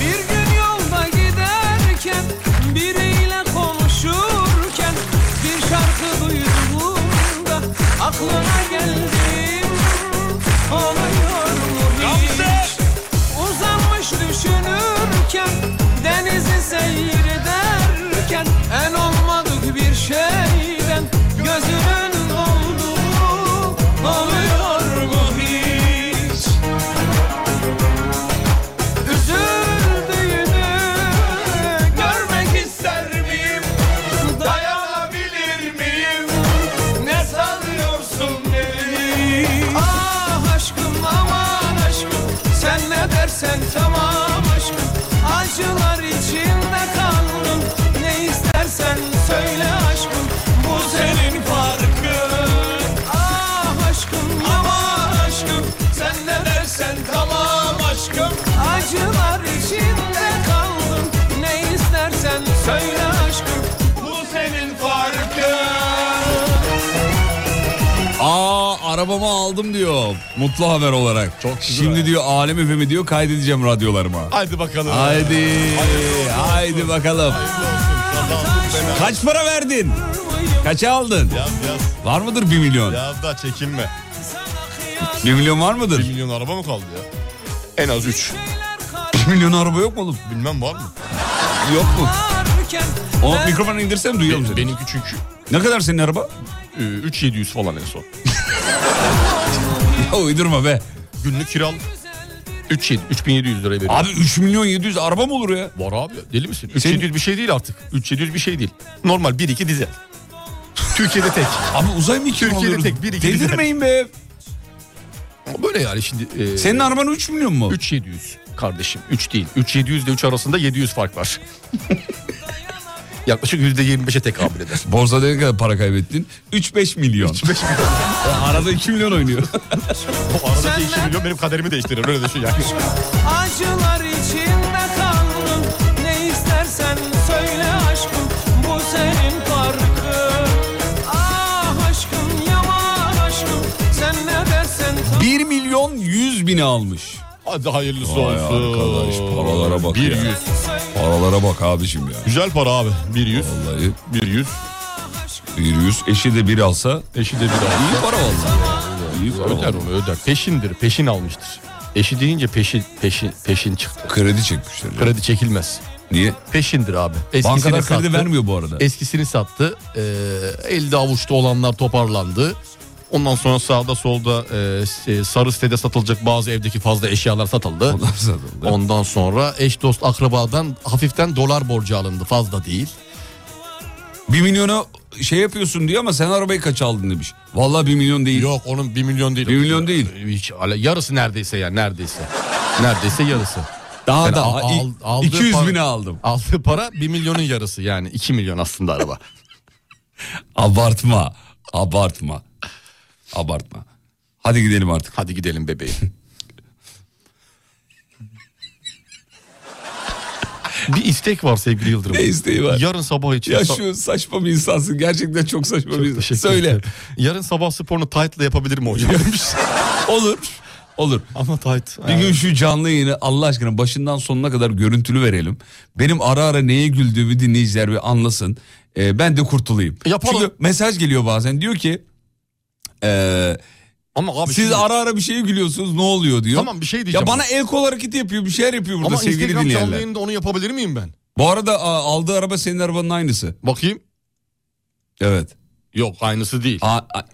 Speaker 1: Bir gün yolda giderken biriyle konuşurken bir şarkı duyduğumda aklıma geldim oluyor mu hiç? Uzanmış düşünürken denizi seyrederken en olmadık bir şeyden gözümün oldu oluyor mu hiç? Üzüldüğünü görmek ister miyim? Dayanabilir miyim? Ne sanıyorsun beni? Ah aşkım aman aşkım sen ne dersen tamam aşkım Acılar içinde kaldım ne istersen söyle aşkım Bu senin farkın Ah aşkım aman aşkım Sen ne dersen tamam aşkım Acılar içinde kaldım Ne istersen söyle aşkım Bu senin farkın
Speaker 2: Aa arabamı aldım diyor. Mutlu haber olarak. Çok Şimdi diyor alem efemi diyor kaydedeceğim radyolarıma.
Speaker 4: Haydi bakalım.
Speaker 2: Haydi. Haydi bakalım. Kaç para verdin? Kaça aldın? Var mıdır 1 milyon?
Speaker 4: Biraz daha çekinme.
Speaker 2: 1 milyon var mıdır?
Speaker 4: 1 milyon araba mı kaldı ya? En az 3.
Speaker 2: 1 milyon araba yok mu oğlum?
Speaker 4: Bilmem var mı?
Speaker 2: Yok mu? O
Speaker 4: Ben-
Speaker 2: mikrofonu indirsem duyuyorum seni.
Speaker 4: Benimki çünkü. Ee,
Speaker 2: Ne kadar senin araba?
Speaker 4: 3700 falan en son.
Speaker 2: ya uydurma be.
Speaker 4: Günlük kiral 3700, 3700 liraya veriyorum.
Speaker 2: Abi 3 milyon 700 araba mı olur ya?
Speaker 4: Var abi deli misin? 3700 bir şey değil artık. 3700 bir şey değil. Normal 1-2 dizel. Türkiye'de tek.
Speaker 2: Abi uzay mı kim
Speaker 4: Türkiye'de
Speaker 2: alıyoruz?
Speaker 4: tek 1-2 dizel.
Speaker 2: Delirmeyin be.
Speaker 4: Ama Böyle yani şimdi. e,
Speaker 2: Senin araban 3 milyon mu?
Speaker 4: 3700 kardeşim 3 değil. 3700 ile 3 arasında 700 fark var. Yaklaşık %25'e tekabül eder.
Speaker 2: Borsada ne kadar para kaybettin? 3-5 milyon. 3-5
Speaker 4: milyon.
Speaker 2: Arada 2 milyon oynuyor.
Speaker 4: O aradaki 2 milyon benim kaderimi değiştirir öyle düşün yani.
Speaker 1: Acılar içinde kaldım Ne istersen söyle aşkım Bu senin farkın Ah aşkım yaman aşkım Sen ne dersen
Speaker 2: 1 milyon 100 bini almış.
Speaker 4: Hadi hayırlısı
Speaker 2: Vay arkadaş paralara bak ya. Paralara bak abicim ya.
Speaker 4: Güzel para abi. 100.
Speaker 2: Vallahi.
Speaker 4: 100.
Speaker 2: 100. Eşi de bir alsa.
Speaker 4: Eşi de bir alsa.
Speaker 2: İyi para vallahi. İyi para
Speaker 4: Öder
Speaker 2: vallahi.
Speaker 4: onu öder. Peşindir peşin almıştır. Eşi deyince peşin peşin peşin çıktı.
Speaker 2: Kredi çekmişler. ya.
Speaker 4: Kredi çekilmez.
Speaker 2: Niye?
Speaker 4: Peşindir abi.
Speaker 2: Bankalar kredi vermiyor bu arada.
Speaker 4: Eskisini sattı. Ee, elde avuçta olanlar toparlandı. Ondan sonra sağda solda e, s- e, sarı sitede satılacak bazı evdeki fazla eşyalar satıldı.
Speaker 2: Ondan satıldı.
Speaker 4: Ondan sonra eş dost akrabadan hafiften dolar borcu alındı fazla değil.
Speaker 2: 1 milyona şey yapıyorsun diyor ama sen arabayı kaç aldın demiş. Vallahi 1 milyon değil.
Speaker 4: Yok onun 1 milyon değil.
Speaker 2: 1 milyon değil.
Speaker 4: Hiç, ala- yarısı neredeyse yani neredeyse. Neredeyse yarısı.
Speaker 2: Daha
Speaker 4: Yani
Speaker 2: da
Speaker 4: al- al- aldığı
Speaker 2: 200
Speaker 4: para-
Speaker 2: bini aldım.
Speaker 4: Aldığı para 1 milyonun yarısı yani 2 milyon aslında araba.
Speaker 2: Abartma. Abartma. Abartma. Hadi gidelim artık.
Speaker 4: Hadi gidelim bebeğim. bir istek var sevgili Yıldırım.
Speaker 2: Ne isteği var?
Speaker 4: Yarın sabah için.
Speaker 2: Ya şu saçma bir insansın. Gerçekten çok saçma bir insansın.
Speaker 4: Teşekkür
Speaker 2: Söyle.
Speaker 4: ederim. Yarın sabah sporunu tight'la yapabilir mi hocam?
Speaker 2: Olur. Olur.
Speaker 4: Ama tight.
Speaker 2: Bir gün şu canlı yayını Allah aşkına başından sonuna kadar görüntülü verelim. Benim ara ara neye güldüğümü dinleyiciler bir anlasın. Ee, ben de kurtulayım.
Speaker 4: Yapalım.
Speaker 2: Çünkü mesaj geliyor bazen. Diyor ki eee,
Speaker 4: Ama abi
Speaker 2: siz
Speaker 4: şimdi-
Speaker 2: ara ara bir şeye gülüyorsunuz ne oluyor diyor.
Speaker 4: Tamam, bir şey diyeceğim
Speaker 2: Ya bana
Speaker 4: ama.
Speaker 2: el kol hareketi yapıyor bir şeyler yapıyor burada
Speaker 4: Ama
Speaker 2: sevgili
Speaker 4: Instagram canlı
Speaker 2: dinleyenler.
Speaker 4: yayında onu yapabilir miyim ben?
Speaker 2: Bu arada a, aldığı araba senin arabanın aynısı.
Speaker 4: Bakayım.
Speaker 2: Evet.
Speaker 4: Yok aynısı değil.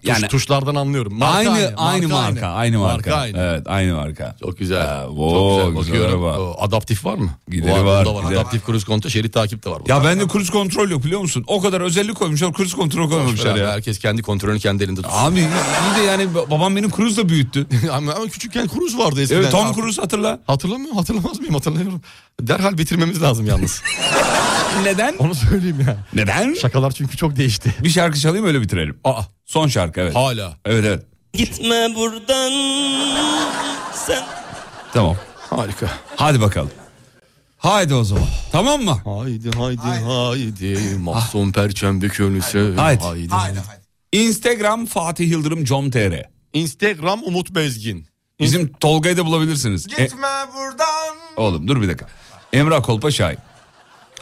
Speaker 4: yani tuşlardan anlıyorum. Marka
Speaker 2: aynı, aynı,
Speaker 4: marka
Speaker 2: marka, aynı marka.
Speaker 4: aynı.
Speaker 2: Evet, aynı marka.
Speaker 4: Çok güzel.
Speaker 2: oo,
Speaker 4: Çok güzel.
Speaker 2: güzel
Speaker 4: Bakıyorum.
Speaker 2: araba.
Speaker 4: O, Adaptif var mı?
Speaker 2: Gideri
Speaker 4: O
Speaker 2: var,
Speaker 4: bunda
Speaker 2: gideri.
Speaker 4: Adaptif cruise kontrol, şerit takip de var.
Speaker 2: Ya bende kruz kontrol yok biliyor musun? O kadar özellik koymuşlar kruz kontrol koymamışlar
Speaker 4: Boş ver
Speaker 2: ya.
Speaker 4: abi, Herkes kendi kontrolünü kendi elinde tutuyor.
Speaker 2: Abi iyi de yani babam benim kruzla büyüttü.
Speaker 4: ama, ama küçükken kruz vardı eskiden.
Speaker 2: Evet, Tom
Speaker 4: Artık-
Speaker 2: Cruise hatırla.
Speaker 4: Hatırlamıyor hatırlamaz mıyım hatırlıyorum. Derhal bitirmemiz lazım yalnız.
Speaker 2: Neden?
Speaker 4: Onu söyleyeyim ya.
Speaker 2: Neden?
Speaker 4: Şakalar çünkü çok değişti.
Speaker 2: Bir şarkı çalayım öyle bitirelim. Aa. Son şarkı evet.
Speaker 4: Hala.
Speaker 2: Evet evet.
Speaker 17: Gitme buradan sen
Speaker 2: Tamam.
Speaker 4: Harika.
Speaker 2: Hadi bakalım. Haydi o zaman. Tamam mı? Ah.
Speaker 4: Haydi haydi haydi. Mahzun perçembe köylüsü.
Speaker 2: Haydi.
Speaker 4: haydi.
Speaker 2: Instagram Fatih Yıldırım com.tr.
Speaker 4: Instagram Umut Bezgin.
Speaker 2: Bizim Tolga'yı da bulabilirsiniz. E,
Speaker 16: Gitme buradan.
Speaker 2: oğlum dur bir dakika. Emrah Kolpa Şahin.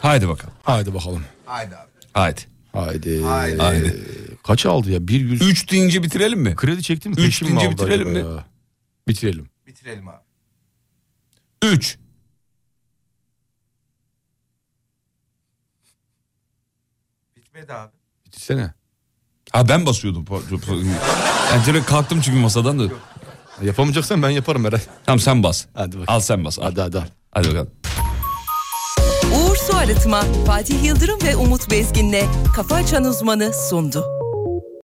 Speaker 2: Haydi bakalım.
Speaker 4: Haydi bakalım.
Speaker 16: Haydi abi.
Speaker 2: Haydi.
Speaker 4: Haydi.
Speaker 16: Haydi.
Speaker 2: Haydi.
Speaker 4: Kaç aldı ya? Bir yüz.
Speaker 2: Üç deyince bitirelim mi?
Speaker 4: Kredi çektim.
Speaker 2: Üç deyince bitirelim mi?
Speaker 4: Bitirelim.
Speaker 16: Bitirelim abi.
Speaker 2: Üç.
Speaker 16: Bitmedi abi.
Speaker 4: Bitirsene.
Speaker 2: Ha ben basıyordum. Po- po- po- Ben direkt kalktım çünkü masadan da.
Speaker 4: Yapamayacaksan ben yaparım Meral.
Speaker 2: Tamam sen bas.
Speaker 4: Hadi bakalım.
Speaker 2: Al sen bas. Al.
Speaker 4: Hadi hadi al.
Speaker 2: Hadi bakalım.
Speaker 9: Uğur Su Arıtma, Fatih Yıldırım ve Umut Bezgin'le Kafa Açan Uzmanı sundu.